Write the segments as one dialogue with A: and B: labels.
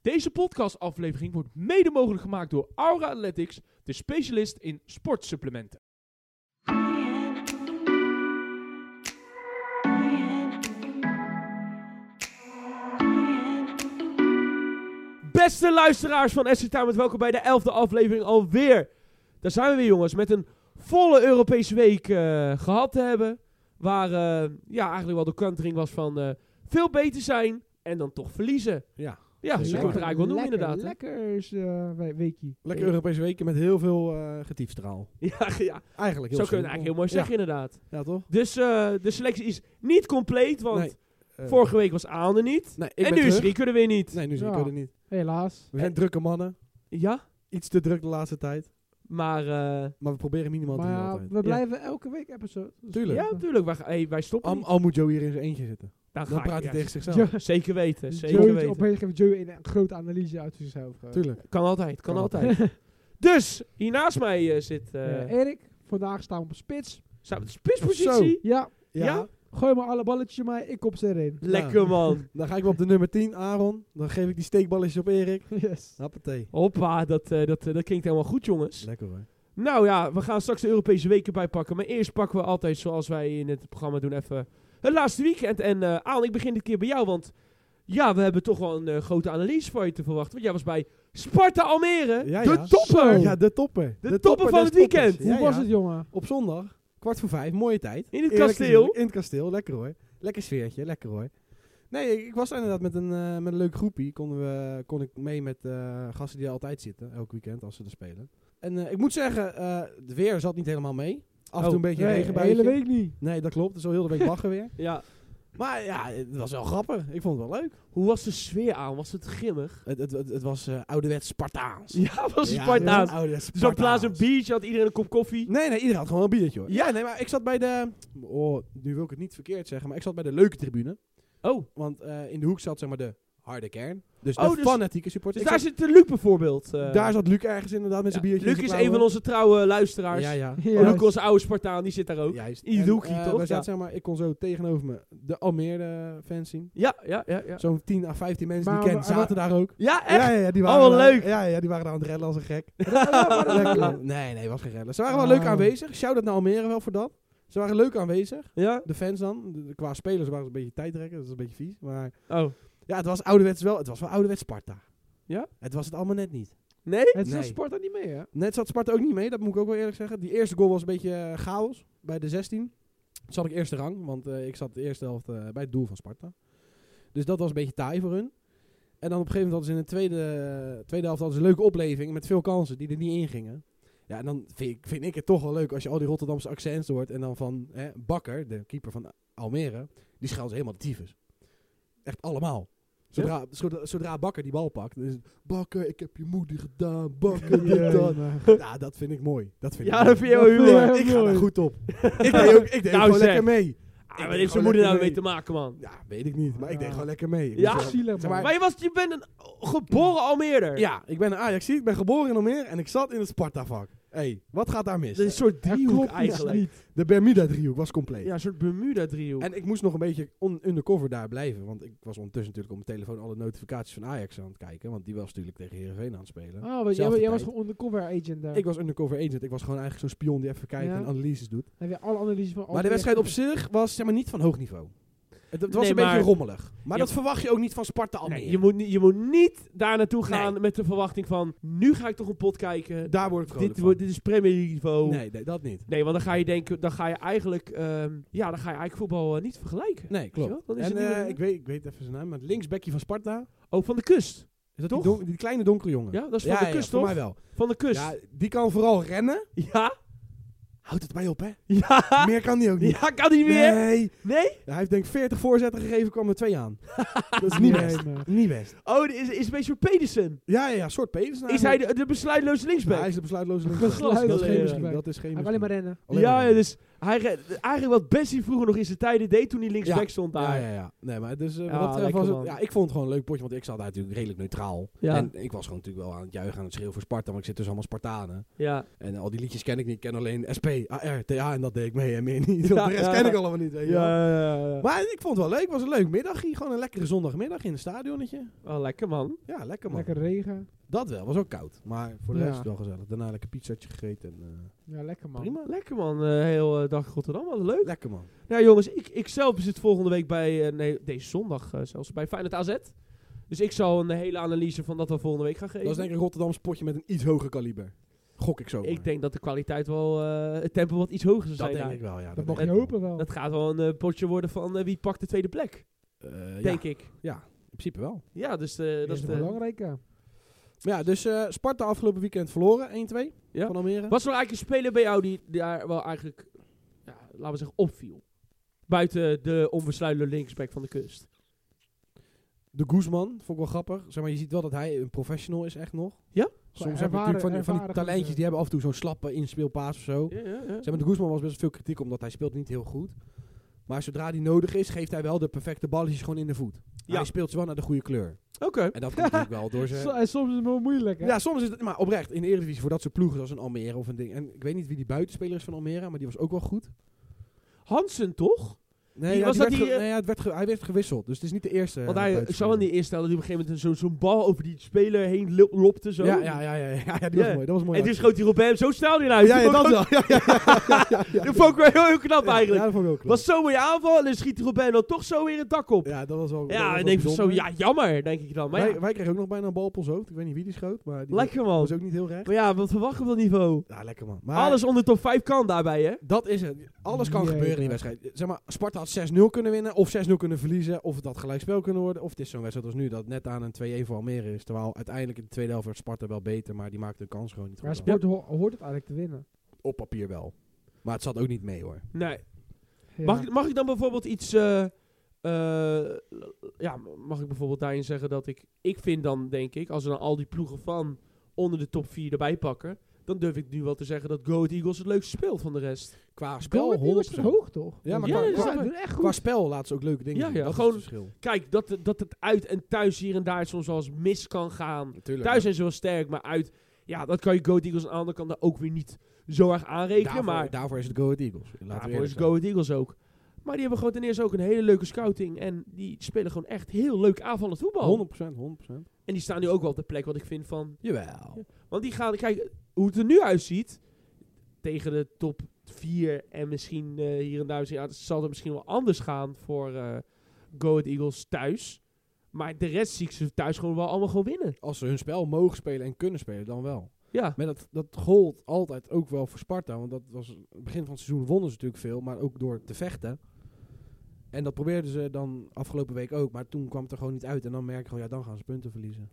A: Deze podcastaflevering wordt mede mogelijk gemaakt door Aura Athletics, de specialist in sportsupplementen. Beste luisteraars van SC Time, welkom bij de elfde aflevering alweer. Daar zijn we weer jongens, met een volle Europese week eh, gehad te hebben. Waar eh, ja, eigenlijk wel de kantering was van eh, veel beter zijn en dan toch verliezen.
B: Ja.
A: Ja, zo
B: Lekker,
A: kan je het er eigenlijk wel noemen inderdaad. hè?
C: Lekker is eh, we- weekje.
B: Lekker Europese weken met heel veel eh getiefstraal.
A: Ja, ja.
B: Eigenlijk
A: Zo
B: heel
A: kun je het eigenlijk heel mooi zeggen, inderdaad.
B: Ja, ja toch?
A: Dus eh, de selectie is niet compleet, want
B: Nee, Eh,
A: vorige week was Aan er niet.
B: nee,
A: en
B: ik ben
A: nu is
B: terug.
A: Rieke er weer niet.
B: Nee, nu zie ik
C: Ja.
B: er niet.
C: Helaas.
B: We zijn drukke mannen.
A: Ja,
B: Iets te druk de laatste tijd.
A: maar eh,
B: Maar we proberen minimaal te
C: Maar
B: doen
C: ja,
B: altijd.
C: we blijven elke week episode. Dus
B: Tuurlijk.
A: ja,
C: we-
A: natuurlijk. Wij, ga- hey, wij stoppen
B: Al,
A: niet.
B: al moet Joe hier in zijn eentje zitten.
A: Dan,
B: Dan
A: ga
B: praat
A: ik,
B: hij
A: ja.
B: tegen zichzelf.
C: Joe-
A: Zeker weten, zeker
C: Joe,
A: weten.
C: Opeens geeft Joe een grote analyse uit zichzelf. eh.
B: Tuurlijk.
A: Kan altijd, kan
B: Kan
A: altijd. dus, hier naast mij eh, zit... eh
C: Eh, Erik, vandaag staan we op spits.
A: staat op de spitspositie.
C: Ja,
B: Ja.
A: Ja?
C: gooi maar alle balletjes maar ik kop ze erin.
A: Lekker man.
B: Dan ga ik wel op de nummer 10, Aaron. Dan geef ik die steekballetjes op Erik.
C: yes.
B: Happatee.
A: Hoppa, dat, eh, dat, eh, dat klinkt helemaal goed jongens.
B: Lekker hoor.
A: Nou ja, we gaan straks de Europese weken bijpakken. Maar eerst pakken we altijd, zoals wij in het programma doen, even het laatste weekend. En eh Aan, ik begin dit keer bij jou. Want ja, we hebben toch wel een eh, grote analyse voor je te verwachten. Want jij was bij Sparta Almere,
B: Ja,
A: de
B: ja.
A: topper!
B: Ja, de topper.
A: Oh. De topper van
B: des
A: het
B: toppers.
A: weekend.
B: Ja,
C: Hoe was
B: ja.
C: het, jongen?
B: Op zondag, kwart voor vijf, mooie tijd.
A: In het
B: Eerlijk
A: kasteel.
B: gezien, In het kasteel, lekker hoor. Lekker sfeertje, lekker hoor. Nee, ik, ik was daar inderdaad met een, eh, met een leuk groepie. Konden we, kon ik mee met eh, gasten die er altijd zitten, elk weekend als ze er spelen. En eh, ik moet zeggen, eh, het weer zat niet helemaal mee. Af en
A: Oh,
B: toe een beetje
C: Nee,
B: regen
C: de
B: bij.
C: hele week niet.
B: Nee, dat klopt. Dus al heel de week bagger weer.
A: Ja.
B: Maar ja, het was wel grappig. Ik vond het wel leuk.
A: Hoe was de sfeer aan? Was het grimmig?
B: Het, het, het, het was eh, ouderwets Spartaans.
A: Ja, was het
B: Ja,
A: Spartaans.
B: ouderwets
A: Dus op plaats een
B: Spartaans.
A: biertje, had iedereen een kop koffie.
B: Nee, nee, iedereen had gewoon een biertje hoor.
A: Ja.
B: Ja, nee, maar ik zat bij de... Oh, nu wil ik het niet verkeerd zeggen, maar ik zat bij de leuke tribune.
A: Oh,
B: Want eh, in de hoek zat zeg maar de harde kern. Dus
A: Oh,
B: de
A: dus-
B: fanatieke
A: dus
B: supporters.
A: daar
B: Ik
A: zit de Luc bijvoorbeeld. eh.
B: zat- daar zat Luc ergens inderdaad met zijn
A: Ja,
B: biertje.
A: Luc is een van onze trouwe luisteraars.
B: Ja, ja.
C: Ja.
A: Luc, onze oude Spartaan, die zit daar ook.
B: Juist.
A: In die
B: En,
A: hoekie,
B: eh,
A: toch?
B: we
A: Ja.
B: zaten, zeg maar, ik kon zo tegenover me de Almere fans zien.
A: Ja, ja, ja. Ja,
B: Zo'n 10 à 15 mensen
C: Maar-
B: die ik ken
C: maar-
B: zaten daar ook.
A: ja echt?
B: Ja, ja, ja, die
A: Oh,
B: waren
A: wat
B: daar-
A: leuk.
B: Ja, ja, die waren daar aan het redden als een gek.
C: Lekker.
B: Lekker. nee, nee, was geen redden. Ze waren
C: Oh.
B: wel leuk aanwezig. Shout-out naar Almere wel voor dat. Ze waren leuk aanwezig.
A: Ja?
B: De fans dan. De- de- qua spelers waren ze een beetje tijdrekken. Dat is een beetje vies. Maar
A: Oh.
B: ja, het was ouderwets wel. Het was wel ouderwets Sparta.
A: Ja?
B: Het was het allemaal net niet.
A: Nee?
C: Het is
B: Nee.
C: sport dan niet mee, hè?
B: Net zat Sparta ook niet mee, dat moet ik ook wel eerlijk zeggen. Die eerste goal was een beetje eh, chaos bij de 16. Toen zat ik eerste rang, want eh, ik zat de eerste helft eh, bij het doel van Sparta. Dus dat was een beetje taai voor hun. En dan op een gegeven moment hadden ze in de tweede, eh, tweede helft hadden ze een leuke opleving met veel kansen die er niet in gingen. Ja, en dan vind ik, vind ik het toch wel leuk als je al die Rotterdamse accents hoort. En dan van hè, Bakker, de keeper van Almere, die schelden ze helemaal de tyfus. Echt allemaal. Zodra, zodra, zodra Bakker die bal pakt, dan is het, Bakker, ik heb je moeder gedaan, Bakker, dit, dat. Ja, dat vind ik mooi. Dat vind
A: Ja,
B: ik
A: dat
B: mooi.
A: vind je wel
C: Dat
A: heel erg.
B: ik
C: vind ik-
B: ga
C: mooi.
B: daar goed op. ik deed ook, ik deed
A: Nou,
B: gewoon
A: zeg.
B: lekker mee.
A: Ah, wat
B: denk
A: heeft zijn
B: gewoon
A: moeder nou
B: lekker
A: mee
B: mee.
A: te maken, man?
B: Ja, weet ik niet. Maar ik deed
C: Ja.
B: gewoon lekker mee. Ik
A: Ja?
B: moest wel-
C: Zielig,
B: Zeg
C: man.
A: Maar je, was, je bent een geboren Almeerder.
B: ja, ik ben een Ajax. Ik ben geboren in Almere en ik zat in het Sparta-vak. Hé, hey, wat gaat daar mis?
A: Dat is een soort
C: Dat
A: driehoek
C: klopt iets
A: eigenlijk.
C: niet.
B: De Bermuda-driehoek was compleet.
A: Ja, een soort Bermuda-driehoek.
B: En ik moest nog een beetje on- undercover daar blijven. Want ik was ondertussen natuurlijk op mijn telefoon alle notificaties van Ajax aan het kijken. Want die was natuurlijk tegen Heerenveen aan het spelen.
C: Oh, want jij,
B: Zelfde
C: jij was
B: tijd.
C: gewoon undercover agent daar.
B: Ik was undercover agent. Ik was gewoon eigenlijk zo'n spion die even kijkt
C: Ja.
B: en analyses doet.
C: Heb je alle analyses van
B: Maar de wedstrijd op zich was zeg maar, niet van hoog niveau. Het, het was
A: Nee,
B: een
A: maar-
B: beetje rommelig. Maar
A: Ja.
B: dat verwacht je ook niet van Sparta Almere.
A: Nee, je, moet, niet- je moet niet daar naartoe gaan met de verwachting van... Nu ga ik toch een pot kijken.
B: Daar word ik vrolijk
A: Dit,
B: van.
A: wordt, dit is Premier League niveau.
B: Nee, nee, dat niet.
A: Nee, want dan ga je denken... Dan ga je eigenlijk... ehm, ja, dan ga je eigenlijk voetbal eh, niet vergelijken.
B: Nee,
A: Weet je
B: klopt.
A: wel? Dan is
B: en
A: het niet
B: eh,
A: meer-
B: ik, weet, ik weet even zijn naam, maar het linksbekje van Sparta.
A: Oh, Van de Kust.
B: Is dat
A: Toch?
B: die, don- die kleine donkere jongen?
A: Ja, dat is Van de Kust,
B: voor
A: toch?
B: mij wel.
A: Van de Kust.
B: Ja, die kan vooral rennen.
A: Ja?
B: Houdt het bij op, hè?
A: Ja?
B: Meer kan die ook niet.
A: Ja, kan niet meer.
B: Nee.
A: Nee?
B: Hij heeft denk ik 40 voorzetten gegeven, kwam er twee aan. dat is niet best. Niet best.
A: Oh, dit is, is een beetje voor Pedersen.
B: Ja, ja, ja, soort Pedersen
A: Is hij de, de besluitloze
B: eigenlijk.
A: linksback?
B: Hij is de besluitloze linksback. Dat is
C: Besluitloze
B: geen
C: linksback.
B: misschien. Dat is geen
C: Hij kan alleen maar
B: misschien.
C: rennen.
B: Alleen
A: ja,
B: maar
A: ja, dus Hij, re- eigenlijk wat Bessie vroeger nog in zijn tijden deed toen hij linksback stond daar.
B: Ja, ja, ja. Nee, maar dus, eh,
A: Ja,
B: wat dat betreft
A: lekker
B: was
A: man.
B: het, ja, ik vond het gewoon een leuk potje, want ik zat daar natuurlijk redelijk neutraal.
A: Ja.
B: En ik was gewoon natuurlijk wel aan het juichen, aan het schreeuwen voor Sparta, want ik zit tussen allemaal Spartanen.
A: Ja.
B: En al die liedjes ken ik niet, ik ken alleen SP, AR, TA en dat deed ik mee en meer niet.
A: Ja,
B: de rest
A: ja.
B: ken ik allemaal niet, weet je wel.
A: Ja, ja, ja.
B: Maar ik vond het wel leuk, het was een leuk middagje, gewoon een lekkere zondagmiddag in een stadionnetje.
A: Oh, lekker man.
B: Ja, lekker man.
C: Lekker regen.
B: Dat wel, was ook koud, maar voor de
C: Ja.
B: rest wel gezellig. Daarna lekker pizzaatje gegeten en eh,
C: Ja, lekker man.
B: prima.
A: Lekker man, eh, heel eh, dag Rotterdam, wat leuk.
B: Lekker man.
A: Nou jongens, ik, ik zelf zit volgende week bij, eh, nee deze zondag eh, zelfs, bij Feyenoord AZ. Dus ik zal een hele analyse van dat we volgende week gaan geven.
B: Dat is denk ik een Rotterdams potje met een iets hoger kaliber. Gok ik zo. maar.
A: ik denk dat de kwaliteit wel, eh, het tempo wat iets hoger zou
B: dat
A: zijn
B: denk
A: daar.
B: ik wel, ja.
C: Dat
B: denk
C: mag
B: ik
C: je
B: wel.
C: hopen wel.
A: Dat gaat wel een eh, potje worden van eh, wie pakt de tweede plek,
B: Eh, ja,
A: denk ik.
B: in principe wel.
A: Ja, dus eh,
C: Dat
A: dat
C: is
A: is...
C: het
A: eh,
C: belangrijke.
B: Maar ja, dus eh, Sparta afgelopen weekend verloren, 1-2
A: Ja.
B: van Almere.
A: Wat is nou eigenlijk een speler bij jou die daar wel eigenlijk, ja, laten we zeggen, opviel? Buiten de onversluitende linksback van de kust.
B: De Guzman, vond ik wel grappig. Zeg maar, je ziet wel dat hij een professional is echt nog.
A: Ja?
B: Soms heb je
C: Ervaren-
B: natuurlijk van, die- van die
C: ervaren
B: talentjes,
C: gozer.
B: die hebben af en toe zo'n slappe inspeelpaas of zo. Zeg maar, de Guzman was best wel veel kritiek, omdat hij speelt niet heel goed. Maar zodra die nodig is, geeft hij wel de perfecte balletjes gewoon in de voet.
A: Ja.
B: Hij speelt ze wel naar de goede kleur.
A: Oké.
B: En dat komt natuurlijk wel door zijn...
C: So- en soms is het wel moeilijk, hè?
B: Ja, soms is het, maar oprecht, in de Eredivisie voor dat soort ploegen zoals een Almere of een ding. En ik weet niet wie die buitenspeler is van Almere, maar die was ook wel goed.
A: Hansen toch?
B: Nee,
A: Die
B: ja,
A: was
B: die
A: dat
B: werd
A: die,
B: ge-
A: eh,
B: nee, ja, het werd ge- hij werd gewisseld, dus het is niet de eerste.
A: Want
B: eh,
A: hij, ik zou wel
B: buitenspeler.
A: niet eerst stellen dat hij op een gegeven moment zo- zo'n bal over die speler heen lo- lopte. Zo.
B: Ja, ja, ja, ja, ja, ja, die was
A: Ja.
B: mooi. Dat was mooi.
A: En toen schoot hij Robben hem zo snel in uit.
B: ja, ja,
A: Dat
B: dat
A: vond ik
B: wel. Ja, ja, ja, ja, ja,
A: ook- dat vond ik wel heel, heel knap
B: Ja,
A: eigenlijk.
B: Ja, dat vond ik ook knap.
A: Was zo'n mooie aanval en dan schiet Robben dan toch zo weer het dak op. Ja,
B: ja, dat was wel. dat was
A: en
B: wel
A: ik denk van zo,
B: bijzonder.
A: ja jammer denk ik dan. Maar
B: wij,
A: ja,
B: wij kregen ook nog bijna een bal op ons hoofd. Ik weet niet wie die schoot, maar die
A: lekker man.
B: was ook niet heel recht.
A: Maar ja, wat verwachten we van niveau?
B: Ja, lekker man. Maar
A: Alles onder top 5 kan daarbij hè.
B: dat is het. Alles kan
C: Jee,
B: gebeuren in die
C: man.
B: wedstrijd. Zeg maar, Sparta had 6-0 kunnen winnen, of 6-0 kunnen verliezen, of het had gelijkspel kunnen worden. Of het is zo'n wedstrijd als nu, dat net aan een 2-1 voor Almere is. Terwijl uiteindelijk in de tweede helft werd Sparta wel beter, maar die maakte de kans gewoon niet
C: Maar
B: goed.
C: sport ho- hoort het eigenlijk te winnen.
B: Op papier wel. Maar het zat ook niet mee hoor.
A: Nee.
C: Ja.
A: Mag, ik, mag ik dan bijvoorbeeld iets... eh, eh, ja, mag ik bijvoorbeeld daarin zeggen dat ik... Ik vind dan, denk ik, als we dan al die ploegen van onder de top 4 erbij pakken... Dan durf ik nu wel te zeggen dat Go Ahead Eagles het leukste speelt van de rest.
B: Qua spel,
C: Go Ahead Eagles
B: 100%.
C: is hoog, toch?
B: Ja, maar
A: Ja,
B: qua,
A: dat is
B: qua,
A: waar.
C: Ze doen echt
B: qua
C: goed.
B: spel laten ze ook leuke dingen
A: Ja,
B: doen.
A: ja,
B: dat
A: gewoon-
B: is het verschil.
A: Kijk, dat, het- dat het uit en thuis hier en daar soms wel eens mis kan gaan.
B: Natuurlijk.
A: Thuis zijn ze wel sterk, maar uit... Ja, dat kan je Go Ahead Eagles aan de andere kant daar ook weer niet zo erg aanrekenen.
B: daarvoor,
A: maar
B: daarvoor is het Go Ahead Eagles. Laten we
A: daarvoor
B: eerlijk
A: is
B: zijn.
A: Go Ahead Eagles ook. Maar die hebben gewoon ten eerste ook een hele leuke scouting. En die spelen gewoon echt heel leuk aanvallend voetbal.
B: 100%, 100%.
A: En die staan nu ook wel op de plek wat ik vind van...
B: Jawel.
A: Want die gaan... Kijk, hoe het er nu uitziet... Tegen de top 4 en misschien eh, hier en daar... misschien- Ja, het zal er misschien wel anders gaan voor eh Go Ahead Eagles thuis. Maar de rest zie ik ze thuis gewoon wel allemaal gewoon winnen.
B: Als ze hun spel mogen spelen en kunnen spelen, dan wel.
A: Ja,
B: Maar dat, dat gold altijd ook wel voor Sparta. Want dat was het begin van het seizoen wonnen ze natuurlijk veel, maar ook door te vechten. En dat probeerden ze dan afgelopen week ook, maar toen kwam het er gewoon niet uit. En dan merk je gewoon, ja, dan gaan ze punten verliezen.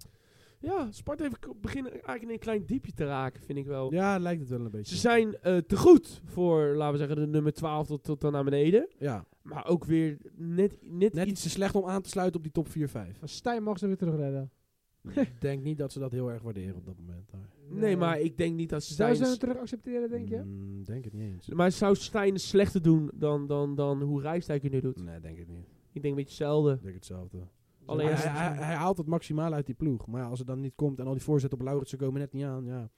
A: ja Sparta heeft k- beginnen eigenlijk in een klein diepje te raken, vind ik wel.
B: Ja, lijkt het wel een
A: Ze
B: beetje.
A: zijn eh, te goed voor, laten we zeggen, de nummer 12 tot, tot dan naar beneden.
B: Ja,
A: Maar ook weer net, net,
B: net
A: iets...
B: iets te slecht om aan te sluiten op die top 4-5.
C: Stijn mag ze weer terugredden.
B: Ik denk niet dat ze dat heel erg waarderen op dat moment. daar.
A: Nee, maar ik denk niet dat ze
C: Zouden ze
A: zijn
C: hem terug accepteren, denk je?
B: Mm, denk het niet eens.
A: Maar zou Stijn slechter doen dan, dan, dan hoe Rijstijk het nu doet?
B: Nee, denk het niet.
A: Ik denk een beetje hetzelfde.
B: Ik denk hetzelfde.
A: Alleen
B: hij,
A: als-
B: hij, hij haalt het maximaal uit die ploeg. Maar ja, als het dan niet komt en al die voorzetten op Lauritsen komen net niet aan. Ja,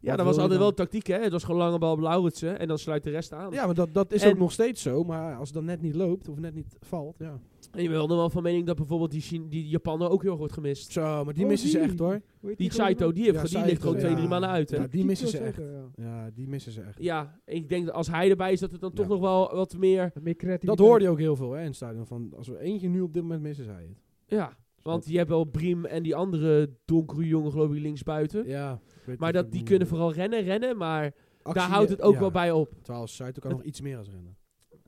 A: Ja, dat
B: wil
A: was
B: je
A: altijd
B: dan?
A: wel tactiek, hè? Het was gewoon lange bal op Lauritsen en dan sluit de rest aan.
B: ja maar dat, dat is
A: En-
B: ook nog steeds zo. Maar als het dan net niet loopt of net niet valt. Ja.
A: En je bent dan wel van mening dat bijvoorbeeld die, Chin- die Japaner ook heel erg wordt gemist.
B: Zo, maar die
C: Oh,
B: missen ze
C: die.
B: echt hoor.
C: Hoe heet
A: Die
C: gozer
A: Saito,
C: nou?
A: die, heeft,
B: Ja,
A: ge- die
B: Saito,
A: ligt gewoon
B: ja.
A: twee, drie maanden uit, hè?
B: Ja,
A: Ja.
B: die missen
C: Tito
B: ze echt.
C: zeker, ja.
B: Ja, die missen ze echt.
A: ik denk dat als hij erbij is, dat het dan toch
B: Ja.
A: nog wel wat meer...
C: Meer
B: Dat
C: creativiteit.
B: hoorde je ook heel veel hè, in het stadion. Van, als we eentje nu op dit moment missen, zei het.
A: Ja, want je hebt wel Briem en die andere donkere jongen, geloof ik, linksbuiten.
B: Ja. ik weet
A: Maar
B: het
A: dat,
B: ook
A: die
B: niet.
A: kunnen vooral rennen, rennen, maar
B: eh, Actie,
A: daar houdt het ook
B: ja. Ah,
A: wel bij op.
B: Terwijl Saito kan nog iets meer als rennen.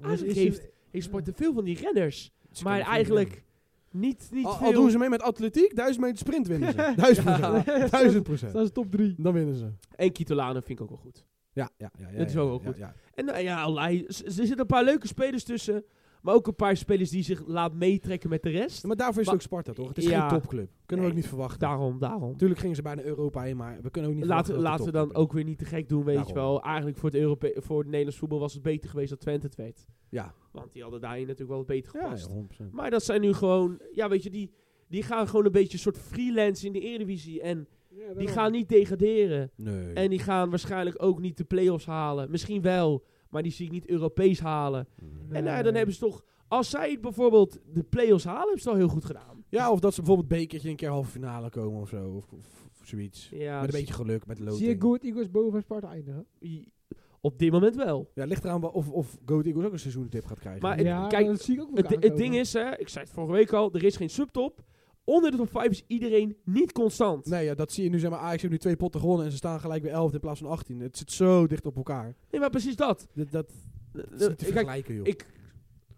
A: Eigenlijk
C: Is- is-
A: heeft, heeft Sparta veel van die renners.
B: Ze
A: Maar
B: kunnen veel
A: eigenlijk niet, niet
B: rennen. Al,
A: veel.
B: al doen ze mee met atletiek, 1000 meter sprint winnen ze. 1000 procent. 1000 procent.
C: Dat is top 3.
B: Dan winnen ze.
A: En Kitolano vind ik ook wel goed.
B: Ja, ja, ja. ja
A: Dat is
B: ja,
A: ook wel
B: ja,
A: goed.
B: ja.
A: En nou ja, Alai, z- er zitten een paar leuke spelers tussen. Maar ook een paar spelers die zich laat meetrekken met de rest.
B: Maar daarvoor is het
A: Maar-
B: ook Sparta, toch? Het is
A: Ja.
B: geen topclub. Kunnen we
A: Nee.
B: ook niet verwachten.
A: Daarom, daarom.
B: Natuurlijk gingen ze bijna Europa in, maar we kunnen ook niet
A: Laten,
B: verwachten
A: laten
B: dat
A: we
B: het
A: dan
B: topclub
A: ook weer niet te gek doen, weet je
B: Daarom.
A: wel. Eigenlijk voor het, Europe voor het Nederlands voetbal was het beter geweest dat Twente het werd.
B: is. Ja,
A: Want die hadden daarin natuurlijk wel wat beter
B: ja,
A: gepast.
B: ja, 100%.
A: Maar dat zijn nu gewoon, ja weet je, die, die gaan gewoon een beetje een soort freelance in de Eredivisie. En die gaan niet degraderen.
B: Nee.
A: En die gaan waarschijnlijk ook niet de play-offs halen. Misschien wel, maar die zie ik niet Europees halen. En nou, dan hebben ze toch, als zij bijvoorbeeld de play-offs halen, hebben ze het al heel goed gedaan.
B: Ja, of dat ze bijvoorbeeld bekertje een keer halve finale komen of zo. Of, of, of zoiets.
A: Ja,
B: met
A: dus
B: een beetje geluk, met
C: Zie je
B: loting.
C: Goed Eagles boven Sparta eindigen?
A: i- op dit moment wel.
B: Ja, ligt eraan wa- of, of Go Eagles ook een seizoentip gaat krijgen.
A: Maar het-
C: ja,
A: kijk,
C: dat zie ik ook wel
A: Het, het
C: aankomen.
A: ding is, hè, ik zei het vorige week al, er is geen subtop. Onder de top 5 is iedereen niet constant.
B: Nee, ja, dat zie je nu. Zeg maar, Ajax heeft nu twee potten gewonnen en ze staan gelijk bij 11 in plaats van 18. Het zit zo dicht op elkaar.
A: Nee, maar precies dat. Eh,
B: Dat, dat is niet te
A: Kijk,
B: vergelijken, joh.
A: ik,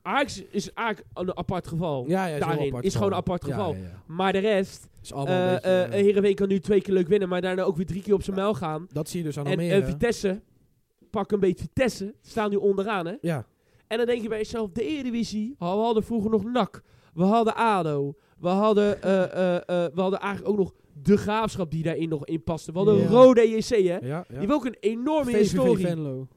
A: Ajax is eigenlijk een apart geval.
B: ja, ja, is
A: daarin
B: heel apart
A: is gewoon een apart
B: Ja,
A: geval.
B: Ja, ja.
A: Maar de rest,
B: Is allemaal een
A: eh
B: beetje,
A: eh,
B: eh,
A: Heerenveen kan nu twee keer leuk winnen, maar daarna ook weer drie keer op zijn muil gaan.
B: dat zie je dus aan
A: En
B: Almere.
A: eh, Vitesse, pak een beetje Vitesse, staan nu onderaan hè.
B: ja,
A: En dan denk je bij jezelf, de Eredivisie, we hadden vroeger nog NAC, we hadden ADO, we hadden, eh, eh, eh, we hadden eigenlijk ook nog de Graafschap die daarin nog in paste. We hadden
C: Ja.
A: Rode JC hè.
B: ja,
A: Die
B: ja.
A: hebben ook een enorme
B: VVV
A: historie.
B: Venlo.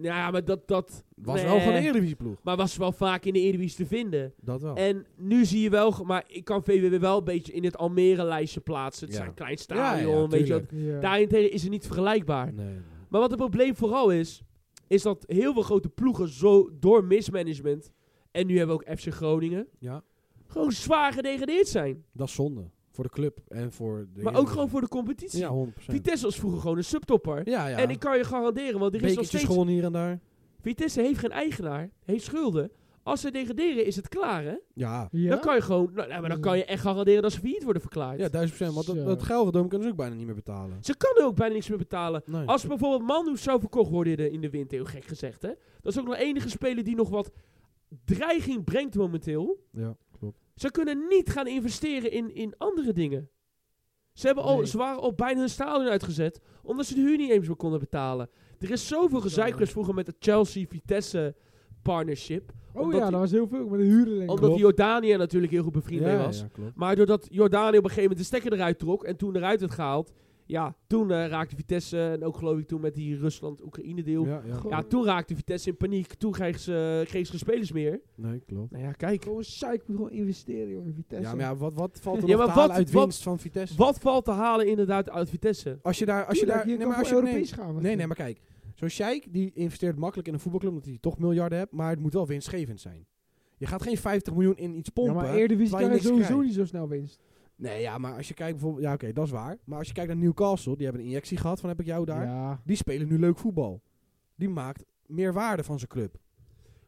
A: Ja, maar dat, dat
B: Was
A: Nee.
B: wel gewoon een Eredivisie-ploeg.
A: maar was wel vaak in de Eredivisie te vinden.
B: Dat wel.
A: En nu zie je wel, ge- maar ik kan VWW wel een beetje in het Almere-lijstje plaatsen. Het
B: Ja.
A: zijn een klein
B: Ja, ja,
A: stadion, weet je
B: tuurlijk.
A: wat.
C: Ja.
A: Daarentegen is het niet vergelijkbaar.
B: Nee.
A: Maar wat het probleem vooral is, is dat heel veel grote ploegen zo door mismanagement, en nu hebben we ook FC Groningen,
B: Ja,
A: gewoon zwaar gedegradeerd zijn.
B: dat is zonde. Voor de club en voor de...
A: Maar ook gewoon voor de competitie.
B: Ja, 100%.
A: Vitesse was vroeger gewoon een subtopper.
B: ja, ja.
A: En ik kan je garanderen, want er is nog
B: Bekertjes
A: steeds...
B: gewonnen hier en daar.
A: Vitesse heeft geen eigenaar, heeft schulden. Als ze degraderen is het klaar, hè?
B: Ja,
C: Ja?
A: Dan kan je gewoon... Nou, nou, maar dan kan je echt garanderen dat ze failliet worden verklaard.
B: ja duizend procent. Want dat,
C: Zo.
B: dat Gelredome kunnen ze dus ook bijna niet meer betalen.
A: Ze kan ook bijna niks meer betalen.
B: Nee.
A: Als bijvoorbeeld Manhoef zou verkocht worden in de, in de winter, heel gek gezegd, hè? Dat is ook nog de enige speler die nog wat dreiging brengt momenteel.
B: Ja, klopt.
A: Ze kunnen niet gaan investeren in, in andere dingen. Ze, hebben al,
C: Nee.
A: ze waren al bijna hun stadion uitgezet, omdat ze de huur niet eens meer konden betalen. Er is zoveel gezeik geweest vroeger met het Chelsea-Vitesse partnership.
C: Oh
A: omdat
C: ja,
A: die-
C: dat was heel veel. Met de huren denk ik.
A: Omdat Jordanië natuurlijk heel goed bevriend mee was.
B: Ja, klopt.
A: Maar doordat Jordanië op een gegeven moment de stekker eruit trok en toen eruit werd gehaald, ja, toen eh, raakte Vitesse en ook geloof ik toen met die Rusland-Oekraïne deel. Ja.
B: Ja, ja.
C: Gewoon-
A: toen raakte Vitesse in paniek. Toen kreeg ze, kreeg ze geen spelers meer.
B: Nee, klopt.
A: Nou ja, kijk.
C: Gewoon psych, moet gewoon investeren, jongen. Vitesse.
B: Ja, maar ja, wat, wat valt er
A: Ja,
B: nog
A: maar
B: te halen
A: wat-
B: uit
A: wat-
B: winst van Vitesse?
A: Wat valt te halen inderdaad uit Vitesse?
B: Als je daar... Als je daar
C: Tuurlijk,
B: nee, maar
C: kan
B: als je,
C: voor
B: nee,
C: Europees gaan.
B: nee, nee, maar kijk. Zo'n Sjeik, die investeert makkelijk in een voetbalclub, omdat hij toch miljarden hebt. Maar het moet wel winstgevend zijn. Je gaat geen 50 miljoen in iets pompen.
C: Ja, maar Eredivisie
B: terwijl
C: kan
B: je
C: je
B: niks
C: sowieso
B: krijgt.
C: niet zo snel winst.
B: Nee, ja, maar als je kijkt bijvoorbeeld... Ja, oké, dat is waar. Maar als je kijkt naar Newcastle, die hebben een injectie gehad van heb ik jou daar.
C: Ja.
B: Die spelen nu leuk voetbal. Die maakt meer waarde van zijn club.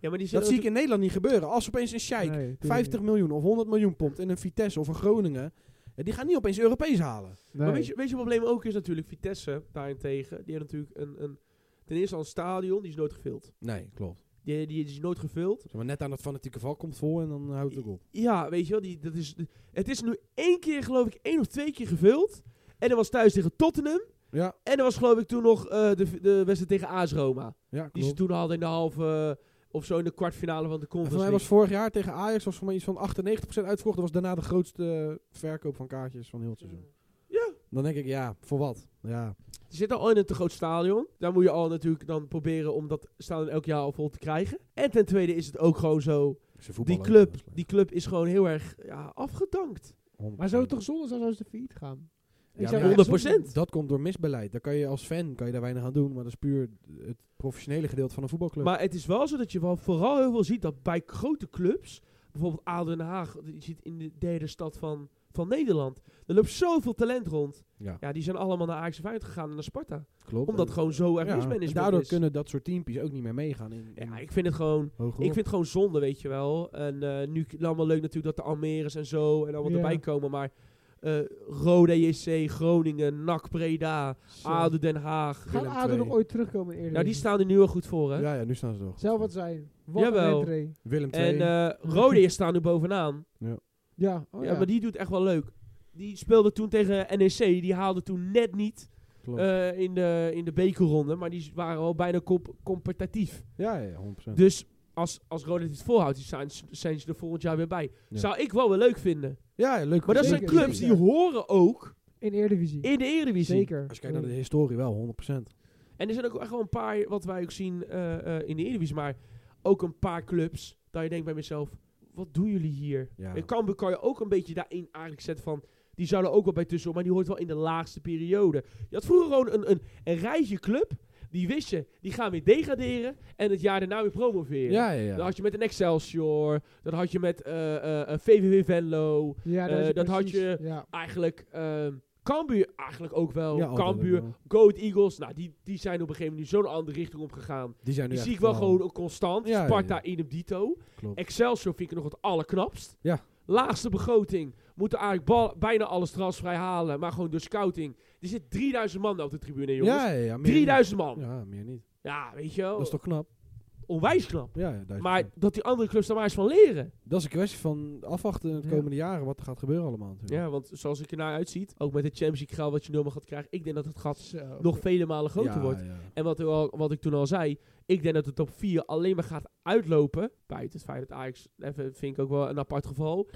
A: Ja, maar die
B: Dat zie ik in Nederland niet gebeuren. Als opeens een Sjeik
C: Nee, tuurlijk
B: 50
C: niet.
B: miljoen of 100 miljoen pompt in een Vitesse of een Groningen... ja, die gaan niet opeens Europees halen.
A: Maar
C: Nee.
A: weet je, weet je wat het probleem ook is natuurlijk? Vitesse daarentegen, die hebben natuurlijk een, een ten eerste al een stadion, die is nooit gevuld.
B: Nee, klopt.
A: Die, die is nooit gevuld.
B: Zeg maar net aan dat fanatieke val komt vol en dan houdt het ook op.
A: Ja, weet je wel, die, dat is, het is nu één keer geloof ik één of twee keer gevuld. En dat was thuis tegen Tottenham.
B: Ja,
A: En er was geloof ik toen nog eh, de, de wedstrijd tegen AS Roma.
B: ja klopt.
A: Die ze toen hadden in de halve eh, of zo in de kwartfinale van de
B: En voor
A: conference.
B: mij was
A: League.
B: vorig jaar tegen Ajax was voor mij iets van 98% uitverkocht. Dat was daarna de grootste eh, verkoop van kaartjes van heel het seizoen.
A: Ja.
B: Dan denk ik, ja, voor wat? Ja,
A: Ze zitten al in een te groot stadion. Daar moet je al natuurlijk dan proberen om dat stadion elk jaar al vol te krijgen. En ten tweede is het ook gewoon zo. Die club, die club is gewoon heel erg ja, afgedankt.
C: Maar zou het toch zonde zijn als ze failliet gaan? Ik zou
A: maar
C: echt
A: 100%.
C: zonde-
B: Dat komt door misbeleid. Daar kan je als fan kan je daar weinig aan doen. Maar dat is puur het professionele gedeelte van een voetbalclub.
A: Maar het is wel zo dat je wel vooral heel veel ziet dat bij grote clubs, bijvoorbeeld ADO Den Haag, je ziet in de derde stad van, van Nederland, er loopt zoveel talent rond.
B: ja,
A: Ja, die zijn allemaal naar Ajax Feyenoord gegaan en naar Sparta.
B: klopt.
A: Omdat
B: En-
A: gewoon zo erg
B: ja,
A: mismanagement
B: en Daardoor
A: is.
B: kunnen dat soort teampjes ook niet meer meegaan. In, in
A: Ja, ik vind het gewoon...
B: hoog
A: Ik vind het gewoon zonde, weet je wel. En eh, nu k- allemaal leuk natuurlijk dat de Almeres en zo en allemaal
C: Ja.
A: erbij komen. Maar eh Rode JC, Groningen, NAC Breda,
C: Zo.
A: ADO Den Haag.
C: Gaat
B: Willem
C: ADO
B: II.
C: nog ooit terugkomen in de
A: Nou, die
C: Eredivisie?
A: staan er nu wel goed voor, hè.
B: Ja, ja, nu staan ze toch.
C: Zou wat zijn. Wat
A: Jawel.
C: een entree.
B: Willem
A: En
B: 2.
A: eh Rode JC staan nu bovenaan.
C: Ja, oh
A: ja.
C: ja.
A: maar die doet echt wel leuk. Die speelde toen tegen NEC. Die haalde toen net niet
B: klopt.
A: eh, in, de, in de bekerronde. Maar die waren al bijna comp- competitief.
B: ja, ja, 100%.
A: Dus als, als Roda dit volhoudt, die zijn, zijn ze er volgend jaar weer bij.
B: Ja.
A: Zou ik wel weer leuk vinden.
B: Ja, ja, leuk.
A: Maar dat zijn
C: Zeker,
A: clubs
C: zeker.
A: die horen ook
C: In Eredivisie.
A: in de Eredivisie.
C: Zeker.
B: Als je kijkt naar de historie wel, 100%.
A: En er zijn ook echt wel een paar, wat wij ook zien eh, eh, in de Eredivisie, maar ook een paar clubs, dat je denkt bij mezelf, wat doen jullie hier?
B: Ja.
A: En Cambuur kan je ook een beetje daarin eigenlijk zetten van, die zouden ook wel bij tussen, maar die hoort wel in de laagste periode. Je had vroeger gewoon een, een, een rijtje club, die wist je, die gaan weer degraderen en het jaar daarna weer promoveren.
B: Ja, ja,
A: Dat
B: ja.
A: had je met een Excelsior, dat had je met eh, eh, eh, VVV Venlo,
C: Ja, daar is
A: eh,
C: het
A: dat had
C: precies.
A: je-
C: Ja.
A: eigenlijk ehm Cambuur eigenlijk ook wel.
B: Ja, oh, altijd
A: Cambuur,
B: wel.
A: Goat Eagles, nou die, die zijn op een gegeven moment nu zo'n andere richting op gegaan.
B: Die zijn nu
A: Die
B: echt
A: zie ik wel gewoon ook constant.
B: Ja, ja,
A: Sparta,
B: ja.
A: idem dito.
B: Klopt.
A: Excelsior vind ik nog het allerknapst.
B: Ja.
A: Laagste begroting. Moeten eigenlijk bal- bijna alles transvrij halen. Maar gewoon door scouting. Er zit 3000 man op de tribune, jongens. Oh.
B: Ja, ja, ja. meer
A: 3000 man.
B: niet.
A: Ja.
B: Ja, meer niet.
A: weet je wel.
B: Dat is toch knap?
A: onwijs knap.
B: Ja, ja, duizend
A: Maar
B: procent.
A: dat die andere clubs daar maar eens van leren.
B: Dat is een kwestie van afwachten in de
A: Ja.
B: komende jaren wat er gaat gebeuren allemaal.
A: Ja,
B: natuurlijk.
A: want zoals ik ernaar uitziet, ook met de Champions League geld wat je normaal gaat krijgen. Ik denk dat het gat
C: Zo.
A: nog vele malen groter
B: Ja,
A: wordt.
B: ja.
A: En wat, ik al- wat ik toen al zei, ik denk dat de top 4 alleen maar gaat uitlopen. Buiten het feit dat Ajax, even vind ik ook wel een apart geval.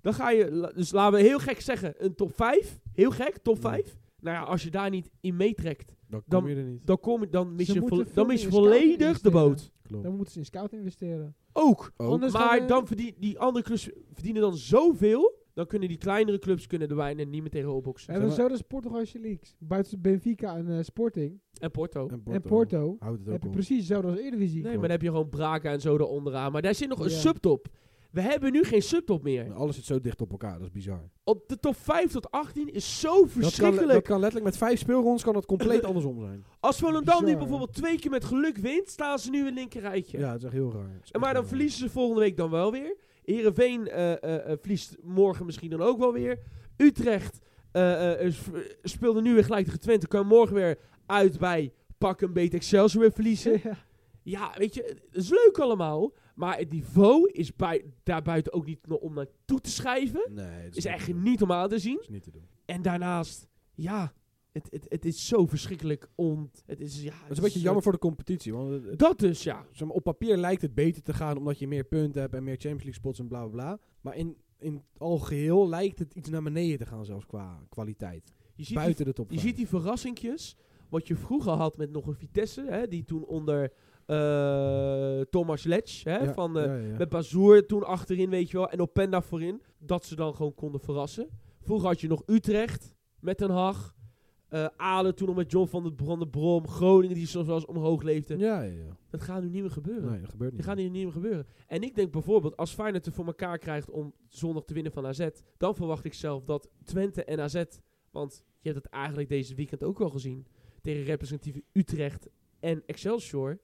A: Dan ga je, la- dus laten we heel gek zeggen, een top 5. Heel gek, top
B: Ja.
A: 5. Nou ja, als je daar niet in meetrekt,
B: Dan kom
A: Dan-
B: je er niet.
A: dan, kom je, dan mis
C: Ze
A: je,
C: moeten
A: volle-
C: veel
A: dan mis je
C: meer in scouting
A: volledig de
C: investeren.
A: boot.
B: Klopt.
C: Dan moeten ze in scout investeren.
A: Ook.
B: Ook.
C: Anders dan,
A: maar
C: eh,
A: dan verdienen die andere clubs verdienen dan zoveel. Dan kunnen die kleinere clubs kunnen er bijna niet meer tegen
C: We
A: opboksen.
C: hebben
B: maar-
C: zo de Portugalse leagues. Buiten Benfica en eh, Sporting
A: En Porto.
C: en Porto
B: Houdt het
C: heb
B: ook
C: je
B: op.
C: precies zo als Eredivisie.
A: Nee, maar dan heb je gewoon Braga en zo eronderaan. Maar daar zit nog een
C: Ja.
A: subtop. We hebben nu geen subtop meer.
B: Maar Alles zit zo dicht op elkaar, dat is bizar.
A: Op de top 5 tot 18 is zo
B: Dat kan,
A: verschrikkelijk.
B: dat kan letterlijk met vijf speelrondes kan dat compleet andersom zijn.
A: Als Volendam nu
C: Bizar.
A: bijvoorbeeld twee keer met geluk wint, staan ze nu in het linkerrijtje.
B: Ja, dat is echt heel raar. Dat is
A: en maar
B: echt
A: dan
B: heel raar.
A: verliezen ze volgende week dan wel weer. Heerenveen eh, eh, eh, verliest morgen misschien dan ook wel weer. Utrecht eh, eh, eh, sp- eh, speelde nu weer gelijk tegen Twente. Kan morgen weer uit bij pak een beet Excelsior weer verliezen.
C: Ja.
A: Ja, weet je, het is leuk allemaal. Maar het niveau is bij, daarbuiten ook niet om naar toe te schrijven.
B: Nee, dat
A: Is
B: niet te
A: echt
B: doen.
A: niet om aan te zien.
B: Dat is niet te doen.
A: En daarnaast, ja, het, het, het is zo verschrikkelijk om... Het is, ja,
B: Dat is een beetje jammer voor de competitie. Want het- het-
A: Dat dus, ja.
B: zeg maar, op papier lijkt het beter te gaan omdat je meer punten hebt en meer Champions League spots en bla bla bla. Maar in, in het algeheel lijkt het iets naar beneden te gaan, zelfs qua kwaliteit.
A: Je ziet, die,
B: Buiten de top
A: je
B: vijf.
A: ziet die verrassingjes, wat je vroeger had met nog een Vitesse, hè, die toen onder eh, Thomas Letch, hè,
B: Ja,
A: van, eh,
B: ja, ja.
A: met Bazoer toen achterin, weet je wel, en Openda voorin, dat ze dan gewoon konden verrassen. Vroeger had je nog Utrecht met Den Haag, eh Aalen toen nog met John van der Bron, de Brom, Groningen die soms wel eens omhoog leefde.
B: ja, ja, ja.
A: Dat gaat nu niet meer gebeuren.
B: Nee, dat gebeurt niet.
A: Die gaan hier niet meer gebeuren. En ik denk bijvoorbeeld, als Feyenoord het voor elkaar krijgt om zondag te winnen van AZ, dan verwacht ik zelf dat Twente en AZ, want je hebt het eigenlijk deze weekend ook wel gezien, tegen representatieve Utrecht en Excelsior,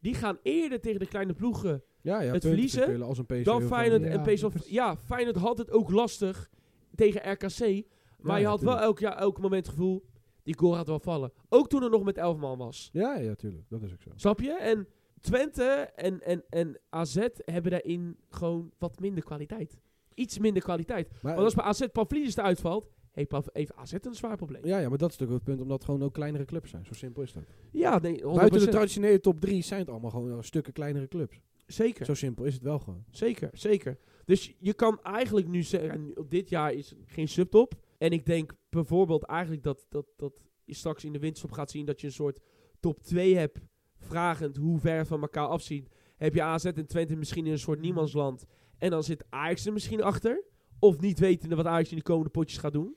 A: die gaan eerder tegen de kleine ploegen
B: ja, ja, punten te
A: verliezen,
B: spelen als een PSV
A: dan
B: of
A: Feyenoord
B: een-
A: en
C: Ja,
A: PSV.
C: precies.
A: Ja, Feyenoord had het ook lastig tegen RKC, maar
B: Ja,
A: je had wel
B: tuurlijk.
A: elk, jaar, elk moment het gevoel, die goal gaat wel vallen. Ook toen er nog met 11 man was.
B: Ja, ja, tuurlijk. Dat is ook zo.
A: Snap je? En Twente en, en, en AZ hebben daarin gewoon wat minder kwaliteit. Iets minder kwaliteit.
B: Maar,
A: Want als bij AZ Pavlidis eruit valt, heeft, Pav- heeft AZ een zwaar probleem. Ja,
B: ja, ja, maar dat is natuurlijk wel het punt, omdat het gewoon ook kleinere clubs zijn. Zo simpel is dat.
A: nee, 100%.
B: Buiten de traditionele top 3 zijn het allemaal gewoon eh, stukken kleinere clubs.
A: zeker,
B: Zo simpel is het wel gewoon.
A: zeker, zeker. Dus je kan eigenlijk nu zeggen, op dit jaar is geen subtop. En ik denk bijvoorbeeld eigenlijk dat, dat, dat je straks in de winterstop gaat zien dat je een soort top 2 hebt, vragend hoe ver van elkaar afzien. Heb je AZ en Twente misschien in een
B: Mhm.
A: soort niemandsland. En dan zit Ajax er misschien achter. Of niet wetende wat Ajax in de komende potjes gaat doen.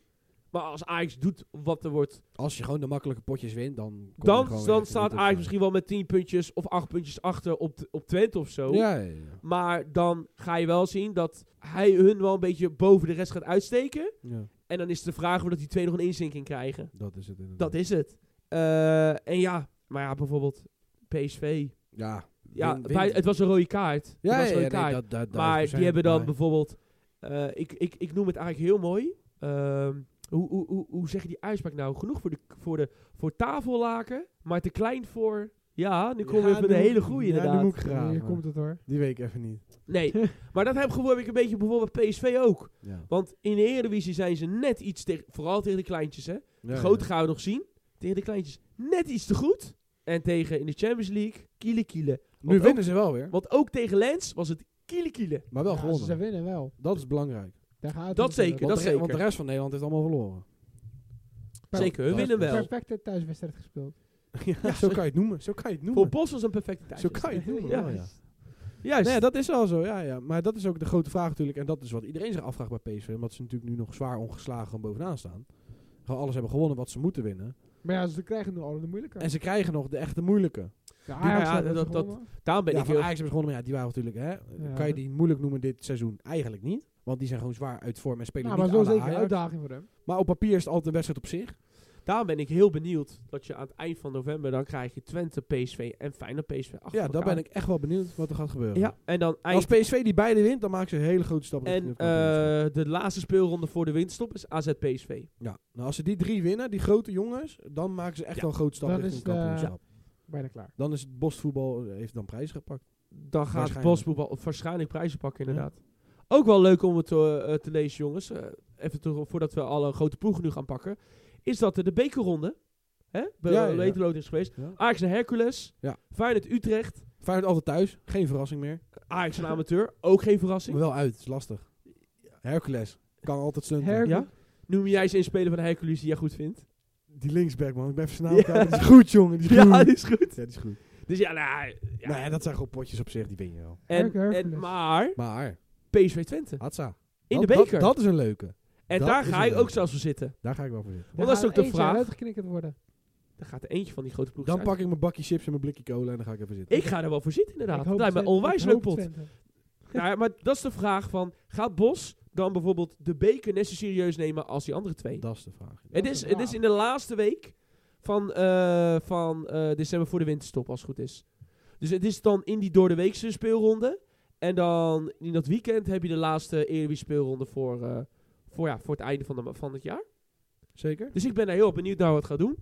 A: Maar als Ajax doet wat er wordt,
B: Als je gewoon de makkelijke potjes wint, dan... kom je
A: dan,
B: gewoon weer
A: dan
B: echt niet
A: staat
B: op
A: Ajax
B: vijf.
A: misschien wel met 10 puntjes of 8 puntjes achter op, t- op Twente of zo.
B: Ja, ja, ja.
A: Maar dan ga je wel zien dat hij hun wel een beetje boven de rest gaat uitsteken.
B: Ja,
A: En dan is de vraag of dat die twee nog een inzinking krijgen.
B: dat is het inderdaad.
A: Dat is het. Eh, en ja, maar ja, bijvoorbeeld PSV.
B: Ja.
A: Ja,
B: Win-
A: bij,
B: win.
A: het was een rode kaart. Het
B: Ja,
A: was een
B: ja,
A: rode
B: ja, nee,
A: kaart.
B: dat- dat-
A: maar die
B: 1000%,
A: hebben dan
B: maar-
A: bijvoorbeeld... eh, ik, ik, ik noem het eigenlijk heel mooi. Ehm, hoe, hoe, hoe, hoe zeg je die uitspraak nou? Genoeg voor, de, voor, de, voor tafellaken, maar te klein voor... Ja, nu komen
B: Ja,
A: we met
B: nu
A: een
B: moet-
A: hele goede
B: ja, nu
A: inderdaad.
B: moet ik graag,
C: Hier
B: maar
C: komt het hoor.
B: Die week even niet.
A: Nee, maar dat heb, gevoel heb ik een beetje bijvoorbeeld bij PSV ook.
B: Ja.
A: Want in de Eredivisie zijn ze net iets... Te, vooral tegen de kleintjes, hè.
B: Ja,
A: Groot
B: ja.
A: gaan we nog zien. Tegen de kleintjes net iets te goed. En tegen in de Champions League, kielen kielen.
B: Nu
A: ook-
B: winnen ze wel weer.
A: Want ook tegen Lens was het kiele kiele.
B: Maar wel
C: Ja,
B: gewonnen.
C: Ze winnen wel.
B: Dat is belangrijk.
C: Daar gaat het
A: Dat
C: natuurlijk.
A: zeker,
B: Want,
A: dat
B: de, re-
A: zeker.
B: want de rest van Nederland heeft allemaal verloren.
A: Zeker, hun
B: dat-
A: winnen wel.
C: Perfecte thuiswedstrijd gespeeld.
B: Ja, zo kan je het noemen. Zo kan je het
A: Voor
B: noemen.
A: Bos was een perfecte tijd.
B: Zo kan je het noemen.
A: Ja.
B: wel, ja.
A: Juist.
B: Nee, dat is wel zo. Ja, ja. Maar dat is ook de grote vraag natuurlijk. En dat is wat iedereen zich afvraagt bij PSV. Omdat ze natuurlijk nu nog zwaar ongeslagen gewoon bovenaan staan. Gewoon alles hebben gewonnen wat ze moeten winnen.
C: Maar ja, ze krijgen nu al de moeilijke.
B: En ze krijgen nog de echte moeilijke.
C: Ja,
A: ja,
C: hebben
A: dat-
C: ze
A: dat-
C: gewonnen.
A: Daarom ben
B: ja,
A: ik
B: van
A: heel...
B: Ajax hebben ze gewonnen. Maar ja, die waren natuurlijk... Hè,
C: Ja.
B: Kan je die moeilijk noemen dit seizoen? Eigenlijk niet. Want die zijn gewoon zwaar uit vorm en spelen
C: Nou, maar
B: niet
C: zo
B: à la
C: zeker een
B: Ajax.
C: uitdaging voor hem.
B: Maar op papier is het altijd een wedstrijd op zich.
A: Daarom ben ik heel benieuwd dat je aan het eind van november dan krijg je Twente, PSV en Feyenoord, PSV achter
B: Ja, daar ben ik echt wel benieuwd wat er gaat gebeuren. Nou,
A: Ja, en dan
B: Als
A: eind...
B: PSV die beide wint, dan maken ze een hele grote stap. richting
A: En
B: het kampioenschap.
A: eh, de laatste speelronde voor de winterstop is AZ PSV.
B: ja. nou, als ze die drie winnen, die grote jongens, dan maken ze echt
A: Ja.
B: wel een grote stap
C: Dan
B: richting het
C: is, eh,
B: kampioenschap.
C: Bijna klaar.
B: Dan is het bosvoetbal eh, heeft dan prijs gepakt.
A: Dan gaat
B: Waarschijnlijk.
A: Bosvoetbal waarschijnlijk prijzen pakken inderdaad. Ook wel leuk om het te, eh, te lezen jongens. Eh, even terug, voordat we alle grote ploegen nu gaan pakken. Is dat eh, de bekerronde. Hè? Bij
B: Ja,
A: ja,
B: ja, ja.
A: is geweest.
B: Ja.
A: Ajax naar Hercules.
B: Ja.
A: Feyenoord Utrecht.
B: Feyenoord altijd thuis, geen verrassing meer.
A: Ajax een amateur. Ook geen
B: Maar
A: verrassing.
B: wel uit, is lastig. Hercules kan altijd stunten.
C: Her-
A: Ja? Noem jij eens een speler van de Hercules die jij goed vindt?
B: die linksback man, ik ben even snel.
A: Ja.
B: Dat is goed jongen, die is goed.
A: Ja, die is goed.
B: Ja, die is goed.
A: Dus ja, nou, ja.
B: Nou ja, dat zijn gewoon potjes op zich, die win je wel.
A: en,
C: Hercules.
A: en, maar
B: Maar,
A: PSV Twente.
B: Hatsa.
A: In
B: dat-
A: de beker.
B: Dat, dat is een leuke.
A: en
B: dat
A: daar
B: is
A: ga
B: een
A: ik ook
B: leuke.
A: zelfs voor zitten.
B: Daar ga ik wel voor zitten.
A: Want dat is ook de vraag.
C: uitgeknikkerd worden.
A: Dan gaat er eentje van die grote ploeg
B: Dan pak ik mijn bakje chips en mijn blikje cola en dan ga ik even zitten.
A: Ik ga er wel voor zitten, inderdaad.
C: Ik
A: Dat
C: hoop
A: lijkt me
C: Twente-
A: onwijs
C: ik
A: leuk
C: hoop
A: pot.
C: Twente.
A: Nou ja, maar dat is de vraag van... Gaat Bos dan bijvoorbeeld de beker net zo serieus nemen als die andere twee?
B: Dat is de vraag.
A: Het
C: is
A: is,
C: de
A: het
C: vraag.
A: is in de laatste week van, eh, van eh, december voor de winterstop, als het goed is. Dus het is dan in die door de weekse speelronde. En dan in dat weekend heb je de laatste Eredivisie speelronde voor, eh, voor, ja, voor het einde van, de, ma- van het jaar.
B: Zeker?
A: Dus ik ben daar heel benieuwd naar wat het gaat doen.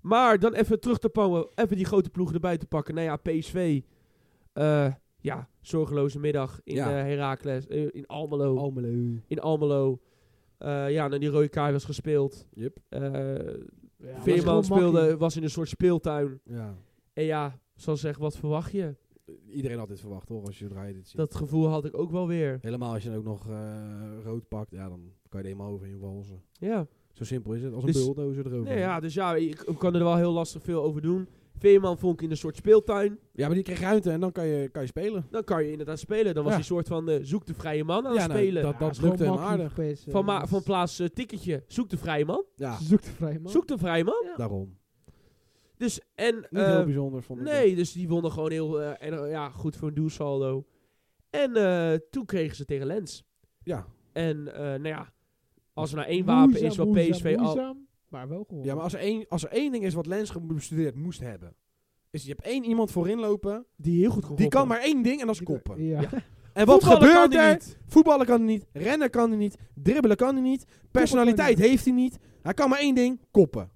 A: Maar dan even terug te pauwen, even die grote ploegen erbij te pakken. Nou ja, PSV. eh, ja, zorgeloze middag in
B: Ja.
A: eh, Heracles, eh, in Almelo.
B: Almelo.
A: in Almelo. Eh, ja, en die rode kaart was gespeeld.
B: Yep.
A: Eh
C: Ja, maar het is
A: Veerman
C: gewoon
A: speelde,
C: makkie.
A: was in een soort speeltuin.
B: Ja.
A: En ja, zoals zeggen, wat verwacht je?
B: Iedereen had dit verwacht hoor, als je draait dit ziet.
A: Dat gevoel had ik ook wel weer.
B: Helemaal als je dan ook nog eh, rood pakt, ja, dan kan je er helemaal over in walzen.
A: Ja,
B: Zo simpel is het, als een
A: Dus-
B: bulldozer erover.
A: nee, ja dus ja, ik, ik kan er wel heel lastig veel over doen. Veerman vond ik in een soort speeltuin.
B: Ja, maar die kreeg ruimte en dan kan je, kan je spelen.
A: Dan kan je inderdaad spelen. Dan was
B: Ja.
A: die soort van eh, zoek de vrije man aan
B: Ja,
A: het
B: nou,
A: spelen.
B: dat-
C: Ja,
B: dat
C: het is gewoon
B: lukte hem
C: makkie
B: aardig.
C: voor PSV.
A: van, ma- van plaats eh, ticketje, zoek de vrije man.
B: Ja,
C: Ze zoekt de vrij man.
A: Zoek de vrije man.
B: daarom.
A: Dus en...
B: Niet
A: eh,
B: heel bijzonder vond ik.
A: nee, dus die wonnen gewoon heel eh, en, eh, ja, goed voor een doelsaldo. En eh, toen kregen ze tegen Lens.
B: Ja.
A: En eh, nou ja, als er nou één wapen is wat
C: Moeizaam,
A: PSV al...
C: moeizaam, maar wel gewonnen.
B: ja, maar als er, één, als er één ding is wat Lens gestudeerd moest hebben, is je hebt één iemand voorin lopen,
A: Die heel goed kon
B: die
A: koppen.
B: kan maar één ding en dat is koppen.
C: Ja.
B: En wat
A: Voetballen
B: gebeurt
A: kan hij
B: er?
A: niet.
B: Voetballen kan hij niet, rennen kan hij niet, dribbelen kan hij niet,
C: kan
B: personaliteit
C: hij
B: heeft hij niet. Hij kan maar één ding, koppen.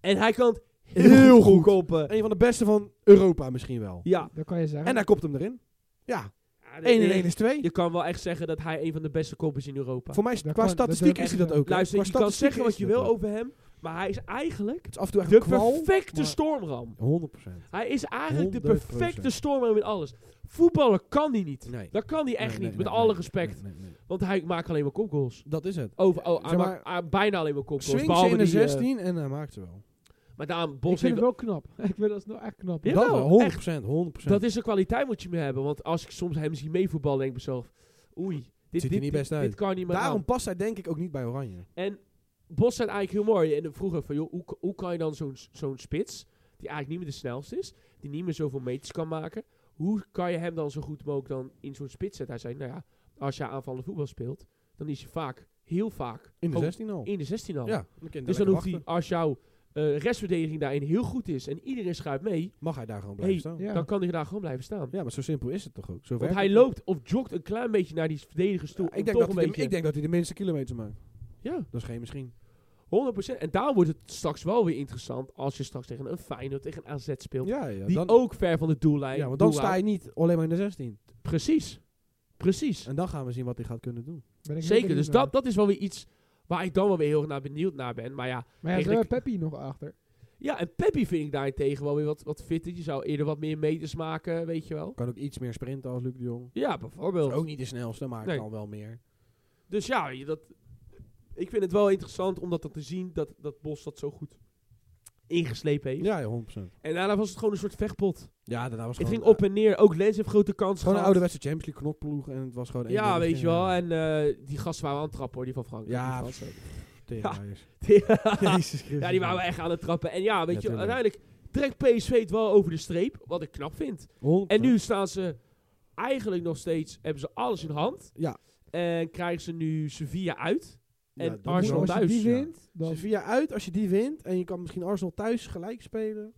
A: En hij kan het heel,
B: Heel
A: goed,
B: goed.
A: koppen.
B: Een van de beste van Europa misschien wel.
A: Ja.
C: Dat kan je zeggen.
B: En hij kopt hem erin. Ja,
A: Ja,
B: 1 en
A: je-
B: 1 is 2.
A: Je kan wel echt zeggen dat hij een van de beste koppers in Europa.
B: Voor mij, is-
C: Dat
B: qua
C: kan- dat
B: statistiek
C: durf
B: is hij
C: ik
B: dat ook. hè?
A: eh, Luister,
B: Qua
A: je kan
B: statistiek
A: zeggen
B: is
A: wat je
B: hij
A: wil
B: dat ook.
A: over hem, maar hij is eigenlijk
B: Het is af en toe echt
A: de
B: een kwal.
A: perfecte
B: maar-
A: stormram.
B: 100%.
A: Hij is eigenlijk de
B: 100%.
A: perfecte stormram in alles. Voetballen kan hij niet.
B: Nee.
A: Dat kan hij echt
B: Nee,
A: niet,
B: nee,
A: met
B: nee,
A: alle
B: nee,
A: respect.
B: nee, nee, nee.
A: Want hij maakt alleen maar kopgoals.
B: Dat is het.
A: Over, oh, hij
B: Zeg
A: maakt ah, bijna alleen maar kopgoals.
B: Swing ze
A: behalve
B: in de
A: die, eh,
B: 16 en hij maakt ze wel.
A: maar daarom,
C: ik
A: Bos
C: vind
A: heeft
C: het wel knap. ik vind dat nou echt knap.
A: Ja,
B: dat
A: Jawel,
B: wel, 100%. 100%.
A: Dat is een kwaliteit moet je mee hebben. Want als ik soms hem zie meevoetballen, denk ik mezelf... Oei, dit,
B: Ziet er
A: dit,
B: niet
A: dit-
B: best
A: dit
B: uit.
A: kan niet meer
B: Daarom
A: Daarom.
B: past hij denk ik ook niet bij Oranje.
A: En Bos zijn eigenlijk heel mooi. En dan vroeger van, joh, hoe, hoe kan je dan zo'n zo'n spits... die eigenlijk niet meer de snelste is... die niet meer zoveel meters kan maken... hoe kan je hem dan zo goed mogelijk dan in zo'n spits zetten? Hij zei, nou ja, als je aanvallende voetbal speelt... dan is je vaak, heel vaak...
B: In de
A: ook
B: 16 al.
A: Oh, in de 16 al.
B: Ja, dan kan je
A: dus
B: daar
A: dan
B: lekker
A: hoeft hij,
B: wachten.
A: als jouw eh, restverdediging daarin heel goed is... en iedereen schuift mee...
B: Mag hij daar gewoon blijven
A: Hey,
B: staan.
C: Ja.
A: dan kan hij daar gewoon blijven staan.
B: Ja, maar zo simpel is het toch ook. Zo
A: Want
B: werkt
A: hij
B: het.
A: loopt of jogt een klein beetje naar die verdedigers toe.
B: Ja,
A: om
B: ik, denk
A: toch een
B: dat hij de,
A: beetje...
B: ik denk dat hij de minste kilometers maakt.
A: Ja,
B: Dat is geen misschien.
A: 100%. En daar wordt het straks wel weer interessant als je straks tegen een Feyenoord, tegen een AZ speelt.
B: Ja, ja,
A: die
B: dan,
A: ook ver van de doellijn.
B: ja, want dan
A: doelhaal-
B: sta je niet alleen maar in de 16.
A: Precies. Precies.
B: En dan gaan we zien wat hij gaat kunnen doen.
C: Ben ik heel
A: Zeker.
C: benieuwd
A: Dus
C: naar.
A: dat, dat is wel weer iets waar ik dan wel weer heel erg naar benieuwd naar ben. Maar ja,
C: Maar ja, ze
A: eigenlijk-
C: hebben Peppi nog achter.
A: Ja, en Peppi vind ik daarentegen wel weer wat, wat fitter. Je zou eerder wat meer meters maken, weet je wel.
B: Kan ook iets meer sprinten als Luc de Jong.
A: Ja,
B: Is
A: bijvoorbeeld.
B: ook niet de snelste, maar
A: Nee.
B: kan wel meer.
A: Dus ja, je- dat, ik vind het wel interessant om dat dan te zien, dat, dat Bos dat zo goed ingeslepen heeft.
B: Ja, ja, 100%.
A: En daarna was het gewoon een soort vechtpot.
B: Ja, daarna
A: Het
B: was gewoon, eh,
A: ging op en neer. Ook Lens heeft grote kansen
B: gewoon een
A: gehad.
B: ouderwetse Champions League knokploeg en het was gewoon één
A: Ja,
B: ding
A: weet je
B: beginnen.
A: wel. En eh, die gasten waren aan het trappen hoor, die van Frankrijk.
B: Ja,
A: die,
B: pff,
A: gasten.
B: teringlaaiers.
A: ja,
B: Jezus Christus.
A: die waren echt aan het trappen. En ja, weet
B: Ja,
A: je,
B: tuurlijk.
A: uiteindelijk trekt PSV het wel over de streep, wat ik knap vind.
B: 100%.
A: En nu staan ze eigenlijk nog steeds, hebben ze alles in hand.
B: Ja.
A: En krijgen ze nu Sevilla uit.
B: Ja,
A: en
B: dat is
A: Arsenal
B: wel-
C: als je
A: thuis,
C: die
B: ja.
C: wint, dan...
B: Sevilla uit, als je die wint en je kan misschien Arsenal thuis gelijk spelen.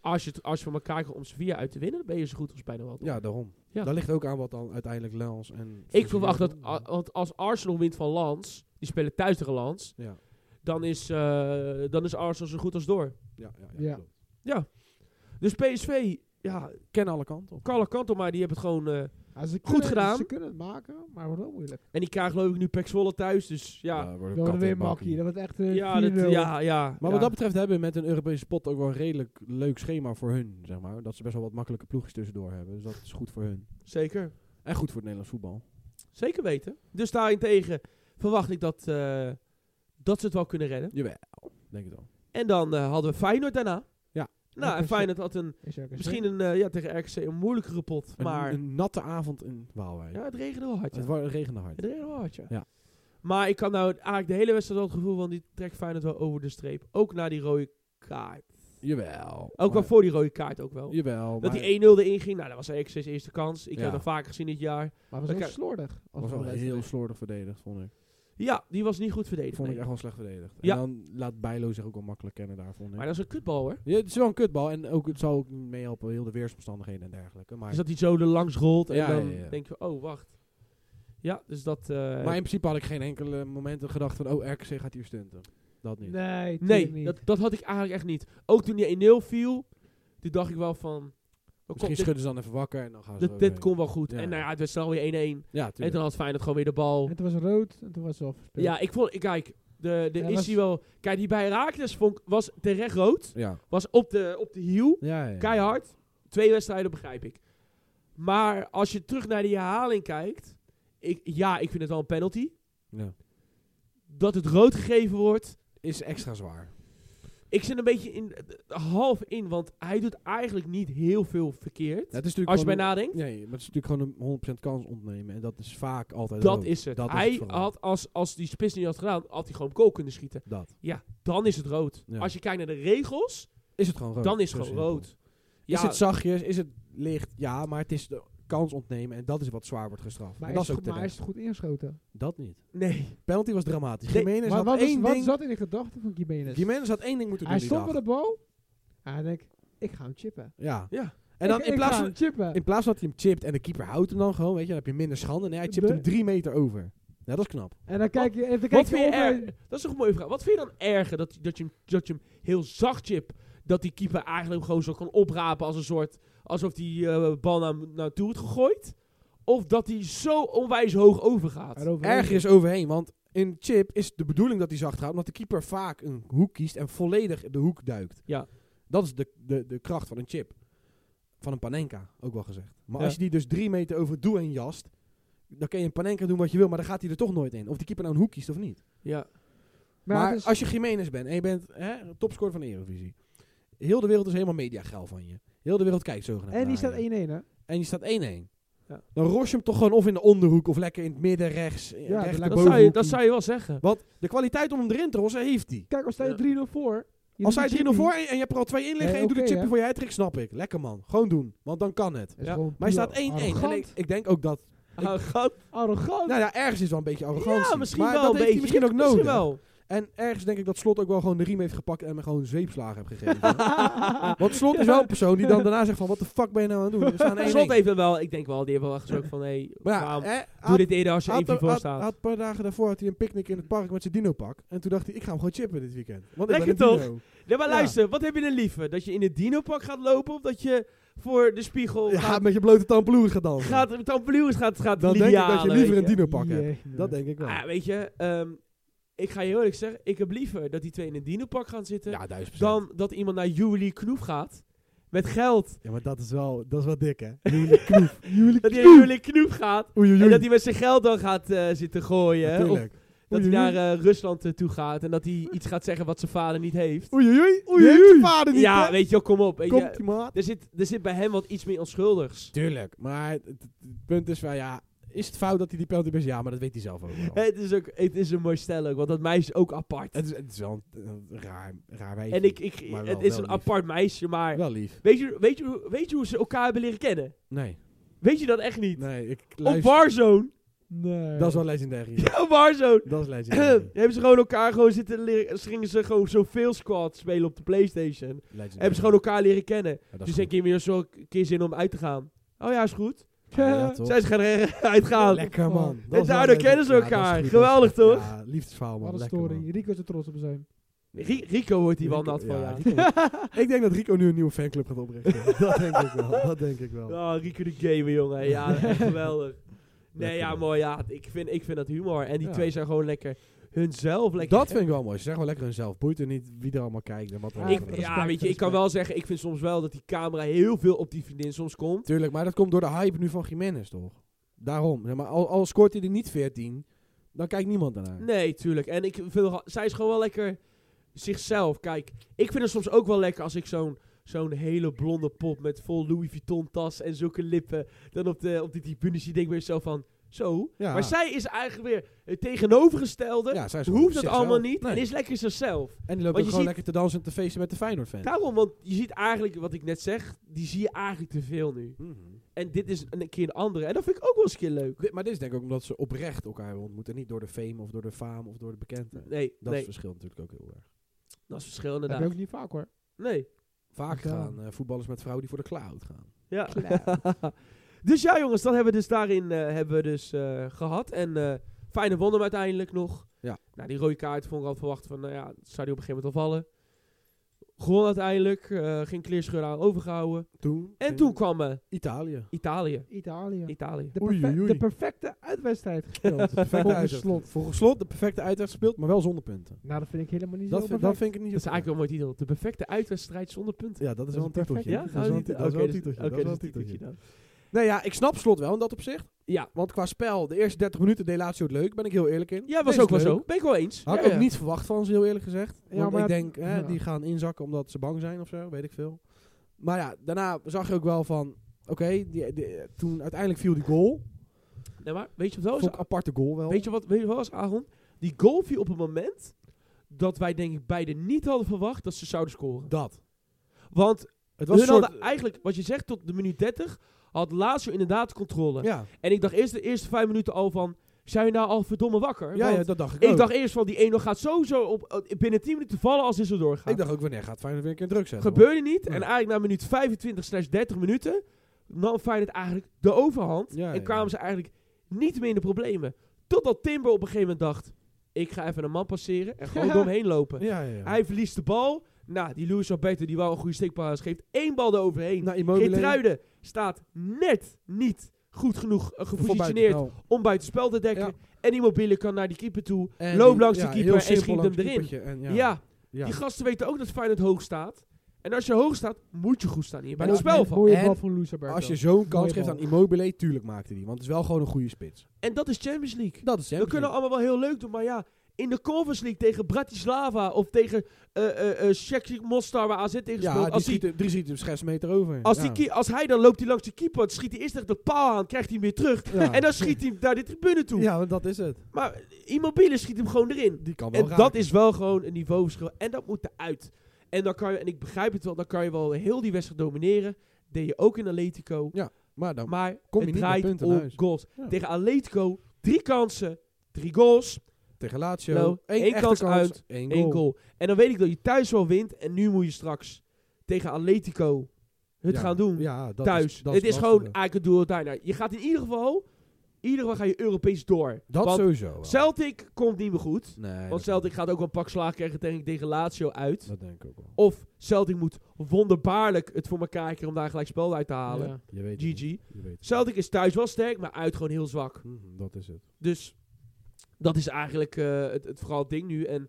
A: Als je, het- als je van elkaar kijkt om Sevilla uit te winnen, dan ben je zo goed als bijna wel. toch?
B: Ja, daarom.
A: Ja.
B: Daar ligt ook aan wat dan uiteindelijk Lens en...
A: Ik verwacht dat, a- want als Arsenal wint van Lans, die spelen thuis tegen Lans,
B: Ja,
A: dan is, eh, dan is Arsenal zo goed als door.
B: ja, ja. ja,
C: Ja.
B: klopt.
A: Dus PSV, ja,
B: Ken alle kanten op.
A: Carlo Kanto, maar die hebben het gewoon... eh,
C: Ja, ze kunnen,
A: gedaan.
C: Ze kunnen het maken, maar het wordt wel moeilijk.
A: en die krijgen geloof ik nu Pek Zwolle thuis, dus ja.
B: Ja, wordt
C: We
B: een
C: worden
B: kat
C: weer
B: en
C: makkie. Dat wordt echt eh,
A: Ja, dat-
C: 4-0.
A: ja, ja.
B: Maar
A: ja.
B: wat dat betreft hebben we met een Europese pot ook wel een redelijk leuk schema voor hun, zeg maar. Dat ze best wel wat makkelijke ploegjes tussendoor hebben. Dus dat is goed voor hun.
A: Zeker.
B: En goed voor het Nederlands voetbal.
A: Zeker weten. Dus daarentegen verwacht ik dat, eh, dat ze het wel kunnen redden.
B: Jawel, denk ik wel.
A: En dan eh, hadden we Feyenoord daarna.
B: Ja.
A: Nou, en
C: RKC.
A: Feyenoord had een,
C: Is er ook een
A: misschien
C: zin.
A: een, eh, ja, tegen RKC een moeilijkere pot.
B: Een,
A: maar
B: een natte avond in Waalwijk.
A: ja, het regende wel hard. Ja.
B: Het wa- regende
A: Het
B: hard.
A: regende wel hard, ja.
B: Ja.
A: Maar ik kan nou eigenlijk de hele wedstrijd wel het gevoel van die trekt Feyenoord wel over de streep. Ook na die rode kaart.
B: Jawel.
A: Ook wel
B: maar-
A: voor die rode kaart ook wel.
B: Jawel.
A: Dat
B: maar-
A: die 1-0 erin ging, nou dat was RKC's eerste kans. Ik
B: Ja.
A: heb dat vaker gezien dit jaar.
C: Maar het was
A: Oké.
C: wel slordig.
B: was
C: als we
B: wel
C: wel
B: heel
C: weten.
B: slordig verdedigd, vond ik.
A: Ja, die was niet goed verdedigd.
B: Vond ik
A: nee.
B: echt wel slecht verdedigd.
A: Ja.
B: En dan laat Bijlo zich ook wel makkelijk kennen daar, vond ik.
A: Maar dat is een kutbal hoor.
B: ja, het is wel een kutbal en ook, het zal ook niet meehelpen, heel de weersomstandigheden en dergelijke. Maar,
A: Dus dat hij zo er langs rolt en
B: Ja,
A: dan
B: ja, ja.
A: denk je, oh wacht. Ja, dus dat... eh,
B: maar in principe had ik geen enkele moment gedacht van, oh, RKC gaat hier stunten. Dat niet.
C: Nee, tuurlijk
A: nee,
C: niet.
A: dat, dat had ik eigenlijk echt niet. Ook toen die 1-0 viel, toen dacht ik wel van... oh, kom,
B: Misschien
A: dit,
B: schudden ze dan even wakker en dan gaan ze
A: dit, dit komt wel goed.
B: Ja.
A: En nou ja, het werd snel weer 1-1.
B: Ja,
A: En toen
B: tuurlijk.
A: had Feyenoord gewoon weer de bal.
C: En toen was het rood en toen was het al verspeeld.
A: Ja, ik vond... ik- Kijk, de, de
C: Ja,
A: is
C: was-
A: hij wel... Kijk, die bij Raakles vond, ik- was terecht rood.
B: Ja.
A: Was op de, op de hiel.
B: Ja, ja, ja.
A: Keihard. Twee wedstrijden begrijp ik. Maar als je terug naar die herhaling kijkt... Ik, ja, ik vind het wel een penalty.
B: Ja.
A: Dat het rood gegeven wordt...
B: Is extra zwaar.
A: Ik zit een beetje in, half in, want hij doet eigenlijk niet heel veel verkeerd.
B: Ja, het is natuurlijk
A: Als je bij
B: gewoon
A: nadenkt,
B: een- Nee, maar het is natuurlijk gewoon een 100% kans ontnemen. En dat is vaak altijd
A: dat
B: rood.
A: is het.
B: Dat is
A: hij
B: het vooral.
A: had, als, als die spits niet had gedaan, had hij gewoon op goal kunnen schieten.
B: Dat.
A: Dan is het rood.
B: Ja.
A: Als je kijkt naar de regels,
B: Is het gewoon rood.
A: dan is
B: Zo
A: het gewoon
B: simpel.
A: rood. Ja,
B: Is het zachtjes? Is het licht? Ja, maar het is de kans ontnemen. En dat is wat zwaar wordt gestraft.
C: Maar
B: en
C: hij
B: dat
C: is,
B: is ook
C: goed, maar hij
B: terecht.
C: is goed ingeschoten.
B: Dat niet.
A: nee.
B: Penalty was dramatisch.
A: Nee,
B: Jimenez
C: maar
B: had,
C: wat, is,
B: één
C: wat
B: ding,
C: zat in de gedachten van Jiménez?
B: Jimenez had één ding moeten doen die
C: hij stond met
B: dag.
C: de bal. En hij denkt, ik ga hem chippen.
B: Ja.
A: Ja.
B: En dan
C: ik,
B: in,
C: ik
B: plaats
C: ga
B: van,
C: hem chippen.
B: in plaats van dat hij hem chipt en de keeper houdt hem dan gewoon, weet je, dan heb je minder schande. Nee, hij chipt
C: Nee.
B: hem drie meter over. Ja, dat is knap.
C: en dan kijk je, en dan
A: Wat
C: kijk je
A: vind je
C: om
A: erg?
C: en-
A: Dat is toch een mooie vraag. Wat vind je dan erger? Dat, dat, je, hem- dat je hem heel zacht chip, dat die keeper eigenlijk gewoon zo kan oprapen als een soort... Alsof die eh, bal naar, naartoe wordt gegooid. Of dat hij zo onwijs hoog overgaat.
C: eroverheen.
B: Erger is overheen, want in chip is de bedoeling dat hij zacht gaat, omdat de keeper vaak een hoek kiest en volledig de hoek duikt.
A: Ja.
B: Dat is de, de, de kracht van een chip. Van een panenka, ook wel gezegd. Maar
A: Ja.
B: als je die dus drie meter over het doel heen jast, dan kan je een panenka doen wat je wil, maar dan gaat hij er toch nooit in. Of die keeper nou een hoek kiest of niet.
A: Ja.
C: Maar,
B: Maar,
C: het is-
B: als je Jiménez bent en je bent hè, topscorer van de Eredivisie, heel de wereld is helemaal mediageil van je. Heel de wereld kijkt zogenaamd
C: en die
B: naar
C: staat 1-1
B: je.
C: hè?
B: En je staat 1-1.
A: Ja.
B: Dan ros je hem toch gewoon of in de onderhoek of lekker in het midden rechts. eh,
C: dat
B: rechter
C: lijkt-
A: Dat zou, je,
B: bovenhoek.
A: dat zou je wel zeggen.
B: Want de kwaliteit om hem erin te rossen heeft hij.
C: Kijk, als sta
A: Ja.
C: je 3-0 voor. je
B: Als
C: doet
B: hij
C: een
B: 3-0
C: chippie,
B: voor en en je hebt er al 2 in liggen
C: Nee,
B: en je doet
C: oké,
B: de chipje
C: hè.
B: voor je uittrek, snap ik. Lekker man, gewoon doen. Want dan kan het.
C: is
A: Ja.
C: gewoon
B: Maar hij
C: puur
B: staat 1-1. En ik,
C: Arrogant.
B: ik denk ook dat...
A: Arrogant.
C: Arrogant.
B: Nou ja, ergens is wel een beetje arrogantie.
A: Ja, misschien
B: maar
A: wel
B: dat
A: een
B: heeft
A: beetje.
B: hij misschien ook nodig.
A: Misschien wel.
B: En ergens denk ik dat Slot ook wel gewoon de riem heeft gepakt en hem gewoon zweepslagen heeft gegeven. Want Slot is wel een persoon die dan daarna zegt van... Wat de fuck ben je nou aan het doen? We staan 1-1.
A: Slot heeft er wel, ik denk wel, die hebben wel gesproken van, hé,
B: Maar ja,
A: waarom
B: hè,
A: doe
B: had-
A: dit eerder als je
B: had-
A: 1 voor
B: had-
A: staat?
B: had een paar dagen daarvoor had hij een picknick in het park met zijn dino-pak. En toen dacht hij, ik ga hem gewoon chippen dit weekend. Want ik
A: Lekker
B: ben een
A: toch?
B: dino.
A: nee, maar
B: ja.
A: luister, wat heb je dan liever? Dat je in het dinopak gaat lopen of dat je voor de spiegel
B: Ja,
A: gaat,
B: met je blote tampeloers gaat dansen.
A: gaat, met tampeloers gaat, gaat
B: dan denk ik dat je
A: lidialen,
B: liever een
A: weet
B: dino pak hebt.
C: Jee,
B: Dat denk ik
A: je.
B: wel.
A: Ah, weet je, ehm, ik ga je heel eerlijk zeggen, ik heb liever dat die twee in een dino-pak gaan zitten...
B: Ja, duizend procent.
A: dan dat iemand naar Julie Knoef gaat met geld.
B: Ja, maar dat is wel, dat is wel dik, hè?
C: Jullie
A: Dat hij naar Julie Knoef gaat
B: Oei, oei,
A: en
B: oei.
A: dat hij met zijn geld dan gaat eh, zitten gooien. hè. Of
B: Natuurlijk.
A: dat hij
C: Oei,
A: naar
C: oei.
A: eh, Rusland eh, toe gaat en dat hij iets gaat zeggen wat zijn vader niet heeft.
B: Oei, oei, oei.
C: Oei,
B: Die heeft
C: oei.
B: je vader niet,
A: ja,
B: hè?
A: weet je wel, kom op. Weet je,
B: Komt die maat.
A: er, zit, er zit bij hem wat iets meer onschuldigs.
B: Tuurlijk, maar het, het- het punt is wel, ja, is het fout dat hij die penalty mist? Ja, maar dat weet hij zelf ook wel.
A: Het is, ook, het is een mooi stel ook, want dat meisje is ook apart.
B: het, is, het is wel een, een raar, raar wijfje.
A: en ik, ik,
B: maar wel-
A: het is
B: wel
A: een
B: lief.
A: apart meisje, maar
B: Wel lief.
A: weet je, weet, je, weet je hoe ze elkaar hebben leren kennen?
B: Nee,
A: Weet je dat echt niet?
B: nee, ik
A: op
B: luister.
A: Warzone.
C: Nee.
B: Dat is wel legendair hier.
A: Ja, op Warzone.
B: Dat is legendair.
A: Dan hebben ze gewoon elkaar gewoon zitten leren. Ze gingen ze gewoon zoveel squad spelen op de PlayStation. Hebben ze gewoon elkaar leren kennen. dus denk je weer zo een keer zin om uit te gaan. Oh ja, is goed.
B: Ja, toch?
A: Zij ze gaan er uitgaan.
B: Lekker, man. Dat is wel
A: daardoor kennen
B: legendair.
A: ze
B: Ja, dat is
A: elkaar.
B: goed,
A: Geweldig,
B: dat is goed.
A: toch?
B: Ja, liefdesverhaal, man.
C: Wat een
B: Lekker,
C: story.
B: man.
C: Rico zou trots op zijn.
A: Ri- Rico wordt hier wel
B: Rico-
A: nat van. Ja,
B: Rico wordt- ik denk dat Rico nu een nieuwe fanclub gaat oprichten. dat denk ik wel. Dat denk ik wel.
A: Oh, Rico de gamer, jongen. Ja, echt geweldig. Nee,
B: Lekker,
A: ja,
B: man.
A: mooi. Ja, ik vind, ik vind dat humor. En die
B: Ja.
A: twee zijn gewoon lekker hunzelf. Lekker
B: Dat vind ik wel mooi. Ze zeggen wel lekker hunzelf. Boeit er niet wie er allemaal kijkt en wat er
C: Ja,
B: allemaal
A: Ik,
B: gebeurt.
A: ja, weet je, ik kan wel zeggen, ik vind soms wel dat die camera heel veel op die vriendin soms komt.
B: Tuurlijk, maar dat komt door de hype nu van Jiménez, toch? Daarom. Ja, maar al, al scoort hij er niet 14, dan kijkt niemand daarnaar.
A: Nee, tuurlijk. En ik vind, wel- zij is gewoon wel lekker zichzelf. Kijk, ik vind het soms ook wel lekker als ik zo'n zo'n hele blonde pop met vol Louis Vuitton tas en zulke lippen dan op, de, op die tribune zie, denk ik weer zo van, zo.
B: Ja.
A: Maar zij is eigenlijk weer het tegenovergestelde.
B: Ja, zij is gewoon
A: Hoeft dat
B: zichzelf.
A: allemaal niet
B: Nee.
A: en is lekker zichzelf.
B: En die loopt
A: je
B: ook gewoon
A: ziet-
B: lekker te dansen en te feesten met de Feyenoord-fan.
A: Daarom, want je ziet eigenlijk, wat ik net zeg, die zie je eigenlijk te veel nu. En dit is een keer een andere. En dat vind ik ook wel eens een keer leuk.
B: Dit- maar dit is denk ik ook omdat ze oprecht elkaar hebben ontmoet. En niet door de fame of door de faam of door de bekendheid.
A: Nee,
B: Dat
A: nee.
B: verschilt natuurlijk ook heel erg.
A: Dat is verschil
C: Dat heb je
A: inderdaad.
C: ook niet vaak hoor.
A: Nee.
B: Vaak
C: Ja.
B: gaan eh, voetballers met vrouwen die voor de cloud gaan.
A: Ja. dus ja, jongens, dat hebben we dus daarin eh, hebben we dus, eh, gehad. En eh Feyenoord won hem uiteindelijk nog.
B: Ja.
A: Nou, die rode kaart vond ik al verwacht van, nou ja, zou die op een gegeven moment al vallen. Gewoon uiteindelijk, eh geen kleerscheur aan overgehouden.
B: Toen?
A: En toen kwam eh,
B: Italië.
A: Italië.
C: Italië.
A: Italië.
C: De,
B: Oei,
C: perfe-
B: oei.
C: de perfecte uitwedstrijd.
B: Volgens
C: Volgens
B: slot.
C: slot.
B: Volgens slot de perfecte uitwedstrijd gespeeld, maar wel zonder punten.
C: Nou, dat vind ik helemaal niet
B: Dat
C: zo
B: vind, dat
C: perfect.
B: vind ik niet
A: Dat is
B: zo
A: eigenlijk wel een mooi titel. De perfecte uitwedstrijd zonder punten.
B: Ja, oh, dat is
C: is
B: wel een
C: een perfect-
B: titeltje. dat
C: ja,
A: gaan
B: is
A: we
B: wel een
A: niet-
B: ti- dat is wel een
A: oké, dus-
B: titeltje. dat
A: Oké,
B: is wel
A: dus
B: een
A: een titeltje
B: titeltje.
A: dan.
B: Nee, ja, ik snap slot wel in dat opzicht.
A: Ja.
B: Want qua spel, de eerste 30 minuten deed Lazio het leuk. Ben ik heel eerlijk in.
A: Ja, was
B: Deed
A: ook
B: ze
A: wel
B: leuk.
A: zo. Ben ik wel eens.
B: Had ik
A: Ja,
B: ook
A: ja.
B: niet verwacht van ze, heel eerlijk gezegd.
C: Ja,
B: want
C: maar-
B: ik denk, hè,
C: ja.
B: die gaan inzakken omdat ze bang zijn of zo. Weet ik veel. Maar ja, daarna zag je ook wel van... Oké, die- die- toen uiteindelijk viel die goal.
A: Nee, maar weet je wat wel
B: Dat
A: is?
B: was een aparte goal wel.
A: Oh, Weet je wat, weet je wat was, Aaron? Die goal viel op een moment dat wij denk ik beide niet hadden verwacht dat ze zouden scoren.
B: dat.
A: Want
B: Het
A: hun
B: was een
A: hadden
B: soort...
A: eigenlijk, wat je zegt, tot de minuut 30 had Lazio inderdaad controle.
B: Ja,
A: En ik dacht eerst de eerste vijf minuten al van, zijn we nou al verdomme wakker?
B: ja, ja,
A: Want
B: dat dacht ik,
A: ik
B: ook.
A: dacht eerst van, die 1-0 gaat sowieso op, eh, binnen 10 minuten vallen als dit zo doorgaat.
B: ik dacht ook, wanneer gaat Feyenoord weer een keer druk zetten? hoor.
A: Gebeurde niet.
B: Nee.
A: En eigenlijk na minuut 25 slash 30 minuten nam Feyenoord eigenlijk de overhand.
B: Ja, ja,
A: en kwamen
B: ja.
A: ze eigenlijk niet meer in de problemen. Totdat Timber op een gegeven moment dacht, ik ga even een man passeren en gewoon door hem heen lopen.
B: Ja, ja, ja.
A: Hij verliest de bal. Nou, die Luis Alberto, die wel een goede steekpaas geeft, één bal eroverheen.
B: Nou,
A: Geen
B: Immobile-
A: Geertruiden staat net niet goed genoeg eh,
B: Voor buiten-
A: gepositioneerd
B: nou,
A: om buitenspel te dekken.
B: Ja.
A: En Immobile kan naar die keeper toe.
B: en
A: loopt
B: die-
A: langs de
B: ja,
A: keeper
B: heel
A: en
B: simpel
A: schiet
B: langs
A: hem
B: het
A: erin.
B: keepertje en
A: Ja,
B: ja.
A: die gasten weten ook dat Feyenoord hoog staat. En als je hoog staat, moet je goed staan hier bij
B: Maar
A: het
B: dat-
A: spel van.
C: Mooie
B: En
C: bal van Luis Alberto.
B: Als je zo'n kans
C: Mooie
B: geeft
C: bal.
B: aan Immobile, tuurlijk maakte die. Want het is wel gewoon een goede spits.
A: En dat is Champions League.
B: Dat is
A: We kunnen allemaal wel heel leuk doen, maar ja, in de Conference League tegen Bratislava of tegen eh eh eh Shakhtar Mostar waar AZ tegen speelt.
B: Ja, die
A: als, die,
B: schiet, er- die schiet hem scheidsmeter over.
A: als,
B: ja.
A: die, ki- als hij dan loopt, hij langs de keeper, dan schiet hij eerst tegen de paal aan, krijgt hij hem weer terug.
B: Ja.
A: En dan schiet hij hem naar de tribune toe.
B: Ja, want dat is het.
A: Maar Immobile schiet hem gewoon erin.
B: Die kan wel
A: En dat is wel gewoon een niveauverschil. En dat moet eruit. En, dan kan je, en ik begrijp het wel, dan kan je wel heel die wedstrijd domineren. Deed je ook in Atletico.
B: Maar dan
A: Maar
B: kom je
A: het
B: niet met
A: draait
B: punten
A: om
B: naar huis.
A: goals.
B: Ja.
A: Tegen Atletico, drie kansen, drie goals,
B: tegen Lazio.
A: Nou,
B: één
A: één
B: echte
A: kans
B: kans,
A: uit,
B: één goal.
A: één goal. En dan weet ik dat je thuis wel wint. En nu moet je straks tegen Atletico het
B: Ja,
A: gaan doen.
B: Ja, dat
A: thuis.
B: Is, dat
A: het is
B: lastig.
A: gewoon eigenlijk het doel daarna. Nou, Je gaat in ieder geval, in ieder geval ga je Europees door.
B: Dat
A: Want
B: sowieso. wel.
A: Celtic komt niet meer goed.
B: Nee,
A: Want
B: dat-
A: Celtic gaat ook wel een pak slaag krijgen tegen, tegen Lazio uit.
B: Dat denk ik ook wel.
A: Of Celtic moet wonderbaarlijk het voor elkaar krijgen om daar gelijk spel uit te halen.
C: Ja.
B: Je weet het niet,
A: GG.
B: Je weet het.
A: Celtic is thuis wel sterk, maar uit gewoon heel zwak.
B: Mhm, dat is het.
A: Dus Dat is eigenlijk eh, het, het vooral ding nu. En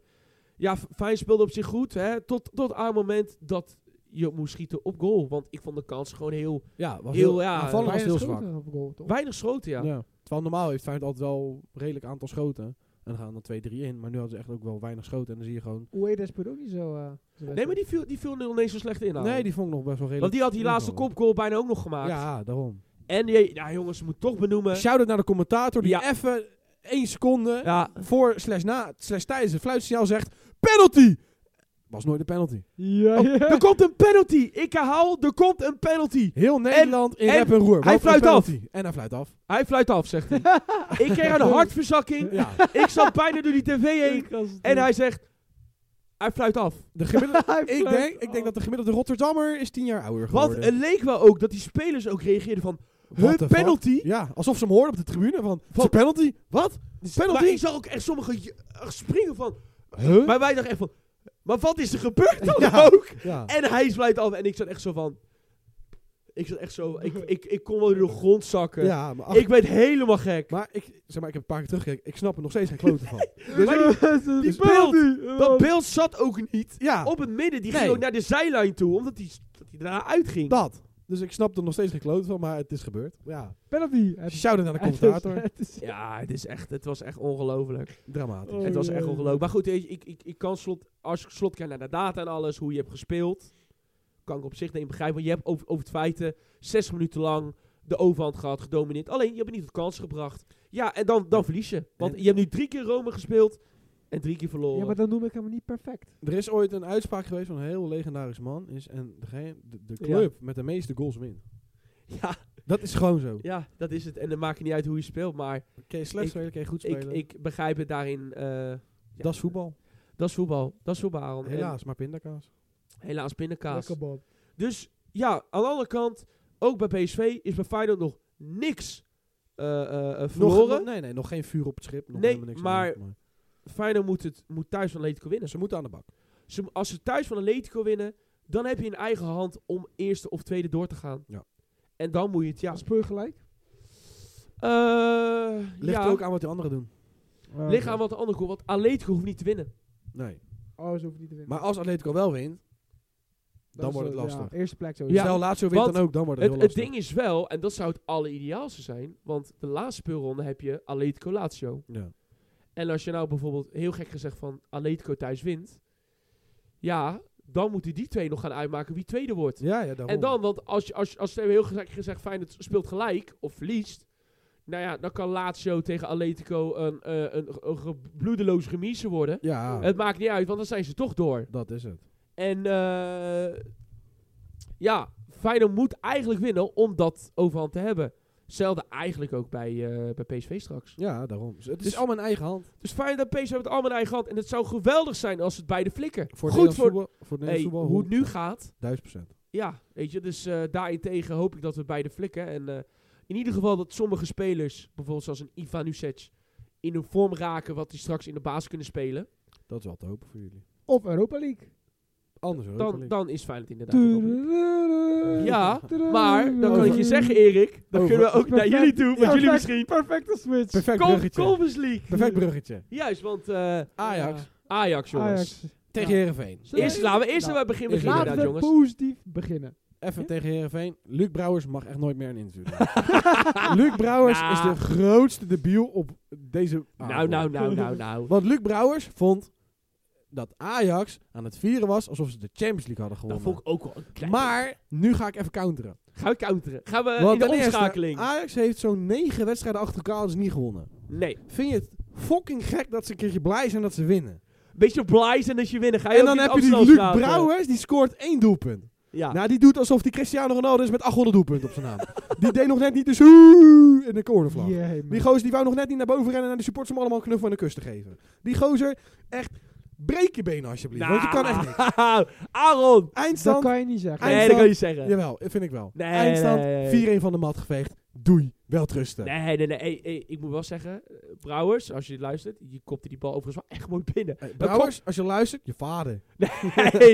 A: ja, F- Fijn speelde op zich goed. Hè, tot, tot aan het moment dat je moest schieten op goal. Want ik vond de kans gewoon heel
B: Ja, was
A: Heel,
B: heel,
A: ja,
B: aanvallen was
C: Bijna
B: heel
C: schoten
B: zwak.
C: op goal, toch?
A: weinig schoten, ja.
B: Ja. Terwijl normaal heeft Feyenoord altijd wel een redelijk aantal schoten. En dan gaan er twee, drie in. Maar nu hadden ze echt ook wel weinig schoten. En dan zie je gewoon...
C: Ueda speelt ook niet zo... eh, zo
A: Nee, maar die viel, die viel niet eens zo slecht in.
B: Nee,
A: eigenlijk.
B: die vond ik nog best wel
A: Nou. Want
B: redelijk.
A: die had die laatste kopgoal bijna ook nog gemaakt.
B: Ja, daarom.
A: En die, ja, jongens, moet toch benoemen.
B: Shout-out naar de commentator die
A: Eh? Ja.
B: even één seconde
A: Ja,
B: voor slash na slash tijdens het fluitsignaal zegt... Penalty! Was nooit een penalty.
C: Ja, ja.
A: er komt een penalty. Ik herhaal, er komt een penalty.
B: Heel Nederland in
A: en
B: rep en roer.
A: hij
B: Wat voor
A: fluit af.
B: penalty. En hij fluit af.
A: Hij fluit af, zegt hij. ik kreeg een hartverzakking.
B: Ja.
A: Ik zat bijna door die tv heen. En hij zegt, hij fluit af.
B: De gemiddelde,
C: Hij
B: ik,
C: fluit
B: denk, ik
C: af.
B: denk dat de gemiddelde Rotterdammer is tien jaar ouder
A: Want
B: geworden.
A: het leek wel ook dat die spelers ook reageerden van...
B: What
A: Hun
B: the
A: penalty.
B: fuck? Ja, alsof ze hem hoorden op de tribune. Van,
A: Van-
B: van penalty? Wat?
A: Dus Maar
B: Penalty?
A: ik zag ook echt sommigen j- echt springen van...
B: Huh?
A: Maar wij dachten echt van... Maar wat is er gebeurd dan
B: Ja.
A: ook?
B: Ja.
A: En hij fluit af. En ik zat echt zo van... Ik zat echt zo... Ik, ik, ik kon wel door de grond zakken.
B: Ja, maar, ach,
A: Ik werd helemaal gek.
B: maar ik zeg maar, ik heb een paar keer teruggekeken. Ik snap er nog steeds geen klote van.
A: Maar die- die beeld, dat beeld zat ook niet
B: dus Ja,
A: op het midden. Die ging
B: Nee.
A: ook naar de zijlijn toe, omdat die, dat die daarna uitging.
B: dat. Dus ik snap er nog steeds geen klote van, maar het is gebeurd. Ja.
C: Penalty.
B: Shout-out naar de commentator.
A: Ja, het, is echt, het was echt ongelooflijk.
B: Dramatisch.
C: Oh,
A: het was echt
C: jee.
A: ongelooflijk. Maar goed, ik, ik, ik, ik kan slot, als ik slot kijk naar de data en alles, hoe je hebt gespeeld, kan ik op zich niet begrijpen. Want je hebt over, over het feiten 60 minuten lang de overhand gehad, gedomineerd. Alleen, je hebt het niet tot kans gebracht. Ja, en dan, dan verlies je. Want
B: En-
A: je hebt nu drie keer Rome gespeeld en drie keer verloren.
C: Ja, maar dan noem ik hem niet perfect.
B: Er is ooit een uitspraak geweest van een heel legendarisch man. Is, en degene, de, de club met de meeste goals wint.
A: ja,
B: Dat is gewoon zo.
A: ja, dat is het. En dan maakt het niet uit hoe je speelt, maar
B: Kun je slecht
A: Ik-
B: spelen, kun je goed
A: ik,
B: spelen.
A: ik begrijp het daarin... eh, ja.
B: dat is voetbal.
A: Dat is voetbal. Dat is voetbal. Aaron. En
B: Helaas, maar pindakaas.
A: helaas pindakaas.
C: Lekker Bob.
A: Dus ja, aan de andere kant, ook bij PSV is bij Feyenoord nog niks eh, eh, eh, verloren.
B: Nog, nee, nee, nog geen vuur op het schip. Nog
A: Nee,
B: helemaal niks aan de
A: maar-
B: hand, maar
A: Feyenoord moet, het, moet thuis van Atletico winnen.
B: ze moeten aan de bak.
A: Ze- als ze thuis van Atletico winnen, dan heb je in eigen hand om eerste of tweede door te gaan.
B: Ja.
A: En dan moet je het, ja.
C: Speel je gelijk?
A: Eh,
B: Ligt
A: ja,
B: er ook aan wat die anderen doen.
A: ligt aan wat de ander komt, want Atletico hoeft niet te winnen.
B: Nee.
C: Oh, ze hoeven niet te winnen.
B: Maar als Atletico wel wint, dan
C: is
B: wordt het
C: zo-
B: lastig.
C: Ja, eerste plek
A: Ja.
C: sowieso.
B: Stel Lazio wint
A: want
B: dan ook, dan wordt het,
A: Het, het
B: heel
A: ding is wel, en dat zou het allerideaalste zijn, want de laatste speelronde heb je Atletico Lazio.
B: lastig.
A: En als je nou bijvoorbeeld heel gek gezegd van Atletico thuis wint. Ja, dan moeten die twee nog gaan uitmaken wie tweede wordt.
B: Ja, ja, ja daarom.
A: En dan, want als je als, als ze heel gek gezegd Feyenoord speelt gelijk of verliest. Nou ja, dan kan Lazio tegen Atletico een, eh, een, een ge- bloedeloos remise worden.
B: Ja,
A: Het maakt niet uit, want dan zijn ze toch door.
B: dat is het.
A: En eh ja, Feyenoord moet eigenlijk winnen om dat overhand te hebben. Hetzelfde eigenlijk ook bij, eh, bij PSV straks.
B: Ja, daarom. Dus het is
A: Dus-
B: allemaal in eigen hand.
A: Dus Feyenoord en PSV hebben het allemaal in eigen hand. En het zou geweldig zijn als ze het beide flikken.
B: Voor
A: Goed
B: Goed
A: voor
B: voetbal, voor het
A: hey,
B: Nederlands voetbal.
A: hoe het nu gaat.
B: Duizend procent.
A: Ja, weet je. Dus eh daarentegen hoop ik dat we het beide flikken. En eh, in ieder geval dat sommige spelers, bijvoorbeeld zoals een Ivan Usec, in hun vorm raken wat die straks in de baas kunnen spelen.
B: Dat is wel te hopen voor jullie.
C: Of Europa League.
B: Anders Europa
A: Dan,
B: League.
A: dan is Feyenoord inderdaad. een optie. Ja,
C: Tududu.
A: Maar dan kan ik je zeggen, Erik. Dan
B: Over.
A: kunnen we ook naar
C: Perfect.
A: jullie toe. Met
C: Perfect-
A: jullie misschien.
C: Perfecte switch.
B: Perfect
A: Com-
B: bruggetje.
A: Conference League.
B: Perfect bruggetje.
A: Juist, want eh,
B: Ajax
A: Ajax, jongens.
C: Ajax.
B: tegen Herenveen.
C: Zullen
A: Eerst, laten we eerst
C: Nou,
A: bij het begin
B: eerst
A: beginnen,
C: Laten
A: inderdaad,
C: we
A: jongens.
C: positief beginnen.
B: Even tegen Herenveen. Luc Brouwers mag echt nooit meer een interview. doen. Luc Brouwers
A: Nou.
B: is de grootste debiel op deze.
A: Nou,
B: avond.
A: nou, nou, nou, nou.
B: Want Luc Brouwers vond dat Ajax aan het vieren was alsof ze de Champions League hadden
A: Dat
B: gewonnen.
A: vond ik ook wel een klein
B: maar nu ga ik even counteren.
A: Gaan we counteren? Gaan we
B: Want
A: Eh, in de
B: ten eerste,
A: omschakeling?
B: Ajax heeft zo'n negen wedstrijden achter elkaar dus niet gewonnen.
A: nee.
B: Vind je het fucking gek dat ze een keertje blij zijn dat ze winnen?
A: Beetje blij zijn dat je winnen. Ga je
B: en
A: ook
B: dan
A: niet
B: heb je die Luc
A: Amsterdam praten?
B: Brouwers, die scoort één doelpunt.
A: eh? Ja.
B: Nou, die doet alsof die Cristiano Ronaldo is met 800 doelpunten op zijn naam. die deed nog net niet de zoe in de cornervlag.
C: Jee, man.
B: Die gozer die wou nog net niet naar boven rennen naar de supporters om allemaal een knuffel en een kus te geven. Die gozer, echt, breek je benen alsjeblieft, want je kan echt niks.
A: niks. Aaron.
C: Dat
B: Eindstand,
C: kan je niet zeggen.
A: Nee, dat
B: Eindstand.
A: Nou. kan je zeggen.
B: jawel, vind ik wel.
A: Nee,
B: Eindstand,
A: nee, nee.
B: 4-1 van de mat geveegd. Doei, wel trusten.
A: Nee, nee, nee. Hey, hey, ik moet wel zeggen, eh, Brouwers, als je dit luistert, je kopte die bal overigens wel echt mooi binnen.
B: Eh, Brouwers, als je luistert, je vader.
A: Nee,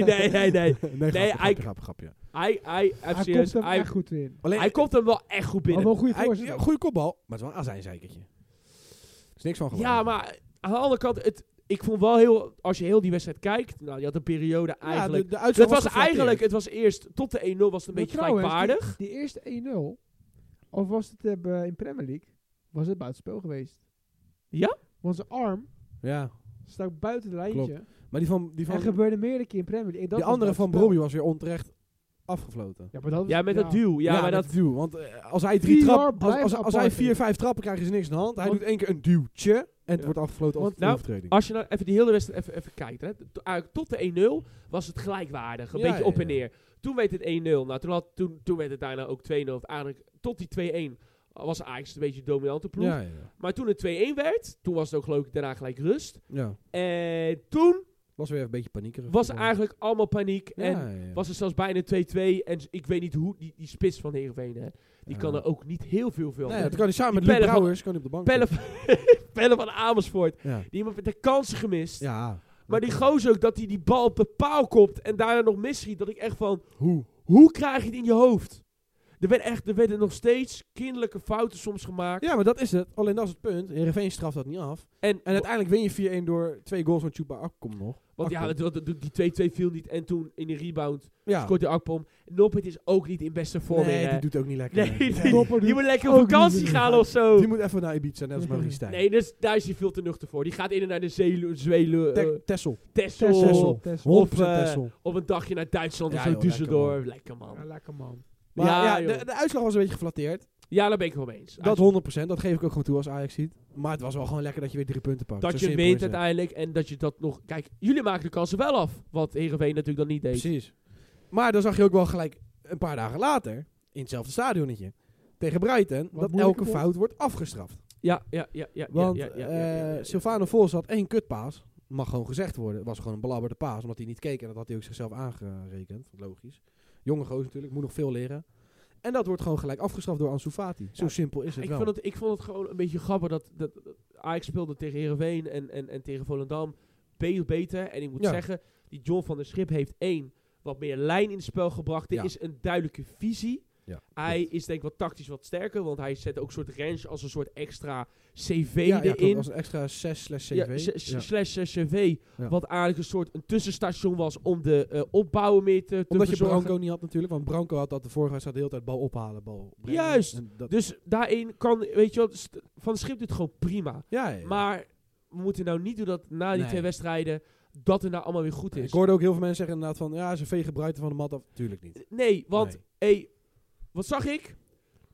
A: nee, nee, nee.
B: nee, grapje,
A: hij-
B: grapje, grapje, grapje.
A: Hij, hij, hij,
C: Hij
A: serieus,
C: komt hem
A: hij,
C: echt goed in.
B: Alleen,
A: hij komt hem wel echt goed
C: Maar
A: binnen.
C: wel een goede
B: hij- ja,
C: voorzet.
B: goede kopbal, maar het is wel een azijnzeikertje. Er is niks van geworden.
A: Ja, maar aan de andere kant, het, ik vond wel heel, als je heel die wedstrijd kijkt, nou, je had een periode eigenlijk.
B: de, de uitslag
A: het was,
B: geflatteerd.
A: eigenlijk, het was eerst tot de 1-0 was het een
C: Maar
A: beetje
C: trouwens,
A: gelijkwaardig.
C: Die, die eerste 1-0, of was het eh, bij- in Premier League, was het buitenspel geweest.
A: Ja?
C: Want zijn arm
B: Ja,
C: stak buiten het lijntje.
B: maar die van, die
C: En
B: van
C: gebeurde meerdere keer in Premier League. En dat
B: die
C: was
B: andere
A: dus?
B: van
C: buitenspel.
B: Brobbey was weer onterecht afgefloten.
C: Ja, maar dat was-
A: Ja, met
C: ja.
A: dat duw. Ja, maar
B: met
A: dat,
B: het duw. Want eh, als hij drie
C: VR
B: trap, als,
C: blijft
B: als, als hij
C: apart,
B: vier,
C: hè.
B: vijf trappen krijgt, is niks aan de hand. Hij
A: Want-
B: doet één keer een duwtje en het
A: Ja.
B: wordt afgefloten als
A: Want- nou,
B: overtreding.
A: als je nou even die hele wedstrijd even, even kijkt. Hè, to- eigenlijk tot de 1-0 was het gelijkwaardig. Een
B: Ja,
A: beetje
B: ja,
A: op en
B: ja.
A: neer. Toen werd het 1-0. Nou, toen, had, toen, toen werd het daarna ook 2-0. Eigenlijk tot die 2-1 was Ajax een beetje de dominante ploeg.
B: ja, ja, ja.
A: Maar toen het 2-1 werd, toen was het ook geloof ik daarna gelijk rust.
B: ja.
A: En toen
B: Was weer even een beetje paniekerig.
A: was
B: Ja.
A: eigenlijk allemaal paniek.
B: Ja,
A: en
B: ja, ja.
A: was het zelfs bijna 2-2. En s- ik weet niet hoe, die, die spits van Heerenveen, hè, die
B: Ja.
A: kan er ook niet heel veel van.
B: Nee, dat kan hij samen
A: Die
B: met Luc
A: pellen van-
B: Brouwers kan hij op de bank.
A: Pelle, van- Pelle van Amersfoort,
B: zitten. Ja.
A: die heeft de kansen gemist.
B: ja.
A: Maar die gozer ook, dat hij die bal op de paal kopt en daarna nog misschiet. Dat ik echt van,
B: Hoe?
A: hoe krijg je het in je hoofd? Er, werd echt, er werden nog steeds kinderlijke fouten soms gemaakt.
B: Ja, maar dat is het. Alleen dat is het punt. Heerenveen straft dat niet af.
A: En,
B: En uiteindelijk win je 4-1 door twee goals van Chupa Akkom nog.
A: want ja,
B: Akpom.
A: dat- dat- dat- die 2-2 viel niet. En toen in de rebound
B: Ja.
A: scoort de Akpom. Noppet is ook niet in beste vorm.
B: nee,
A: meer,
B: die
A: hè.
B: doet ook niet lekker.
A: nee,
B: mee.
A: die,
B: die,
C: Dopper
A: die
C: doet
A: moet lekker op
C: ook niet
A: vakantie
C: meer.
A: gaan of zo.
B: moet even naar Ibiza, net als Maurice Stijn.
A: Nee, dus, daar is hij veel te nuchter voor. Die gaat eerder naar de Zeelu, Zweelen,
B: Tek-
A: eh,
B: Tessel. 100%
A: Texel,
C: Tessel.
B: Tessel.
C: Tessel.
A: Of, eh,
B: Tessel.
A: Op een dagje naar Duitsland
B: Ja,
A: of zo,
B: joh, lekker,
A: Düsseldorf. Lekker
B: man.
A: man.
C: Ja, lekker man.
B: Maar
A: Ja,
B: ja,
A: joh.
B: de, de uitslag was een beetje geflatteerd.
A: Ja, daar ben ik het wel mee eens.
B: Dat 100%, dat geef ik ook gewoon toe als Ajax ziet. Maar het was wel gewoon lekker dat je weer drie punten pakt. Zo
A: Dat je
B: simpel
A: wint
B: is het.
A: uiteindelijk en dat je dat nog... Kijk, jullie maken de kansen wel af. Wat Heerenveen natuurlijk dan niet deed.
B: Precies. Maar dan zag je ook wel gelijk een paar dagen later, in hetzelfde stadionnetje, tegen Brighton, dat
C: moeilijker
B: elke
C: wordt.
B: fout wordt afgestraft.
A: Ja, ja, ja, ja.
B: Want
A: ja, ja, ja, ja, ja, ja, ja.
B: eh, Silvano Vos had één kutpaas. Mag gewoon gezegd worden. Het was gewoon een belabberde paas, omdat hij niet keek. En dat had hij ook zichzelf aangerekend. Logisch. Jonge gozer natuurlijk, moet nog veel leren. En dat wordt gewoon gelijk afgestraft door Ansu Fati. Zo
A: Ja,
B: simpel is het
A: ik
B: wel.
A: vond het, ik vond het gewoon een beetje grappig dat, dat, dat Ajax speelde tegen Heerenveen en, en, en tegen Volendam veel beter. En ik moet
B: Ja.
A: zeggen, die John van der Schip heeft één wat meer lijn in het spel gebracht. Dit
B: Ja.
A: is een duidelijke visie.
B: Ja,
A: hij is denk ik wat tactisch wat sterker, want hij zet ook een soort range als een soort extra CV
B: ja, ja, klopt.
A: erin.
B: als een extra 6 slash CV.
A: Ja,
B: Ja,
A: s- s- slash eh, CV,
B: Ja.
A: wat eigenlijk een soort een tussenstation was om de eh, opbouwen meer te, te
B: Omdat je
A: verzorgen.
B: Branco niet had natuurlijk. Want Branco had dat de vorige wedstrijd de hele tijd bal ophalen, bal brengen.
A: Juist.
B: En dat-
A: Dus daarin kan, weet je wel, St- Van der Schip doet gewoon prima.
B: ja, ja, ja.
A: Maar we moeten nou niet doen dat na die
B: Nee.
A: twee wedstrijden dat er nou allemaal weer goed
B: ik
A: is.
B: hoorde ook heel veel mensen zeggen inderdaad van... Ja, ze vegen Brighton van de mat af. Tuurlijk niet.
A: Nee, want
B: Nee.
A: hey, wat zag ik?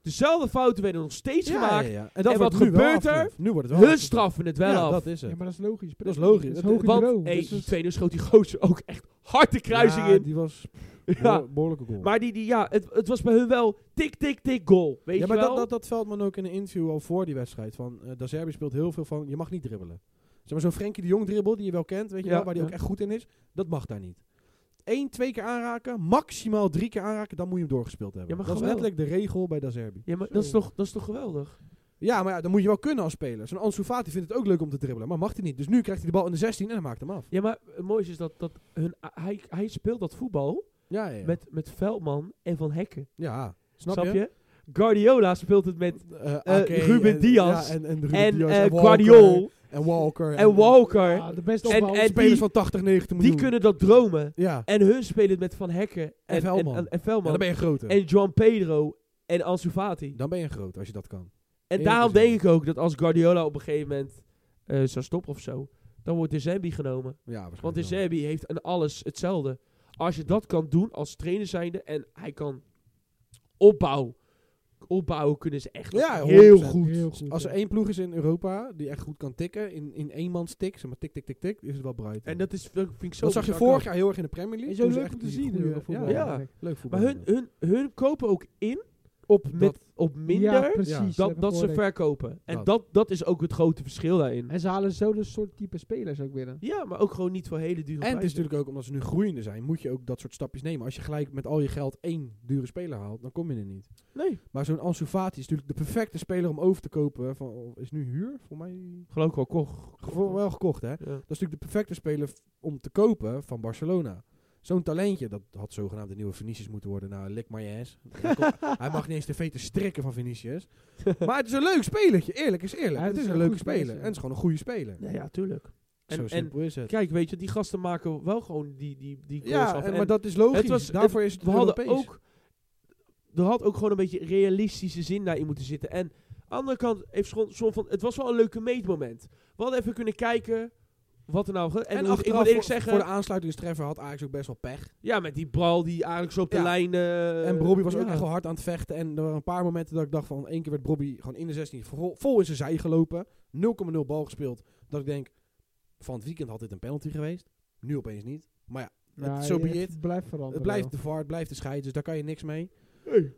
A: Dezelfde fouten werden nog steeds
B: Ja,
A: gemaakt.
B: ja, ja. En, dat
A: En
B: wordt
A: wat
B: nu wel
A: gebeurt er?
B: afgestraft. Nu wordt het wel
A: Hun
B: afgestraft.
A: straffen het wel
B: ja,
A: af.
B: dat is het.
C: Ja, maar dat is logisch.
B: Dat is logisch.
C: Dat is
B: Dat-
C: hoog
A: want
C: niveau.
A: hey,
C: Dus
A: die
C: dat-
A: 2-0 schoot die gozer ook echt hard de kruising
B: Ja,
A: in.
B: die was
A: Ja.
B: behoor- behoorlijke goal.
A: Maar die, die, ja, het, het was bij hun wel tik, tik, tik goal. Weet
B: ja,
A: je
B: maar
A: wel?
B: dat, dat, dat Veldman ook in een interview al voor die wedstrijd. Van, eh da Serbi speelt heel veel van, je mag niet dribbelen. Zeg maar zo'n Frenkie de Jong dribbel, die je wel kent, weet je
A: Ja,
B: wel, waar die
A: ja.
B: ook echt goed in is. Dat mag daar niet. Eén, twee keer aanraken, maximaal drie keer aanraken, dan moet je hem doorgespeeld hebben.
A: Ja, maar
B: dat is
A: geweldig.
B: letterlijk de regel bij Da Serbi.
A: ja, maar
C: Zo.
A: dat is, toch, dat is toch geweldig?
B: Ja, maar ja, dan moet je wel kunnen als speler. Zo'n Ansu Fati vindt het ook leuk om te dribbelen, maar mag hij niet. Dus nu krijgt hij de bal in de 16 en dan maakt hem af.
A: Ja, maar het mooiste is dat, dat hun, hij, hij speelt dat voetbal
B: Ja, ja, ja.
A: met, met Veldman en Van Hekken.
B: ja snap,
A: Snap, je? Guardiola speelt het met
B: Eh,
A: Eh,
B: Ake
A: Ruben
B: en-
A: Diaz
B: ja, en, en, Ruben
A: en
B: Diaz
A: eh,
B: Walker
A: Guardiol
B: En Walker.
A: en Walker.
C: Ja, Ah, de beste
A: En-
C: opbouw.
A: en-
B: Spelers
A: die-
B: van 80, 90 miljoen.
A: Die kunnen dat dromen.
B: Ja.
A: En hun spelen het met Van Hekken en, en,
B: Velman.
A: en, en
B: Ja,
A: Velman.
B: dan ben je groter.
A: en Joan Pedro en Ansu Fati.
B: Dan ben je groot als je dat kan.
A: En
B: Eén
A: daarom
B: persoon.
A: denk ik ook dat als Guardiola op een gegeven moment eh, zou stoppen of zo, dan wordt de Zambi genomen.
B: Ja, waarschijnlijk.
A: Want de
B: wel.
A: Zambi heeft aan alles hetzelfde. Als je dat kan doen als trainer zijnde en hij kan opbouwen, opbouwen kunnen ze echt
B: Ja,
A: heel
B: 100%.
A: goed.
C: Heel goed.
B: Als
C: ja.
B: er één ploeg is in Europa die echt goed kan tikken, in, in eenmans tik, zeg maar tik, tik, tik, tik, is het wel Brighton.
A: En dat is, dat vind ik zo
B: Dat zag je
A: bizar.
B: vorig jaar heel erg in de Premier League.
C: is zo
B: Toen ze
C: leuk
B: echt
C: om te
B: die
C: zien.
B: goede-
C: eh, voetbal
B: ja,
A: ja.
C: eigenlijk.
B: leuk voetbal.
A: Maar hun, hun, hun kopen ook in op, met, op minder
C: Ja, precies.
B: dat-
C: heb
A: dat,
C: ik
A: dat ze
C: gehoord.
A: verkopen. En
B: Dat.
A: dat, dat is ook het grote verschil daarin.
C: En ze halen zo de soort type spelers ook binnen.
A: Ja, maar ook gewoon niet voor hele dure
B: En het is
A: prijzen.
B: natuurlijk ook omdat ze nu groeiende zijn, moet je ook dat soort stapjes nemen. Als je gelijk met al je geld één dure speler haalt, dan kom je er niet.
A: Nee,
B: Maar zo'n Ansu Fati is natuurlijk de perfecte speler om over te kopen. Van, is nu huur, voor mij?
A: geloof ik wel, Koch.
B: Voor- Wel gekocht, hè?
A: Ja.
B: Dat is natuurlijk de perfecte speler f- om te kopen van Barcelona. Zo'n talentje, dat had zogenaamd de nieuwe Vinicius moeten worden. Nou, lik maar je ass. Hij kon- Hij mag niet eens de veten strikken van Vinicius. maar het is een leuk spelertje. Eerlijk is eerlijk.
C: Ja,
B: het is een, leuke
C: goed
B: speler.
C: speler.
B: En het is gewoon een goede speler.
C: Ja, ja, tuurlijk.
A: En-
B: Zo
A: en-
B: simpel is het.
A: Kijk, weet je, die gasten maken wel gewoon die, die, die goals
B: Ja,
A: af.
B: en,
A: En
B: maar dat is logisch.
A: het was-
B: Daarvoor is het
A: we hadden
B: Europees.
A: ook... Er had ook gewoon een beetje realistische zin daarin moeten zitten. En aan de andere kant heeft Schon, Schon van... Het was wel een leuke meetmoment. We hadden even kunnen kijken wat er nou... ge- En,
B: En,
A: ik moet- ik
B: achteraf,
A: moet eerlijk
B: voor,
A: zeggen...
B: voor de aansluitingstreffer had Ajax ook best wel pech.
A: ja, met die bal die eigenlijk zo op de
B: Ja.
A: lijn... eh,
B: En Bobby was ook
A: ja.
B: echt wel hard aan het vechten. En er waren een paar momenten dat ik dacht van... één keer werd Bobby gewoon in de 16 vol, vol in zijn zij gelopen. 0,0 bal gespeeld. Dat ik denk, van het weekend had dit een penalty geweest. Nu opeens niet.
C: Ja,
B: zo be
C: het
B: it.
C: blijft veranderen.
B: het blijft
C: wel.
B: de VAR, het blijft de scheid. Dus daar kan je niks mee.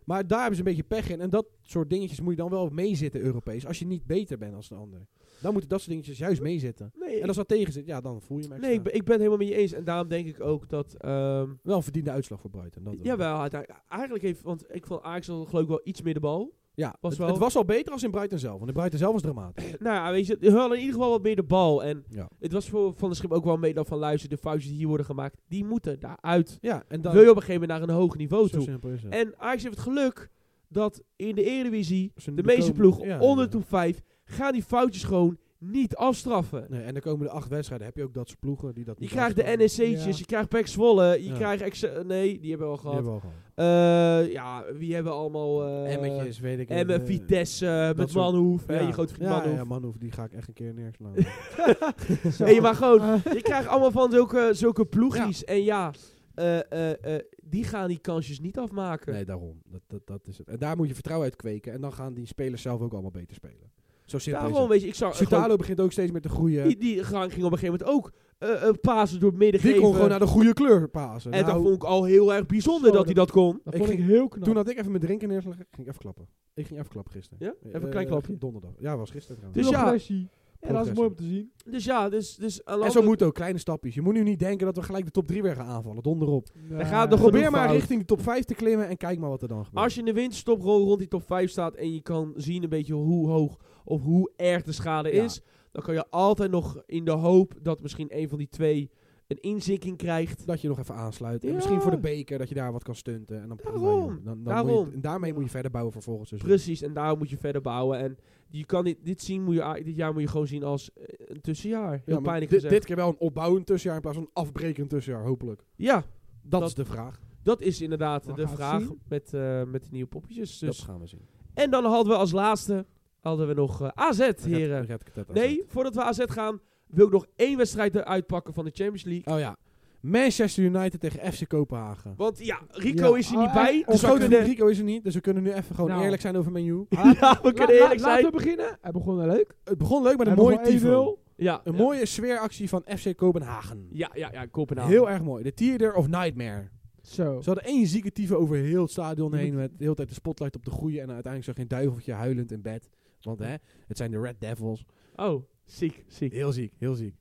B: Maar daar hebben ze een beetje pech in. En dat soort dingetjes moet je dan wel meezitten Europees. Als je niet beter bent als de ander. Dan moeten dat soort dingetjes juist meezitten.
A: Nee,
B: En als dat tegen zit, ja, dan voel je me
A: nee ik, ben, ik ben het helemaal met je eens. En daarom denk ik ook dat... ehm,
B: Wel een verdiende uitslag voor Brighton. Dat wel.
A: Jawel, uiteindelijk- eigenlijk heeft... Want ik vond Ajax al geloof ik wel iets meer de bal.
B: Ja,
A: Was
B: het,
A: wel-
B: het was al beter als in Brighton zelf. Want in Brighton zelf was dramatisch.
A: nou ja, weet je, we hadden in ieder geval wat meer de bal. En
B: Ja.
A: het was voor Van der Schip ook wel een mededeling van... Luister, de foutjes die hier worden gemaakt, die moeten daaruit.
B: Ja, en dan...
A: Wil je op een gegeven moment naar een hoog niveau
B: Zo
A: toe.
B: simpel is het.
A: En Ajax heeft het geluk dat in de Eredivisie...
B: Ze
A: De
B: bekomen-
A: meeste ploeg
B: ja,
A: onder
B: ja.
A: de top 5 gaan die foutjes gewoon niet afstraffen.
B: Nee, en de komende acht wedstrijden heb je ook dat soort ploegen die dat
A: Je
B: niet
A: krijgt de
B: afstraffen.
A: NEC'tjes,
C: Ja.
A: je krijgt Pek Zwolle, je
B: Ja.
A: krijgt... Ex- nee, die hebben we al
B: Die
A: gehad.
B: hebben we al gehad.
A: Eh, ja, wie hebben we allemaal... eh,
B: Emmetjes, weet ik
A: En
B: niet,
A: met
B: eh,
A: Vitesse, met
B: soort-
A: Manhoef, hè,
B: ja.
A: je grote vriend
B: ja,
A: Manhoef.
B: Ja, Manhoef, die ga ik echt een keer neerslaan. ja,
C: Zo.
A: Hey, maar gewoon,
C: Ah,
A: je krijgt allemaal van zulke, zulke ploegjes. En ja, eh, eh, eh, die gaan die kansjes niet afmaken.
B: nee, daarom. Dat, dat, dat is het. En daar moet je vertrouwen uit kweken. En dan gaan die spelers zelf ook allemaal beter spelen. Zo simpel is
A: Daarom,
B: het.
A: weet je, ik zou...
B: Sutalo
A: gewoon-
B: begint ook steeds met de groeien.
A: die, die gang ging op een gegeven moment ook eh eh, pasen door het midden
B: Die
A: geven.
B: kon gewoon naar de goede kleur pasen.
A: en
B: Nou,
A: dat vond ik al heel erg bijzonder
C: Zo,
A: dat hij dat kon.
C: dat
B: Ik
C: vond ik
B: ging-
C: heel knap.
B: Toen had ik even mijn drinken neergelegd, ging ik even klappen. Ik ging even klappen gisteren.
A: Ja? Even een
B: Eh,
A: klein klapje.
B: Donderdag. Ja, was gisteren trouwens.
A: Dus
C: Nog
A: ja.
C: Flashy. En dat is mooi om te zien.
A: Dus ja, dus... dus aan de
B: en zo
A: andere-
B: moet het ook, kleine stapjes. Je moet nu niet denken dat we gelijk de top 3 weer gaan aanvallen, donderop.
C: Nee.
A: gaat nog
B: Probeer
A: genoeg
B: maar
A: fout.
B: richting de top 5 te klimmen en kijk maar wat er dan gebeurt.
A: Als je in de winterstoprol rond die top 5 staat en je kan zien een beetje hoe hoog of hoe erg de schade
B: Ja.
A: is, dan kan je altijd nog in de hoop dat misschien een van die twee een inzinking krijgt.
B: dat je nog even aansluit. En
A: Ja.
B: misschien voor de beker, dat je daar wat kan stunten. En dan prima,
A: Daarom.
B: joh. Dan, dan
A: Daarom.
B: Moet je, en daarmee moet je verder bouwen voor volgend seizoen.
A: Precies, en daar moet je verder bouwen. En je kan dit, dit, zien, moet je, a- dit jaar moet je gewoon zien als eh, een tussenjaar.
B: Ja,
A: Heel
B: maar
A: pijnlijk
B: dit,
A: gezegd.
B: dit keer wel een opbouwend tussenjaar in plaats van een afbrekend tussenjaar, hopelijk.
A: ja,
B: Dat,
A: Dat-
B: is de vraag.
A: dat is inderdaad
C: We
A: de
C: gaan het
A: vraag
C: zien.
A: met, eh, met de nieuwe poppetjes. Dus.
B: dat gaan we zien.
A: En dan hadden we als laatste hadden we nog eh, AZ, heren.
B: Red- Red Katet AZ.
A: Nee, voordat we AZ gaan, wil ik nog één wedstrijd eruit pakken van de Champions League.
B: Oh ja. Manchester United tegen FC Kopenhagen.
A: Want ja, Rico
C: Ja.
A: is er niet
B: Ah,
C: Oh,
A: bij.
C: echt?
A: Dus
B: Ons
A: we
B: grote
A: kunnen-
B: vriend Rico is er niet, dus we kunnen nu even gewoon
C: Nou.
B: eerlijk zijn over menu.
A: Ja, we kunnen eerlijk zijn.
C: Laten we beginnen. Hij begon wel leuk.
B: Het begon leuk met een
C: Hij
B: mooie
C: begon 1-0.
B: tifo.
A: Ja,
B: Een
A: ja.
B: mooie sfeeractie van FC Kopenhagen.
A: Ja, ja, ja, Kopenhagen.
B: Heel erg mooi. De Theater of Nightmare.
C: Zo.
B: Ze hadden één zieke tyfe over heel het stadion
C: Je
B: heen.
A: Mhm.
C: moet-
B: Met de hele tijd de spotlight op de goeie. En uiteindelijk zag je een duiveltje huilend in bed. Want hè, het zijn de Red Devils.
A: Oh, ziek, ziek.
B: Heel ziek, heel ziek.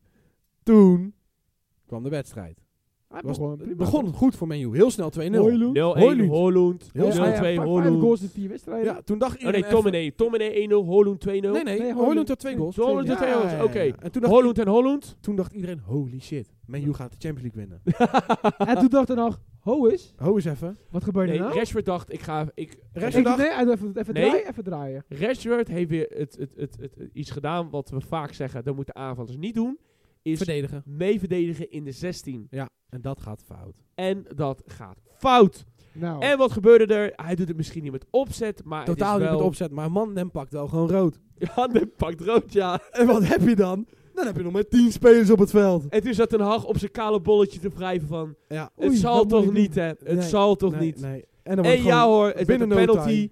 B: Toen kwam de wedstrijd.
C: Hij
B: was-
C: begon
B: Het
C: prima.
B: begon goed voor Menu. Heel snel 2-0.
C: Hoylund.
A: 0-1
B: Hoylund.
A: Holland. 0-2
B: Heel
C: Ja, ja, vijf- Vijf
A: Holland.
C: goals in vier wedstrijden.
B: Ja, toen dacht
A: Oh
B: iedereen
A: nee, Tomine. Tomine 1-0, Holland 2-0.
B: even- Nee, nee,
C: Nee,
B: Hoylund
C: Hoylund.
B: had twee goals.
A: Hoylund had twee
B: Ja,
A: goals,
B: ja, ja,
A: oké.
B: ja. En toen dacht,
A: Holland en Holland.
B: toen dacht iedereen, holy shit. Menu gaat de Champions League winnen.
C: En toen dacht hij nog, ho is,
B: Ho eens even.
C: wat gebeurde
A: Nee,
C: er nou?
A: Rashford dacht, ik ga... Ik,
B: Rashford
C: Ik-
B: dacht-
C: nee, hij dacht, even, even
A: Nee.
C: draaien, even draaien.
A: Rashford heeft weer het, het, het, het, het- iets gedaan wat we vaak zeggen, dat moeten aanvallers niet doen. Is
B: Verdedigen.
A: mee verdedigen in de 16.
B: Ja, en dat gaat fout.
A: En dat gaat fout.
C: Nou,
A: En wat gebeurde er? Hij doet het misschien niet met opzet, maar
B: Oh.
A: het
B: Totaal
A: is
B: niet
A: wel...
B: met opzet, maar man, hem pakt wel gewoon rood.
A: Ja, hij pakt rood, ja.
B: En wat heb je dan? Dan heb je nog maar 10 spelers op het veld.
A: En toen zat Ten Hag op zijn kale bolletje te wrijven van...
B: Ja,
A: het
C: Oei,
A: zal
C: dat moet
A: toch
C: ik doen.
A: niet, hè? Het
B: Nee,
A: zal toch
B: nee,
A: niet?
B: Nee. En, dan wordt
A: En
B: het
A: ja
B: gewoon-
A: hoor, het
B: binnen
A: binnen een
B: no
A: penalty.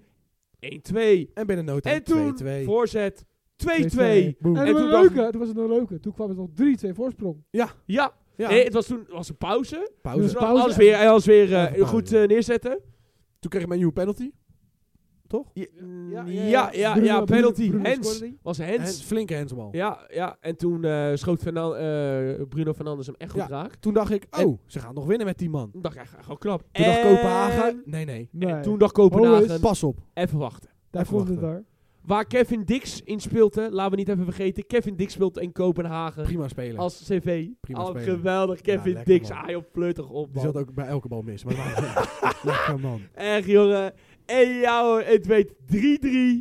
A: 1-2.
B: En binnen nood
A: En toen
B: 2-2.
A: voorzet 2-2.
C: 2-2.
B: Boom.
A: en
C: en toen
A: toen
C: een
A: dacht-
C: leuke, toen was het een leuke. Toen kwam het nog 3-2 voorsprong.
A: Ja,
B: Ja,
A: Nee, het was toen was een pauze.
B: pauze.
C: Dus
A: Dus
C: pauze
A: alles
C: en-
A: weer, alles weer eh,
B: Even pauze.
A: goed eh, neerzetten.
B: Toen kreeg ik mijn nieuwe penalty. Toch?
A: Ja, ja, ja, mm, ja,
C: Bruno-
A: penalty.
C: Bruno
A: Hens.
C: scoorde die.
A: Was Hens.
B: Hands, flinke handsbal.
A: Ja, ja, en toen eh, schoot Fernan- eh, Bruno Fernandes hem echt goed
B: Ja.
A: raak.
B: Toen dacht ik, oh,
A: En-
B: ze gaan nog winnen met die man.
A: Toen dacht ik, gewoon knap.
B: Toen dacht
A: En-
B: Kopenhagen, nee nee,
A: en
C: Nee,
A: Toen dacht Kopenhagen,
B: pas op.
A: even wachten.
C: daar komt het
B: wachten.
C: daar.
A: Waar Kevin Dix in speelde, laten we niet even vergeten. Kevin Dix speelt in Kopenhagen
B: Prima spelen.
A: als CV.
B: Prima
A: Oh,
B: speler.
A: geweldig, Kevin
B: lekker,
A: Dix.
B: man.
A: Ah, joh, pleutig op,
B: Die
A: man.
B: zat ook bij elke bal mis. Maar lekker man.
A: Echt, jongen. En ja, hoor, het weet 3-3.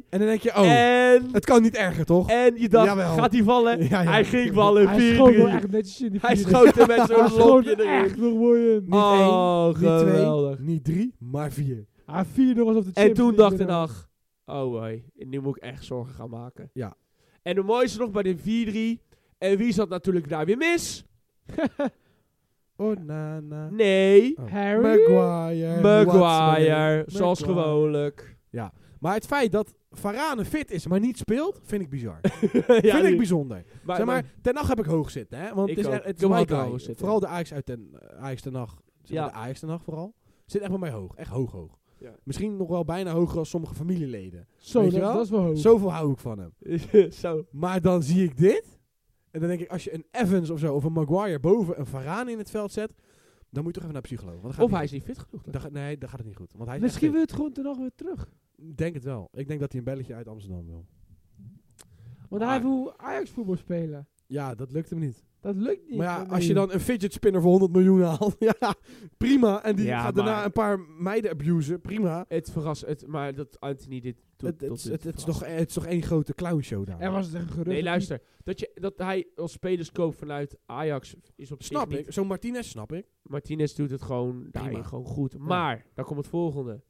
B: En dan denk je, oh,
A: En,
B: het kan niet erger, toch?
A: en je dacht,
B: Jawel.
A: gaat hij vallen?
B: Ja, ja.
A: Hij ging vallen, 4-3.
C: Hij schoot wel echt netjes in die
A: Hij
C: vierde.
A: schoot er met zo'n
C: Hij schoot
A: lopje
C: echt
A: erin.
C: nog mooi in.
B: Niet
A: oh,
B: één, niet
A: geweldig.
B: twee, niet drie, maar vier.
C: Hij vierde was op de
A: En
C: Champions
A: toen
C: League
A: dacht ik
C: winnaar.
A: dag, oh hoi, nu moet ik echt zorgen gaan maken.
B: Ja.
A: En het mooiste nog bij de 4-3. En wie zat natuurlijk daar weer mis?
B: Oh, na, na.
A: Nee,
B: Oh.
C: Harry?
B: Maguire. Eh, Watson.
A: Maguire, zoals
C: Maguire.
A: gewoonlijk.
B: Maar het feit dat Varane fit is, maar niet speelt, vind ik bizar.
A: ja,
B: vind
A: nu-
B: ik bijzonder.
A: maar-
B: zeg maar, ten nacht heb ik hoog zitten, hè? Want
A: Ik
B: het is,
A: ook.
B: echt- het
A: Ik
B: is
A: heb
B: mijn
A: ook
B: guy.
A: hoog zitten.
B: Vooral de Ajax uit ten, Ajax ten nacht. Zeg maar
A: Ja.
B: De Ajax ten nacht vooral. Zit echt bij mij hoog. Echt hoog hoog.
A: Ja.
B: Misschien nog wel bijna hoger als sommige familieleden.
C: Zo,
B: Weet
C: dat,
B: je wel?
C: dat is wel hoog.
B: Zoveel hou ik van hem.
A: Zo.
B: Maar dan zie ik dit. En dan denk ik, als je een Evans of zo of een Maguire boven een Varane in het veld zet, dan moet je toch even naar een psycholoog. Want dan gaat
A: Of
B: het
A: hij is
B: niet
A: niet fit genoeg.
B: goed. Dan ga- nee, dan gaat het niet goed. Want hij is echt
C: Misschien
B: fit.
C: wil het gewoon ten nog weer terug.
B: Ik denk het wel. Ik denk dat hij een belletje uit Amsterdam wil.
C: Want hij wil Ajax voetbal spelen.
B: Ja, dat lukt hem niet.
C: Dat lukt niet.
B: Maar ja,
C: Nee.
B: als je dan een fidget spinner voor 100 miljoen haalt, ja, prima. En die
A: Ja,
B: gaat
A: maar-
B: daarna een paar meiden abusen, prima.
A: Het verrast, het, maar dat Anthony dit doet.
B: Het, het,
A: tot
B: het,
A: dit
B: het is
A: verrast.
B: toch, het is toch één grote clownshow daar.
C: Er was het een gerucht.
A: Nee,
C: dat
A: luister. Dat, je, dat hij als spelers koopt vanuit Ajax is op zich
B: Snap
A: niet-
B: ik. Zo'n Martinez snap ik.
A: Martinez doet het gewoon, daarin
B: Prima.
A: gewoon goed. Maar, dan komt het volgende.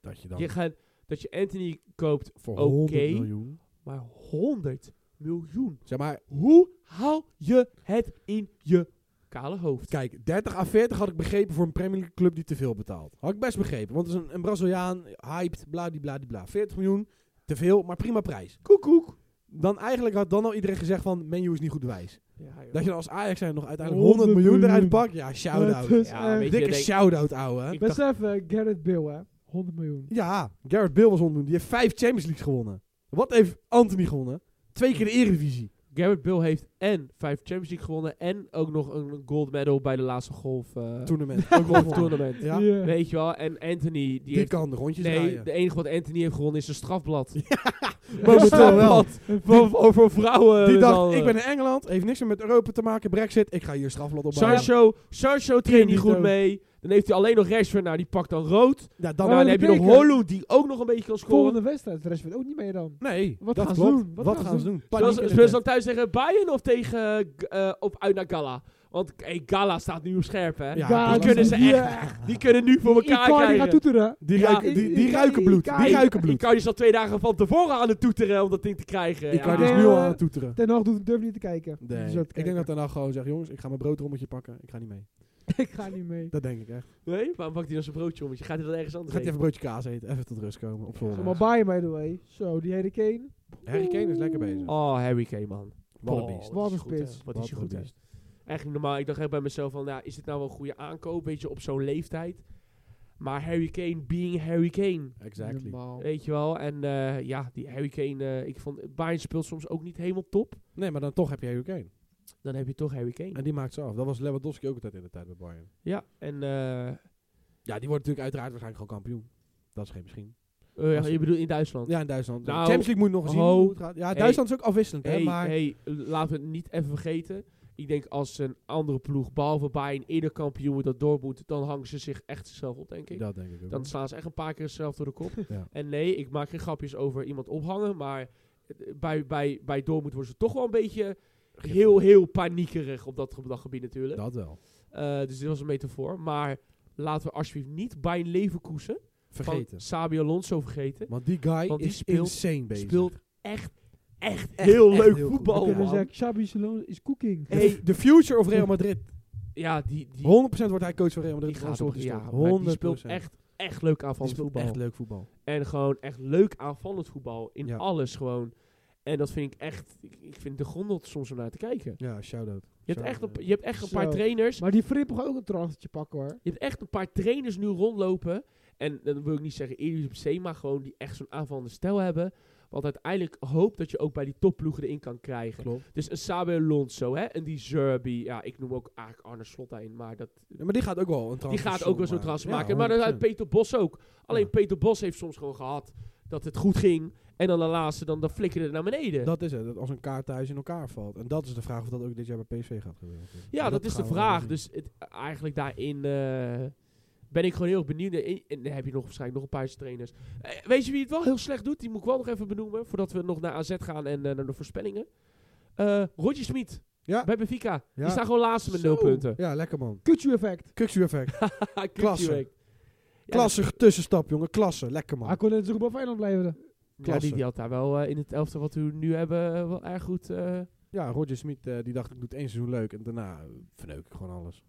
B: Dat je dan
A: Je gaat, dat je Anthony koopt
B: voor
A: oké.
B: 100 miljoen...
A: Maar 100 miljoen.
B: Zeg maar,
A: Hoe haal je het in je kale hoofd?
B: Kijk, 30 à 40 had ik begrepen voor een Premier League club die te veel betaalt. Had ik best begrepen, want het is een, een Braziliaan, hyped, bladibladibla. 40 miljoen, te veel, maar prima prijs.
A: Koek, koek.
B: Dan eigenlijk had dan al iedereen gezegd van, menu is niet goed wijs.
A: Ja, joh.
B: Dat je dan als Ajax zijn nog uiteindelijk 100 miljoen, eruit pakt, ja,
C: Het
B: shout-out.
C: is
A: Ja,
C: echt-
A: weet je,
B: Dikke
A: denk-
B: shout-out, ouwe.
A: Ik dacht-
C: Besef even, Gerrit Bill, hè. 100 miljoen.
B: Ja, Gareth Bale was 100 miljoen. Die heeft vijf Champions Leagues gewonnen. Wat heeft Anthony gewonnen? Twee keer de Eredivisie.
A: Garrett Bill heeft en vijf Champions League gewonnen en ook nog een gold medal bij de laatste golf eh,
B: Tournament. Ook wel
A: golf
B: gewonnen.
A: tournament.
B: Ja,
C: Ja.
A: Weet je wel? En Anthony die,
B: die
A: heeft
B: kan de rondjes
A: Nee,
B: draaien.
A: de enige wat Anthony heeft gewonnen is een strafblad.
B: Momenteel wel.
A: Voor, over vrouwen.
B: Die
A: met
B: dacht,
A: al,
B: ik
A: eh,
B: ben in Engeland, heeft niks meer met Europa te maken, brexit, ik ga hier strafblad op
A: Sancho, Sancho traint niet
C: niet
A: goed
C: ook.
A: mee. Dan heeft hij alleen nog Rashford. Nou, die pakt dan rood.
B: Ja, dan
A: Dan,
C: Maar
A: dan
C: dat
A: heb je nog
C: betekent-
A: Holu, die ook nog een beetje kan scoren.
C: Volgende wedstrijd, de rest werd ook niet mee dan.
B: Nee,
C: Wat
B: dat
C: gaan ze
B: klopt.
C: doen?
B: Wat, gaan ze doen? Paniek
A: Zullen
B: in
A: ze-
B: het
A: Zullen ze dan
B: net.
A: thuis tegen Bayern of tegen eh, G- eh, op uit naar Gala? Want hey, Gala staat nu op scherp, hè?
B: Ja,
C: Ja,
A: die
B: dat-
A: kunnen ze
C: die,
A: echt. Die kunnen nu voor elkaar
C: Icardi gaat
A: krijgen.
C: toeteren.
B: die,
A: Ja.
B: ruiken, die, die
C: I- I-
B: ruiken bloed. Die
C: Icardi-
B: ruiken bloed.
A: Icardi is dus al twee dagen van tevoren aan het toeteren om dat ding te krijgen.
B: Icardi
A: Ja.
B: is
C: Nee,
B: dus nu al
C: eh,
B: aan het toeteren.
C: Ten Hag doet durf niet te kijken. Die
B: Nee.
C: zat te
B: Ik denk dat
C: kijken.
B: daarna gewoon zegt, jongens, ik ga mijn broodrommetje pakken. Ik ga niet mee.
C: ik ga niet mee.
B: Dat denk ik echt.
A: Nee? Waarom pakt hij dan zijn broodje om? Want je gaat hij dan ergens anders
B: Gaat hij even
A: heen?
B: een broodje kaas eten. Even tot rust komen. Op
A: Ja.
C: Zo,
B: zolder.
C: maar Bayern, by the way. Zo, die hele Kane.
B: Harry Kane is lekker bezig.
A: Oh, Harry Kane, man.
B: Wat een
A: Oh,
B: beest.
A: Wat
C: Wat
A: is
C: een
A: goed, hè?
C: spits.
A: Wat
B: Wat
A: is hij
B: een
A: goed, hè?
B: beest.
A: Echt niet normaal. Ik dacht echt bij mezelf van, nou, is dit nou wel een goede aankoop? Weet je, op zo'n leeftijd. Maar Harry Kane being Harry Kane.
B: Exactly.
C: Normaal.
A: Weet je wel. En eh, ja, die Harry Kane. eh, ik vond Bayern speelt soms ook niet helemaal top.
B: Nee, maar dan toch heb je Harry Kane.
A: Dan heb je toch Harry Kane.
B: En die maakt ze af. Dat was Lewandowski ook altijd in de tijd bij Bayern.
A: ja, en eh, eh,
B: Ja, die wordt natuurlijk uiteraard waarschijnlijk gewoon kampioen. Dat is geen misschien.
A: oh ja, je bedoelt in Duitsland.
B: Ja, in Duitsland.
A: Nou,
B: Champions League moet nog eens zien
A: ho.
B: hoe het gaat. Ja,
A: Hey.
B: Duitsland is ook afwisselend,
A: hey,
B: hè. Maar
A: hey, laten we het niet even vergeten. Ik denk als een andere ploeg, behalve Bayern, eerder kampioen wordt dat Dortmund, dan hangen ze zich echt zichzelf op, denk ik.
B: dat denk ik ook.
A: Dan slaan ze echt een paar keer zichzelf door de kop.
B: Ja.
A: En nee, ik maak geen grapjes over iemand ophangen, maar eh, bij, bij, bij Dortmund worden ze toch wel een beetje heel, heel paniekerig op dat, ge- dat gebied natuurlijk.
B: Dat wel.
A: Eh, dus dit was een metafoor. Maar laten we alsjeblieft niet bij een Leverkusen
B: Vergeten.
A: van Sabi Alonso vergeten.
B: Want die guy
A: Want die
B: is
A: speelt-
B: insane bezig.
A: Speelt echt, echt,
B: Echt,
A: heel
B: echt
A: leuk
B: heel goed.
C: We
A: voetbal,
C: kunnen
A: man.
C: zeggen, Xabi Salon is cooking.
B: De-
A: Hey.
B: De future of Real Madrid. 100%
A: Ja, die, die,
B: wordt hij coach van Real
A: die
B: Madrid.
A: gaat
B: Alonso
A: op,
B: gestopt.
A: ja, maar die
B: 100%.
A: speelt echt, echt leuk
B: Die
A: aanvallend
B: speelt
A: voetbal.
B: echt leuk voetbal.
A: En gewoon echt leuk aanvallend voetbal. In
B: Ja.
A: alles gewoon. En dat vind ik echt, ik, ik vind de grond om soms om naar te kijken.
B: Ja, shout-out.
A: Je hebt
B: Zo,
A: echt,
B: ja.
A: een, je hebt echt een paar
C: Zo.
A: trainers.
C: Maar die Frimpel gaat ook een transfertje pakken hoor.
A: Je hebt echt een paar trainers nu rondlopen. En dan wil ik niet zeggen Irius op zee, maar gewoon die echt zo'n aanvallende stijl hebben. Want uiteindelijk hoop dat je ook bij die topploegen erin kan krijgen.
B: Klopt.
A: Dus een Sabi Alonso, hè, en die Zerbi. Ja, ik noem ook eigenlijk Arne Slot daarin, maar dat,
B: Ja, maar die gaat ook wel een
A: die
B: transfer
A: gaat ook wel zo'n
B: maken.
A: transfer
B: Ja,
A: maken. Maar dat had
B: 100%.
A: Peter Bos ook. Alleen
B: Ja.
A: Peter Bos heeft soms gewoon gehad dat het goed ging. En dan de laatste, dan, dan flikkerde het naar beneden.
B: Dat is het, dat als een kaart thuis in elkaar valt. En dat is de vraag of dat ook dit jaar bij PSV gaat gebeuren.
A: ja, dat, is de
B: gaan we
A: vraag.
B: wel zien.
A: Dus het, eigenlijk daarin eh, ben ik gewoon heel erg benieuwd. En, en dan heb je nog waarschijnlijk nog een paar trainers. Eh, weet je wie het wel heel slecht doet? Die moet ik wel nog even benoemen. Voordat we nog naar AZ gaan en eh, naar de voorspellingen. Eh Roger Smit
B: Ja.
A: bij Benfica.
B: Ja.
A: Die staat gewoon laatste met
C: Zo.
A: nul punten.
B: Ja, lekker man.
C: Kutsu effect.
B: Kuksu effect.
A: Haha,
B: Klasse.
A: Kuchewek. Ja,
B: Klasse tussenstap, jongen. Klasse. Lekker man.
A: Ah,
C: Hij kon net zo goed bij Feyenoord blijven.
A: Ja,
B: Klasse.
A: die, die had daar wel eh, in het elftal wat we nu hebben eh, wel erg goed. eh,
B: Ja, Roger Smit eh, die dacht ik doe het één seizoen leuk en daarna eh, verneuk ik gewoon alles.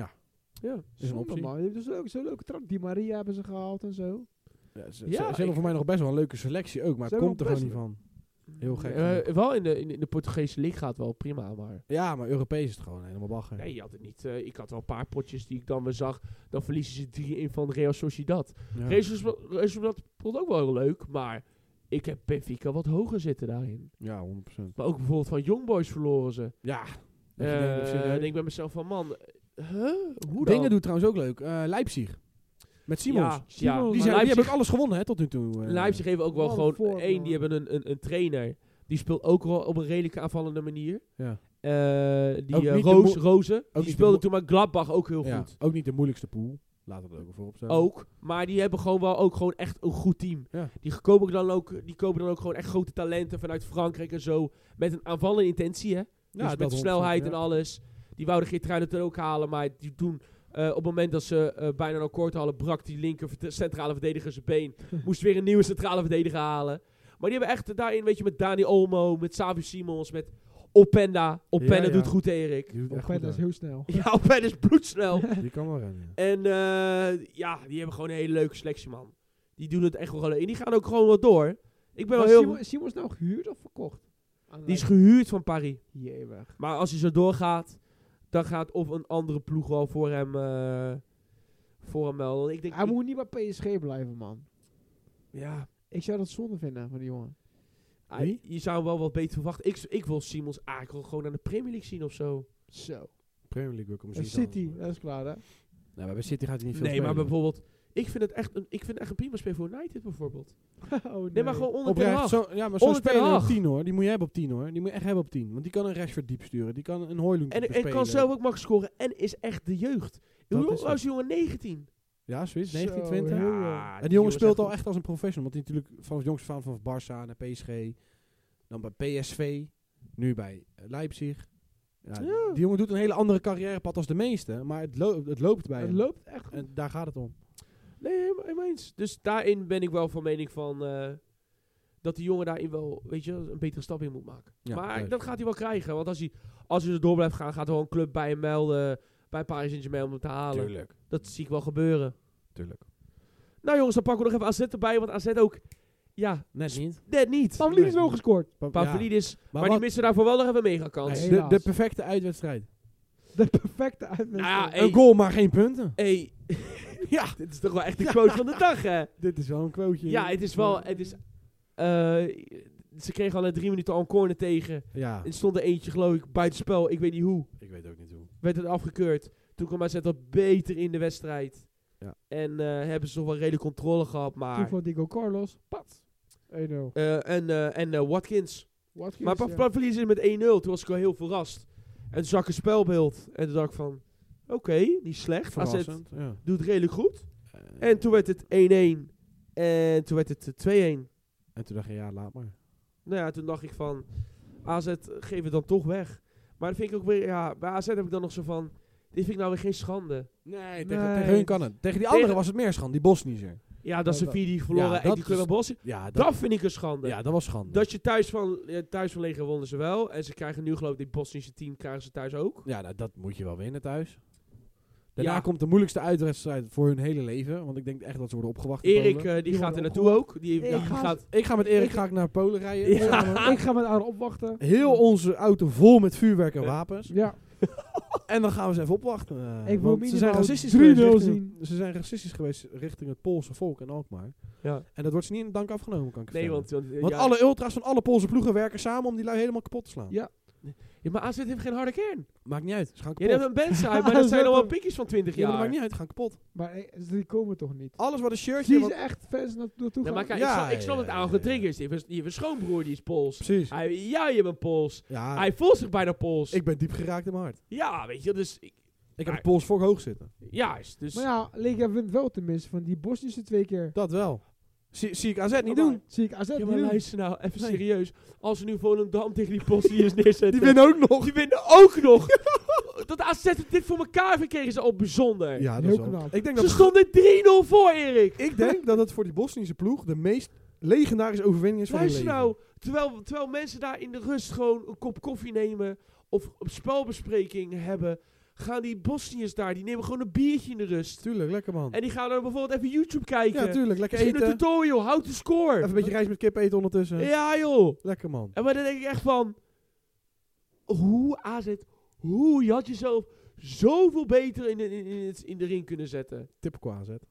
A: ja.
B: Is een optie.
C: man. Die heeft dus ook zo'n leuke trap. Die Maria hebben ze gehaald en zo.
B: Ja, ze, ze-
A: Ja,
B: ze
A: ik-
B: hebben voor mij nog best wel een leuke selectie ook, maar
C: Ze
B: het
C: hebben
B: komt er
C: nog
B: gewoon niet van. Heel gek
A: Eh,
B: genoeg.
A: wel in de, in, de- in de Portugese league gaat wel prima, maar.
B: Ja, maar Europees is het gewoon helemaal bagger.
A: Nee, je had het niet. eh, ik had wel een paar potjes die ik dan weer zag. Dan verliezen ze 3 in van Real Sociedad.
B: Ja.
A: Real Sociedad Real Sociedad vond ook wel heel leuk, maar ik heb Benfica wat hoger zitten daarin.
B: Ja, 100%.
A: Maar ook bijvoorbeeld van Young Boys verloren ze.
B: Ja. Dat je denkt,
A: Eh,
B: serieus.
A: ik denk bij mezelf van man, eh, huh? hoe dan?
B: Dingen doet trouwens ook leuk. Eh, Leipzig. Met Simons.
A: Ja,
C: Simons.
A: ja.
B: Die,
A: maar
B: zijn, die hebben ook alles gewonnen hè, tot nu toe. eh.
A: Leipzig heeft ook wel
C: Wat
A: gewoon
C: een vorm,
A: één.
C: man.
A: Die hebben een, een, een trainer. Die speelt ook wel op een redelijke aanvallende manier.
B: Ja.
A: Eh, die
B: Ook
A: eh,
B: niet de
A: Roos,
B: mo-
A: Rozen.
B: niet
A: Die
B: de
A: speelde
B: mo-
A: toen maar Gladbach ook heel
B: Ja,
A: goed.
B: Ook niet de moeilijkste pool. Laten we het ook even vooropstellen.
A: Ook. Maar die hebben gewoon wel ook gewoon echt een goed team.
B: Ehm, Ja.
A: Die, kopen dan ook, die kopen dan ook gewoon echt grote talenten vanuit Frankrijk en zo. Met een aanvallende intentie, hè?
B: Ja,
A: dus met de snelheid en alles. Die wouden Geertruiden het ook halen, maar die doen... eh, op het moment dat ze eh, bijna een kort halen, brak die linker verte- centrale verdediger zijn been. Moest weer een nieuwe centrale verdediger halen. Maar die hebben echt eh, daarin, weet je, met Dani Olmo, met Savi Simons, met Openda. Openda
B: Ja, ja.
A: doet goed, Erik.
C: Feyenoord is heel snel.
A: Ja, Openda is bloedsnel.
B: Die kan wel rennen. ja.
A: en eh, ja, die hebben gewoon een hele leuke selectie, man. Die doen het echt wel leuk. En die gaan ook gewoon wat door. Ik ben wel
C: Maar
A: heel...
C: Simon, is Simons nou gehuurd of verkocht?
A: Die is gehuurd van Paris.
C: Jeweg.
A: Maar als hij zo doorgaat, dan gaat of een andere ploeg wel voor hem, eh voor hem melden. Ik denk,
C: Hij
A: ik-
C: moet niet bij PSG blijven, man.
A: ja,
C: Ik zou dat zonde vinden van die jongen.
A: hij- je zou hem wel wat beter verwachten. Ik, ik wil Simons eigenlijk wel gewoon naar de Premier League zien of zo.
C: Zo.
B: Premier League wil ik hem
C: En
B: misschien
C: Eh, City,
B: wel.
C: dat is klaar, hè?
B: Nou, maar bij City gaat hij niet
A: Nee,
B: veel
A: maar
B: spelen.
A: bijvoorbeeld, ik vind het echt een, ik vind het echt een prima speel voor United bijvoorbeeld.
C: oh, nee.
A: Nee, maar gewoon onder de
B: Oprecht,
A: Hag.
B: zo, ja, maar zo'n
A: Onder Ten
B: speler op
A: Hag.
B: 10 hoor, die moet je hebben op 10 hoor. Die moet je echt hebben op 10. Want die kan een Rashford diep sturen, die kan een Hoylund
A: En, en
B: bespelen.
A: kan zelf ook makkelijk scoren en is echt de jeugd.
B: Dat
A: Hoe
B: is
A: oud is die jongen? 19?
B: Ja, zoiets,
C: Zo,
B: 19, 20.
C: ja.
B: En die jongen
A: is
B: speelt al
A: goed.
B: echt als een professional. Want hij natuurlijk vanaf jongs af aan vanaf Barça naar PSG, dan bij PSV, nu bij eh, Leipzig. Ja, Die jongen doet een hele andere carrièrepad als de meeste, maar het, lo- het loopt bij
C: Het
B: hem.
C: loopt echt goed.
B: En daar gaat het om.
A: Nee, helemaal, helemaal eens. Dus daarin ben ik wel van mening van... eh, dat die jongen daarin wel, weet je, een betere stap in moet maken.
B: Ja,
A: maar
B: juist.
A: dat gaat hij wel krijgen. Want als hij, als hij er door blijft gaan, gaat er wel een club bij hem melden. Bij Paris Saint-Germain om hem te halen.
B: Tuurlijk,
A: Dat zie ik wel gebeuren.
B: tuurlijk.
A: Nou jongens, dan pakken we nog even AZ erbij. Want AZ ook, ja,
B: Net niet.
A: net niet.
C: Pavlidis is wel gescoord.
B: Pa-
A: Pavlidis.
B: ja.
A: Maar,
B: Maar
A: die
B: wat-
A: missen daarvoor wel nog even een megakans.
C: Nee.
B: de,
C: Helaas.
B: de perfecte uitwedstrijd.
C: De perfecte uitwedstrijd.
A: Nou ja,
B: Een goal, maar geen punten.
A: hey, ja, dit is toch wel echt de quote van de dag, hè?
B: Dit is wel een quoteje.
A: Ja, het is wel, het is... eh, ze kregen al na drie minuten al een corner tegen.
B: Ja,
A: Er stond er eentje, geloof ik, buitenspel. Ik weet niet hoe.
B: ik weet ook niet hoe.
A: Werd het afgekeurd. Toen kwam AZ wat beter in de wedstrijd.
B: Ja.
A: En eh, hebben ze toch wel redelijk controle gehad.
C: Toen
A: Maar,
C: van Diego Carlos. Pat. 1-0.
A: Eh, en eh, en eh, Watkins.
C: Watkins,
A: Maar
C: ja.
A: Pavlidis verliezen met 1-0. Toen was ik wel heel verrast. En toen zag ik een spelbeeld. En toen dacht ik van... Oké, niet slecht. AZ
B: Verrassend. Ja.
A: doet redelijk goed. En toen werd het 1-1. En toen werd het eh, 2-1.
B: En toen dacht je, ja, laat maar.
A: Nou ja, toen dacht ik van... AZ, geef het dan toch weg. Maar dan vind ik ook weer... Ja, bij AZ heb ik dan nog zo van... Dit vind ik nou weer geen schande.
B: Nee,
C: tegen- tegen
B: hun kan het. Tegen die andere was het meer schande, die Bosnischer.
A: eh, Ja, dat ze
C: dat-
A: vier die verloren
B: ja,
A: en
B: dat
A: die Club
B: is-
A: en Bosnië.
B: Ja, dat,
A: Dat vind ik een schande.
B: ja, dat was schande.
A: Dat je thuis van, ja, thuis van Leger wonnen ze wel. En ze krijgen nu geloof ik, dit Bosnische team krijgen ze thuis ook.
B: ja, nou, dat moet je wel winnen thuis. Daarna
A: Ja.
B: komt de moeilijkste uitwedstrijd voor hun hele leven. Want ik denk echt dat ze worden opgewacht. in
A: Erik,
B: Polen.
A: eh, die
C: Die
A: gaat er
C: worden
A: naartoe ook. Die,
C: Ik
A: die
C: ga-
A: gaat...
B: ik ga met Erik
C: ik-
B: ga ik naar Polen rijden.
C: Ik ga maar- Ik ga met haar opwachten.
B: Heel onze auto vol met vuurwerk en wapens.
C: Ja.
B: En dan gaan we ze even opwachten. eh,
C: Ik wil
B: want ze zijn
C: minimaal
B: racistisch
C: 3-0
B: geweest richting-
C: zien.
B: Ze zijn racistisch geweest richting het Poolse volk en Alkmaar.
A: Ja.
B: En dat wordt ze niet in dank afgenomen, kan ik je
A: Nee, want...
B: vertellen.
A: Want, eh,
B: Want
A: ja,
B: alle ultras van alle Poolse ploegen werken samen om die lui helemaal kapot te slaan.
C: Ja.
A: Ja, maar AZ heeft geen harde kern.
B: Maakt niet uit. Ze gaan
A: Je
B: kapot.
A: neemt een band uit, maar dat zijn
C: Zo
A: allemaal
C: toch.
A: pikjes van 20
B: Ja, maar dat
A: jaar.
B: maakt niet uit. Ze gaan kapot.
C: Maar eh, die komen toch niet?
B: Alles wat een shirtje...
C: Die is
B: wat-
C: echt fans na- naartoe
A: Nee,
C: gaan.
A: maar kijk, ik
B: Ja,
A: snap, ik snap
B: ja,
A: het
B: ja,
A: aan getriggerd. Je hebt een- je hebt een schoonbroer die is Pools.
B: Precies.
A: Hij, ja, je bent Pools.
B: Ja,
A: Hij voelt zich bijna Pools.
B: Ah. ik ben diep geraakt in mijn hart.
A: ja, weet je, dus... Ik,
B: Ik heb
A: Maar-
B: de pols voor hoog zitten.
A: juist, dus...
C: Maar ja, Lega wint wel tenminste van die Bosnische twee keer.
B: Dat wel. Zie, zie ik AZ niet
A: Maar-
B: doen.
C: Zie ik AZ
A: Ja,
C: niet
A: maar
C: doen.
A: luister nou, even serieus. Als we nu Volendam tegen die Bosniërs neerzetten...
B: Die winnen ook nog.
A: Die winnen ook nog! dat AZ het dit voor elkaar verkregen ze al bijzonder.
B: Ja,
C: Heel
B: dat is wel.
C: knap.
B: Ik denk
A: Ze
B: dat
A: stonden 3-0 voor, Erik!
B: Ik denk dat het voor die Bosnische ploeg de meest legendarische overwinning is van hun
A: Luister
B: leven.
A: nou, terwijl, terwijl mensen daar in de rust gewoon een kop koffie nemen... of een spelbespreking hebben... gaan die Bosniërs daar, die nemen gewoon een biertje in de rust.
B: Tuurlijk, lekker man.
A: En die gaan dan bijvoorbeeld even YouTube kijken.
B: Ja, tuurlijk, lekker
A: Misschien een
B: eten.
A: tutorial, houd de score.
B: Even een beetje rijst met kip eten ondertussen.
A: Ja joh.
B: Lekker man.
A: En maar dan denk ik echt van... Hoe AZ... Hoe je had jezelf zoveel beter in de, in, in, het- in de ring kunnen zetten.
B: Tip qua zet.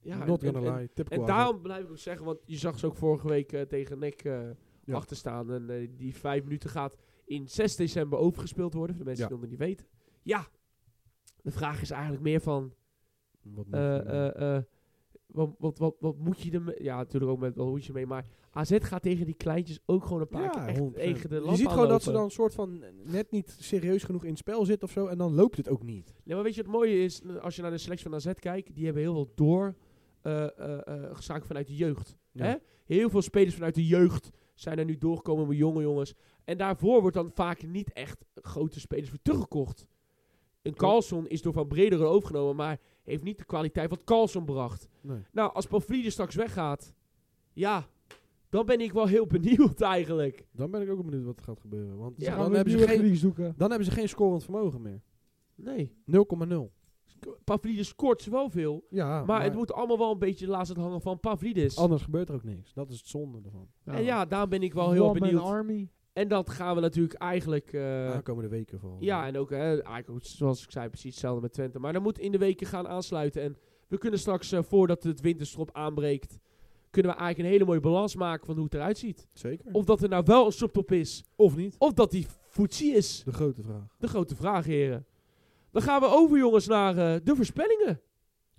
A: Ja,
B: Not
A: en-
B: gonna
A: en-
B: lie. Tip
A: En
B: qua
A: daarom blijf ik ook zeggen, want je zag ze ook vorige week eh, tegen NEC eh
B: Ja.
A: achterstaan. En eh, die vijf minuten gaat in 6 december overgespeeld worden, voor de mensen
B: Ja.
A: die dat nog niet weten. Ja, de vraag is eigenlijk meer van,
B: Wat moet
A: eh,
B: je doen?
A: eh, eh, wat, wat, wat, wat moet je er... Ja, natuurlijk ook met wat moet je mee, maar AZ gaat tegen die kleintjes ook gewoon een paar keer echt
B: 100%.
A: tegen de lamp
B: Je ziet gewoon dat ze dan
A: aanlopen.
B: een soort van net niet serieus genoeg in het spel zit of zo. En dan loopt het ook niet.
A: Nee, maar weet je wat het mooie is? eh, Als je naar de selectie van AZ kijkt, die hebben heel veel door eh eh, eh, gezaakt vanuit de jeugd.
B: Ja.
A: Hè? Heel veel spelers vanuit de jeugd zijn er nu doorgekomen met jonge jongens. En daarvoor wordt dan vaak niet echt grote spelers voor teruggekocht. Een Carlson is door Van Brederen overgenomen, maar heeft niet de kwaliteit wat Carlson bracht.
B: Nee.
A: Nou, als Pavlidis straks weggaat, ja, dan ben ik wel heel benieuwd eigenlijk.
B: Dan ben ik ook benieuwd wat er gaat gebeuren. Want
A: Ja,
C: Ze
A: dan
C: gaan
B: dan,
C: weer
B: hebben ze
C: nieuwe
B: geen,
C: publiek zoeken.
B: dan hebben ze geen scorend vermogen meer.
A: Nee,
B: 0,0.
A: Pavlidis scoort wel veel,
B: Ja,
A: maar, het moet allemaal wel een beetje laatst het hangen van Pavlidis.
B: anders gebeurt er ook niks. Dat is het zonde ervan.
A: En ja, daar ben ik wel heel
C: One Man
A: benieuwd.
C: Army.
A: En dat gaan we natuurlijk eigenlijk... eh,
B: Aankomende weken vooral.
A: Ja, en ook hè, eigenlijk, ook zoals ik zei, precies hetzelfde met Twente. Maar dan moet in de weken gaan aansluiten. En we kunnen straks, eh, voordat het winterstop aanbreekt, kunnen we eigenlijk een hele mooie balans maken van hoe het eruit ziet.
B: Zeker.
A: Of dat er nou wel een subtop is,
B: of niet.
A: of dat die voetsie is.
B: De grote vraag.
A: De grote vraag, heren. Dan gaan we over, jongens, naar eh, de voorspellingen.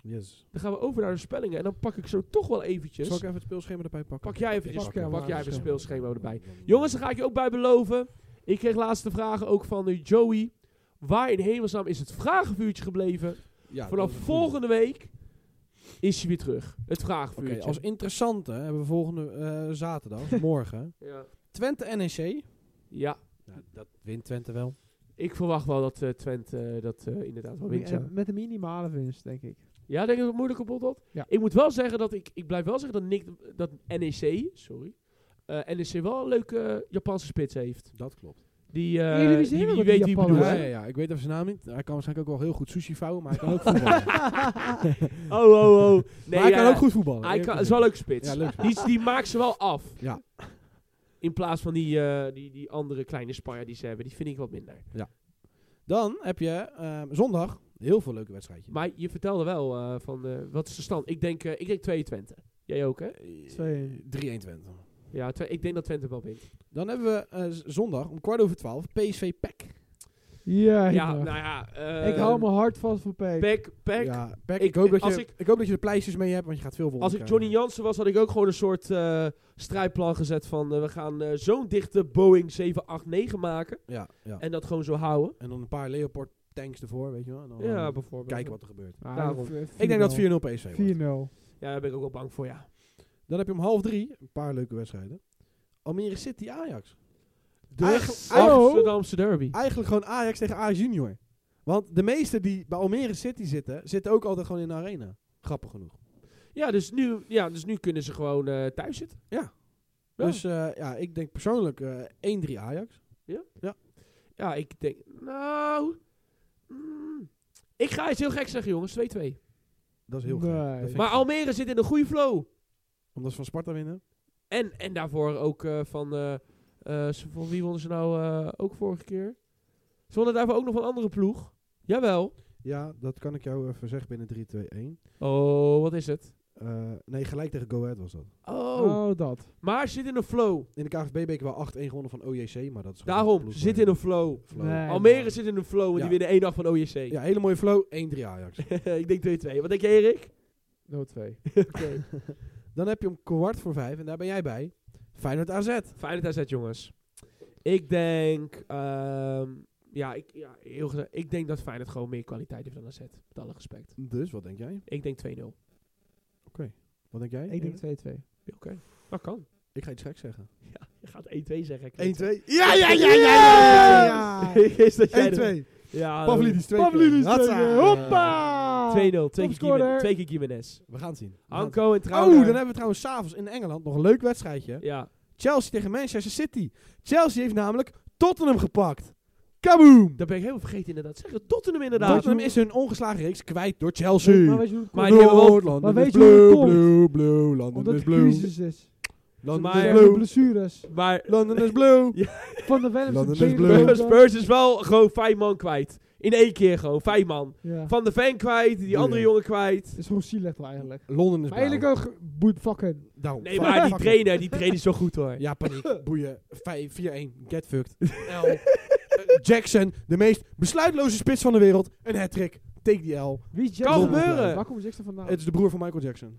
B: Yes.
A: Dan gaan we over naar de voorspellingen. En dan pak ik zo toch wel eventjes.
B: Zal ik even het speelschema erbij pakken?
A: Pak jij eventjes,
C: pak
A: pak,
C: jij maar
A: jij
C: het
A: even het
B: speelschema.
A: speelschema erbij. Jongens, daar ga ik je ook bij beloven. Ik kreeg laatste vragen ook van eh, Joey. Waar in hemelsnaam is het vragenvuurtje gebleven?
B: Ja, dat
A: Vanaf
B: is een goeie.
A: volgende week is hij weer terug. Het
B: Oké,
A: vragenvuurtje.
B: als interessante hebben we volgende eh, zaterdag, morgen,
A: ja.
B: Twente E NEC.
A: ja,
B: dat wint Twente wel.
A: ik verwacht wel dat eh, Twente eh, dat eh, inderdaad wel wint.
C: Met,
A: Ja,
C: met een minimale winst, denk ik.
A: ja denk je dat het moeilijk op dat?
C: Ja.
A: Ik moet wel zeggen dat ik, ik blijf wel zeggen dat, Nick, dat NEC, sorry, eh, NEC wel een leuke eh, Japanse spits heeft.
B: Dat klopt.
A: Die, eh,
C: Eredivisie
A: die,
C: hebben
A: die
C: we
A: weet
C: die
A: wie ik
B: Ja,
A: bedoel.
C: Japaner,
B: ja,
A: hè?
B: ja, ik weet even zijn naam niet. Hij kan waarschijnlijk ook wel heel goed sushi vouwen, maar hij kan ook voetballen.
A: Oh, oh, oh. Nee,
B: maar hij
A: ja,
B: kan ook goed voetballen.
A: Hij
B: eerlijk
A: kan, is
B: gezegd.
A: wel een leuke spits.
B: Ja, leuk
A: Die,
B: spits.
A: die maakt ze wel af.
B: Ja.
A: In plaats van die, eh, die, die andere kleine Spanjaard die ze hebben. Die vind ik wat minder.
B: Dan heb je ehm, zondag heel veel leuke wedstrijdjes.
A: Maar je vertelde wel eh, van eh, wat is de stand? Ik denk, eh, ik denk 2 Twente. Jij ook, hè?
B: Eh,
C: Twee.
B: 3-1 Twente.
A: Ja, twe- ik denk dat Twente wel wint.
B: Dan hebben we eh, z- zondag om kwart over twaalf PSV PEC.
C: Ja,
A: ja,
C: ik-
A: nou ja. eh,
C: ik hou mijn hart vast voor Peek.
A: Peck, Peck.
B: Ja, PEC. Ik,
A: Ik-
B: hoop dat
A: als
B: je,
A: ik-
B: ik, hoop dat je de pleisters mee hebt, want je gaat veel voor.
A: Als ik Johnny Jansen was, had ik ook gewoon een soort eh, strijdplan gezet van... eh, we gaan eh, zo'n dichte Boeing 789 maken.
B: Ja, ja.
A: En dat gewoon zo houden.
B: En dan een paar Leopard tanks ervoor, weet je wel. En dan
A: Ja,
B: eh,
A: bijvoorbeeld.
B: kijken wat er gebeurt.
C: Ah,
A: daarom.
C: v-
B: Ik denk dat 4-0
C: 4-0.
B: PSV wordt.
C: 4-0.
A: Ja, daar ben ik ook wel bang voor, ja.
B: Dan heb je om half drie een paar leuke wedstrijden. Almere City Ajax.
A: De
B: Eigen-
A: Amsterdamse derby.
B: Eigenlijk gewoon Ajax tegen Ajax Junior. Want de meesten die bij Almere City zitten, zitten ook altijd gewoon in de arena. Grappig genoeg.
A: Ja dus, nu, ja, dus nu kunnen ze gewoon eh, thuis zitten. Ja.
B: Dus eh, ja, ik denk persoonlijk eh, 1-3 Ajax.
A: Ja, ik denk... Nou... mm, ik ga iets heel gek zeggen, jongens. 2-2.
B: Dat is heel
C: Nee.
B: gaaf. Dat vind ik
A: Maar
B: gaaf.
A: Almere zit in een goede flow.
B: Omdat ze van Sparta winnen.
A: En, en daarvoor ook eh, van, eh, eh, ze- van... Wie wonnen ze nou eh, ook vorige keer? Ze wonnen daarvoor ook nog van een andere ploeg. Jawel.
B: Ja, dat kan ik jou even zeggen binnen 3-2-1.
A: Oh, wat is het?
B: eh, nee, gelijk tegen Go Ahead was dat.
A: Oh.
C: Oh, dat.
A: Maar ze zit in een flow.
B: In de KVB-beker wel 8-1 gewonnen van OJC, maar dat is gewoon een
A: Daarom,
B: ploeg
A: ze zit
B: waar-
A: in een flow.
B: flow.
C: Nee.
A: Almere zit in een flow en
B: Ja.
A: die winnen één dag van OJC.
B: Ja, hele mooie flow. 1-3 Ajax.
A: ik denk 2-2. Wat denk je, Erik?
C: 0-2.
B: Dan heb je om kwart voor vijf, en daar ben jij bij, Feyenoord AZ.
A: Feyenoord AZ, jongens. Ik denk... ehm, ja, ik, ja heel gezegd, ik denk dat Feyenoord gewoon meer kwaliteit heeft dan AZ. Met alle respect.
B: Dus, wat denk jij?
A: Ik denk 2-0. Oké.
B: Wat denk jij?
C: Ik denk 2-2.
A: Dat kan.
B: Ik ga iets gek zeggen. 1-2.
A: Ja, je gaat 1-2 zeggen. ik weet het.
B: Ja, ja, ja, ja, ja, ja, ja.
A: Is dat jij er-
B: 1-2.
A: Ja,
B: Pavlidis 2
C: Pavlidis
B: Hatsa.
C: tegen- Hoppa!
A: 2-0. Twee keer
C: Topscorer.
A: Gimen- Twee keer Gimenez.
B: We gaan het zien. We gaan het zien.
A: Anko en
B: Oh,
A: Trouwen.
B: dan hebben we trouwens s'avonds in Engeland nog een leuk wedstrijdje.
A: Ja.
B: Chelsea tegen Manchester City. Chelsea heeft namelijk Tottenham gepakt. Kaboom!
A: Dat ben ik helemaal vergeten inderdaad. te Zeggen Tottenham inderdaad.
B: Tottenham is hun ongeslagen reeks kwijt door Chelsea.
C: Maar weet je hoe het
A: Maar
C: komt?
A: die hebben wel-
B: Rood, London
C: maar weet
B: is
C: je hoe het
B: blue,
C: komt?
B: blue, blue,
C: Omdat
B: London is
C: het
B: blue.
C: crisis is.
B: London
A: Maar-
B: is
C: Ze hebben
B: blue.
C: blessures.
A: Maar
B: London is blue.
C: Van de Velm
B: London is blue.
C: blue.
A: Spurs is wel gewoon vijf man kwijt. In één keer gewoon, vijf man.
C: Ja.
A: Van de fan kwijt, die
B: Ja.
A: andere jongen kwijt.
C: is gewoon zielig wel eigenlijk.
B: London is
C: Maar
B: blauw.
C: eigenlijk ook boeit fucking.
B: Daarom.
A: Nee,
B: Fuck,
A: maar die
B: fuck
A: trainer, die trainer is zo goed hoor.
B: it. Ja, paniek. Boeien. Vijf- 4-1. Get fucked. L. Eh, Jackson, de meest besluitloze spits van de wereld. Een hat-trick. Take die L.
C: Wie is
A: Kan
C: Jackson?
A: gebeuren.
C: Waar komt Jackson vandaan?
B: Het is de broer van Michael Jackson.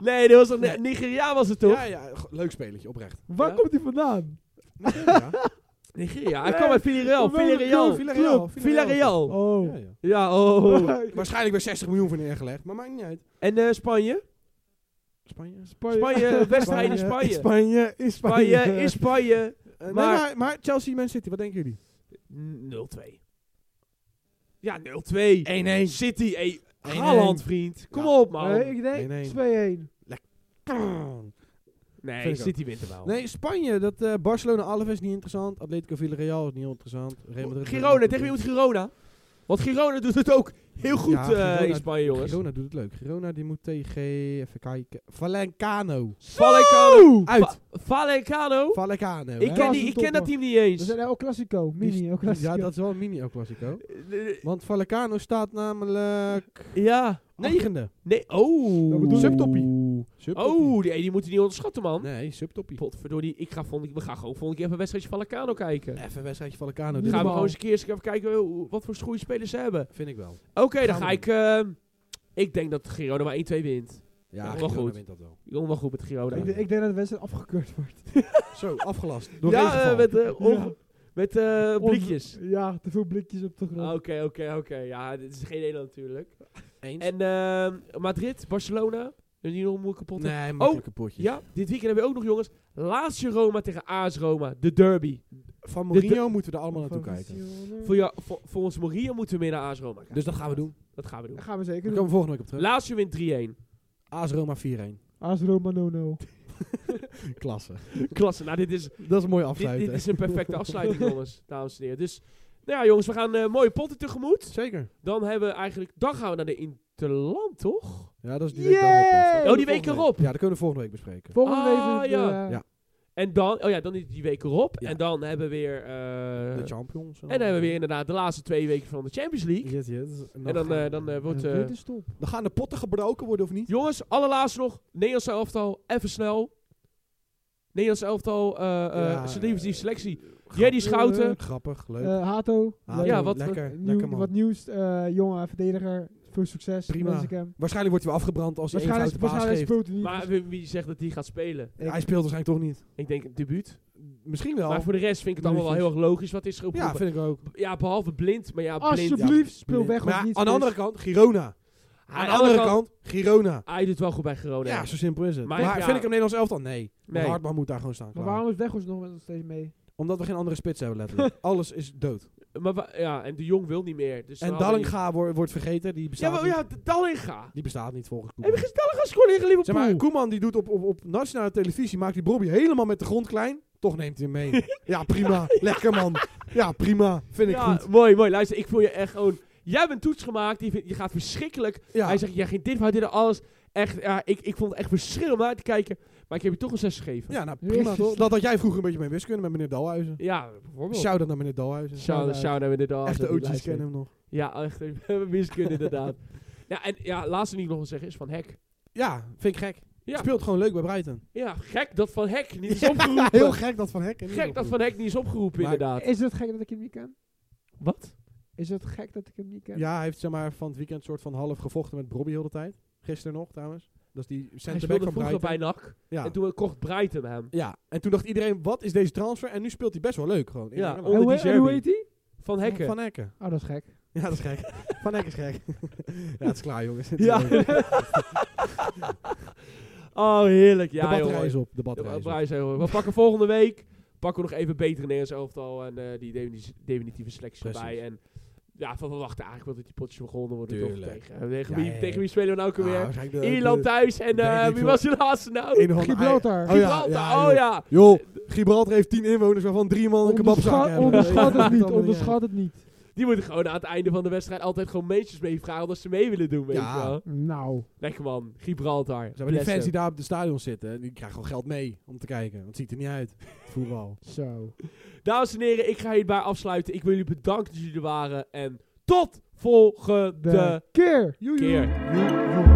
A: Nee, dat was toch Ni- Nigeria was het toch?
B: Ja, ja. g- Leuk spelletje, oprecht.
C: Waar
A: Ja.
C: komt hij vandaan?
B: Ja.
A: Nigeria, hij
C: Nee.
A: kwam uit Villarreal.
C: Welke
A: Villarreal.
C: club?
B: Villarreal,
A: Villarreal.
C: Oh.
B: Ja, ja.
A: Ja, oh.
B: Waarschijnlijk weer 60 miljoen voor neergelegd, maar maakt niet uit.
A: En eh, Spanje?
B: Spanje.
A: Spanje, wedstrijd in Spanje.
B: Spanje. Spanje is
A: Spanje is Spanje.
B: maar,
A: maar-
B: maar, maar Chelsea, Man City, wat denken jullie?
A: 0-2. Ja, 0-2.
B: 1-1.
A: City, hey,
B: 1-1.
A: Haaland, vriend. Kom op, man.
C: Nee, ik
B: Nee, nee.
C: denk 2-1.
A: Nee,
B: Vind ik
A: City wint er wel.
B: Nee, Spanje, dat eh, Barcelona Alves is niet interessant. Atletico Villarreal is niet interessant. Real Madrid-
A: Girona, tegen wie moet Girona? Want Girona doet het ook heel goed
B: Ja,
A: eh, in
B: Girona-
A: Spanje, jongens.
B: Girona doet het leuk. Girona die moet tegen, even kijken, Valencano.
A: Vallecano.
B: Uit.
A: Va- Vallecano.
B: Vallecano. hè?
A: Ik ken, die,
C: Klasse
A: ik ken dat
C: topper.
A: team niet eens.
C: Dat is een El Clasico. Mini El Clasico.
B: Ja, dat is wel een mini El Clasico.
A: Eh, eh,
B: Want Vallecano staat namelijk
A: Ja.
B: negende.
A: Nee, oh.
C: Ja, we doen-
B: Subtoppie.
A: Oh, die, die moeten we niet onderschatten, man.
B: Nee, subtoppie.
A: Potverdorie, ik ga volgende, we gaan gewoon volgende keer even een wedstrijdje Vallecano kijken.
B: Even een wedstrijdje Vallecano.
A: Dan
B: Dit
A: gaan we
C: normaal.
A: gewoon eens een keer eens even kijken eh, hoe- wat voor goede spelers ze hebben.
B: vind ik wel.
A: Oké, dan
B: Gaan we
A: ga ik... ehm, ik denk dat Girona maar 1-2 wint.
B: Ja,
A: wel
B: Girona
A: goed.
B: wint dat wel.
A: Ik doe wel goed met Girona.
C: ik, denk- ik denk dat de wedstrijd afgekeurd wordt.
B: Zo, afgelast. Door
A: Ja,
B: regenval.
A: eh, met, eh, onge-
C: Ja.
A: met eh,
C: On-
A: blikjes. Ah,
C: Ja, te veel blikjes op de grond.
A: Oké, oké, oké. Ja, dit is geen Nederland natuurlijk.
B: Eens.
A: En ehm, Madrid, Barcelona. En die nog moeilijk kapot.
B: nee, makkelijke potjes.
A: Ja, dit weekend hebben we ook nog jongens. Laatste Roma tegen AS Roma. De derby.
B: Van
A: De-
B: Mourinho moeten we er allemaal naartoe kijken.
A: Voor jou, vol- volgens Moria moeten we meer naar AS Roma kijken.
B: Dus dat gaan we doen.
A: Dat gaan we doen.
C: Dat gaan we
B: Daar
C: zeker
B: komen
C: doen.
B: we volgende week op terug.
A: Laatste wint 3-1.
B: AS Roma 4-1.
C: AS Roma no no.
B: Klasse.
A: Klasse. Nou, dit is,
B: Dat is een mooie
A: dit,
B: afsluiting.
A: dit is een perfecte afsluiting jongens. Dames en heren. Dus, nou ja jongens, we gaan eh, mooie potten tegemoet.
B: Zeker.
A: Dan hebben we eigenlijk, dan gaan we naar de Interland, toch?
B: Ja, dat is die
C: Yay!
B: week daarop. pas. Dat kunnen
A: Oh, die
B: we
A: week
B: volgende
A: erop.
B: Ja, dat kunnen we volgende week bespreken.
C: Volgende
A: Ah,
C: week is het,
A: ja.
C: eh,
B: Ja.
A: En dan, oh ja, dan is die week erop.
B: Ja.
A: En dan hebben we weer. eh,
B: de Champions.
A: en dan hebben we weer inderdaad de laatste twee weken van de Champions League.
B: Yes, yes.
A: En dan,
B: gaan-
A: eh, dan eh, wordt.
C: een
A: eh,
C: winterstop.
B: dan gaan de potten gebroken worden of niet?
A: jongens, allerlaatste nog. Nederlandse elftal, even snel. Nederlandse elftal, eh eh
B: Ja,
A: selectieve
B: eh,
A: selectie. Jerry Schouten.
B: Grappig, leuk.
C: Eh, Hato.
B: Hato,
A: ja, wat-
B: lekker,
C: Nieuw-
B: lekker man.
C: Wat nieuws. eh, jonge verdediger. Veel succes.
B: Prima.
C: wens ik hem.
B: Waarschijnlijk wordt hij weer afgebrand als hij één
C: Waarschijnlijk
B: foute paas geeft.
C: waarschijnlijk speelt hij niet.
A: maar wie, wie zegt dat die gaat spelen?
C: Ik-
B: Hij speelt waarschijnlijk toch niet.
A: Ik denk het debuut.
B: Misschien wel.
A: Maar voor de rest vind ik het
B: Logisch.
A: allemaal wel heel erg logisch wat is geroepen.
B: ja, vind ik ook.
A: Ja, behalve blind. Maar ja, blind.
C: Alsjeblieft, speel weg
B: Maar
C: of
B: ja,
C: niet.
B: aan de andere kant, Girona.
A: Hij-
B: Aan de andere
A: kant-
B: kant, Girona.
A: Hij doet het wel goed bij Girona.
B: Ja, zo simpel is het.
A: Maar
B: Maar,
A: ja.
B: vind ik hem Nederlands elftal? Nee.
A: Nee.
B: Want Hartman moet daar gewoon staan.
C: Maar
B: klaar.
C: waarom is Weghorst nog nog steeds mee?
B: Omdat we geen andere spits hebben, letterlijk. Alles is dood.
A: Maar, wa- ja, en de Jong wil niet meer. Dus
B: En
A: we hadden niet-
B: Dallinga wordt, wordt vergeten. Die
A: Ja,
B: bestaat,
A: maar,
B: niet.
A: ja, de Dallinga.
B: Die bestaat niet volgens
A: Heb je
B: Koeman.
A: gisteren gaan scoren tegen Liverpool?
B: Zeg maar, Koeman die doet op, op, op nationale televisie, maakt die Bobby helemaal met de grond klein. Toch neemt hij hem mee. ja, prima. Lekker man. Ja, prima. Vind ik
A: ja,
B: goed.
A: mooi, mooi. Luister, ik voel je echt gewoon... Jij hebt een toets gemaakt, die vindt- je gaat verschrikkelijk.
B: Ja.
A: Hij zegt, jij ging dit, fout, dit en alles. Echt, ja, ik, ik vond het echt verschrikkelijk om naar te kijken. Maar ik heb je toch een 6 gegeven.
B: ja, nou prima toch? Dat had jij vroeger een beetje mee wiskunde met meneer Dalhuizen.
A: Ja, bijvoorbeeld.
B: Shout-out naar meneer Dalhuizen.
A: Shout- Shout-out naar de Dallas.
B: Echt de OG's kennen hem nog.
A: Ja, echt. Wiskunde inderdaad. Ja, en ja, laatste die ik nog wil zeggen is van Hek.
B: Ja, vind ik gek.
A: Ja.
B: Speelt gewoon leuk bij Brighton.
A: Ja, gek dat Van Hek niet is opgeroepen.
B: Heel gek dat Van Hek. en niet
A: gek dat
B: opgeroepen.
A: Van Hek niet is opgeroepen,
B: Maar-
A: inderdaad.
C: Is het gek dat ik hem niet ken?
A: Wat?
C: Is het gek dat ik hem niet ken?
B: Ja, hij heeft zeg maar, van het weekend soort van half gevochten met Bobby heel de tijd. Gisteren nog trouwens. Dat is die
A: Hij
B: centerback
A: speelde
B: van
A: vroeger
B: Brighton.
A: bij NAC.
B: ja.
A: En toen kocht Brighton hem.
B: ja, en toen dacht iedereen, wat is deze transfer? En nu speelt hij best wel leuk gewoon.
A: Ja,
B: Inderdaad.
A: onder
C: en
A: die
C: hoe, he- en
A: Serbi.
C: hoe heet hij?
A: Van Hekken.
B: Van Hekken.
C: Oh, dat is gek.
B: Ja, dat is gek. Van Hekken is gek. ja, het is klaar jongens.
A: Ja. oh, heerlijk.
B: de
A: Ja,
B: batterij
A: joh.
B: is op. De
A: De
B: batterij is op.
A: batterij is op. We pakken volgende week pakken we nog even beter Nederlands elftal en eh, die defini- definitieve selectie
B: Precies.
A: erbij. En ja, van we wachten eigenlijk wel dat die potjes begonnen worden. Toch
B: Tuurlijk.
A: tegen, eh, tegen,
B: Ja,
A: wie,
B: ja, ja.
A: tegen wie spelen we nou ook
B: Ah,
A: alweer?
B: waarschijnlijk de-
A: Ierland
B: de-
A: thuis en
B: weet
A: eh,
B: niet
A: wie
B: veel.
A: was je laatste nou?
B: een of andere-
C: Gibraltar.
B: Oh ja,
A: Gibraltar,
B: ja,
A: oh
B: joh.
A: ja.
B: Joh, Gibraltar heeft 10 inwoners waarvan drie man een kebabzaak
C: Onderschat,
B: hebben.
C: onderschat
B: Ja.
C: het niet, onderschat het niet.
A: Die moeten gewoon aan het einde van de wedstrijd altijd gewoon meetjes meevragen als ze mee willen doen, weet
B: Ja.
A: je wel.
C: Nou,
A: Lekker man, Gibraltar.
B: Zeg maar, die
A: Bless
B: fans die
A: hem.
B: daar op de stadion zitten, die krijgen gewoon geld mee om te kijken. Want het ziet er niet uit. Voetbal.
C: zo.
A: Dames en heren, ik ga hierbij afsluiten. Ik wil jullie bedanken dat jullie er waren en tot volgende
C: De keer.
A: keer.
C: Joe, joe.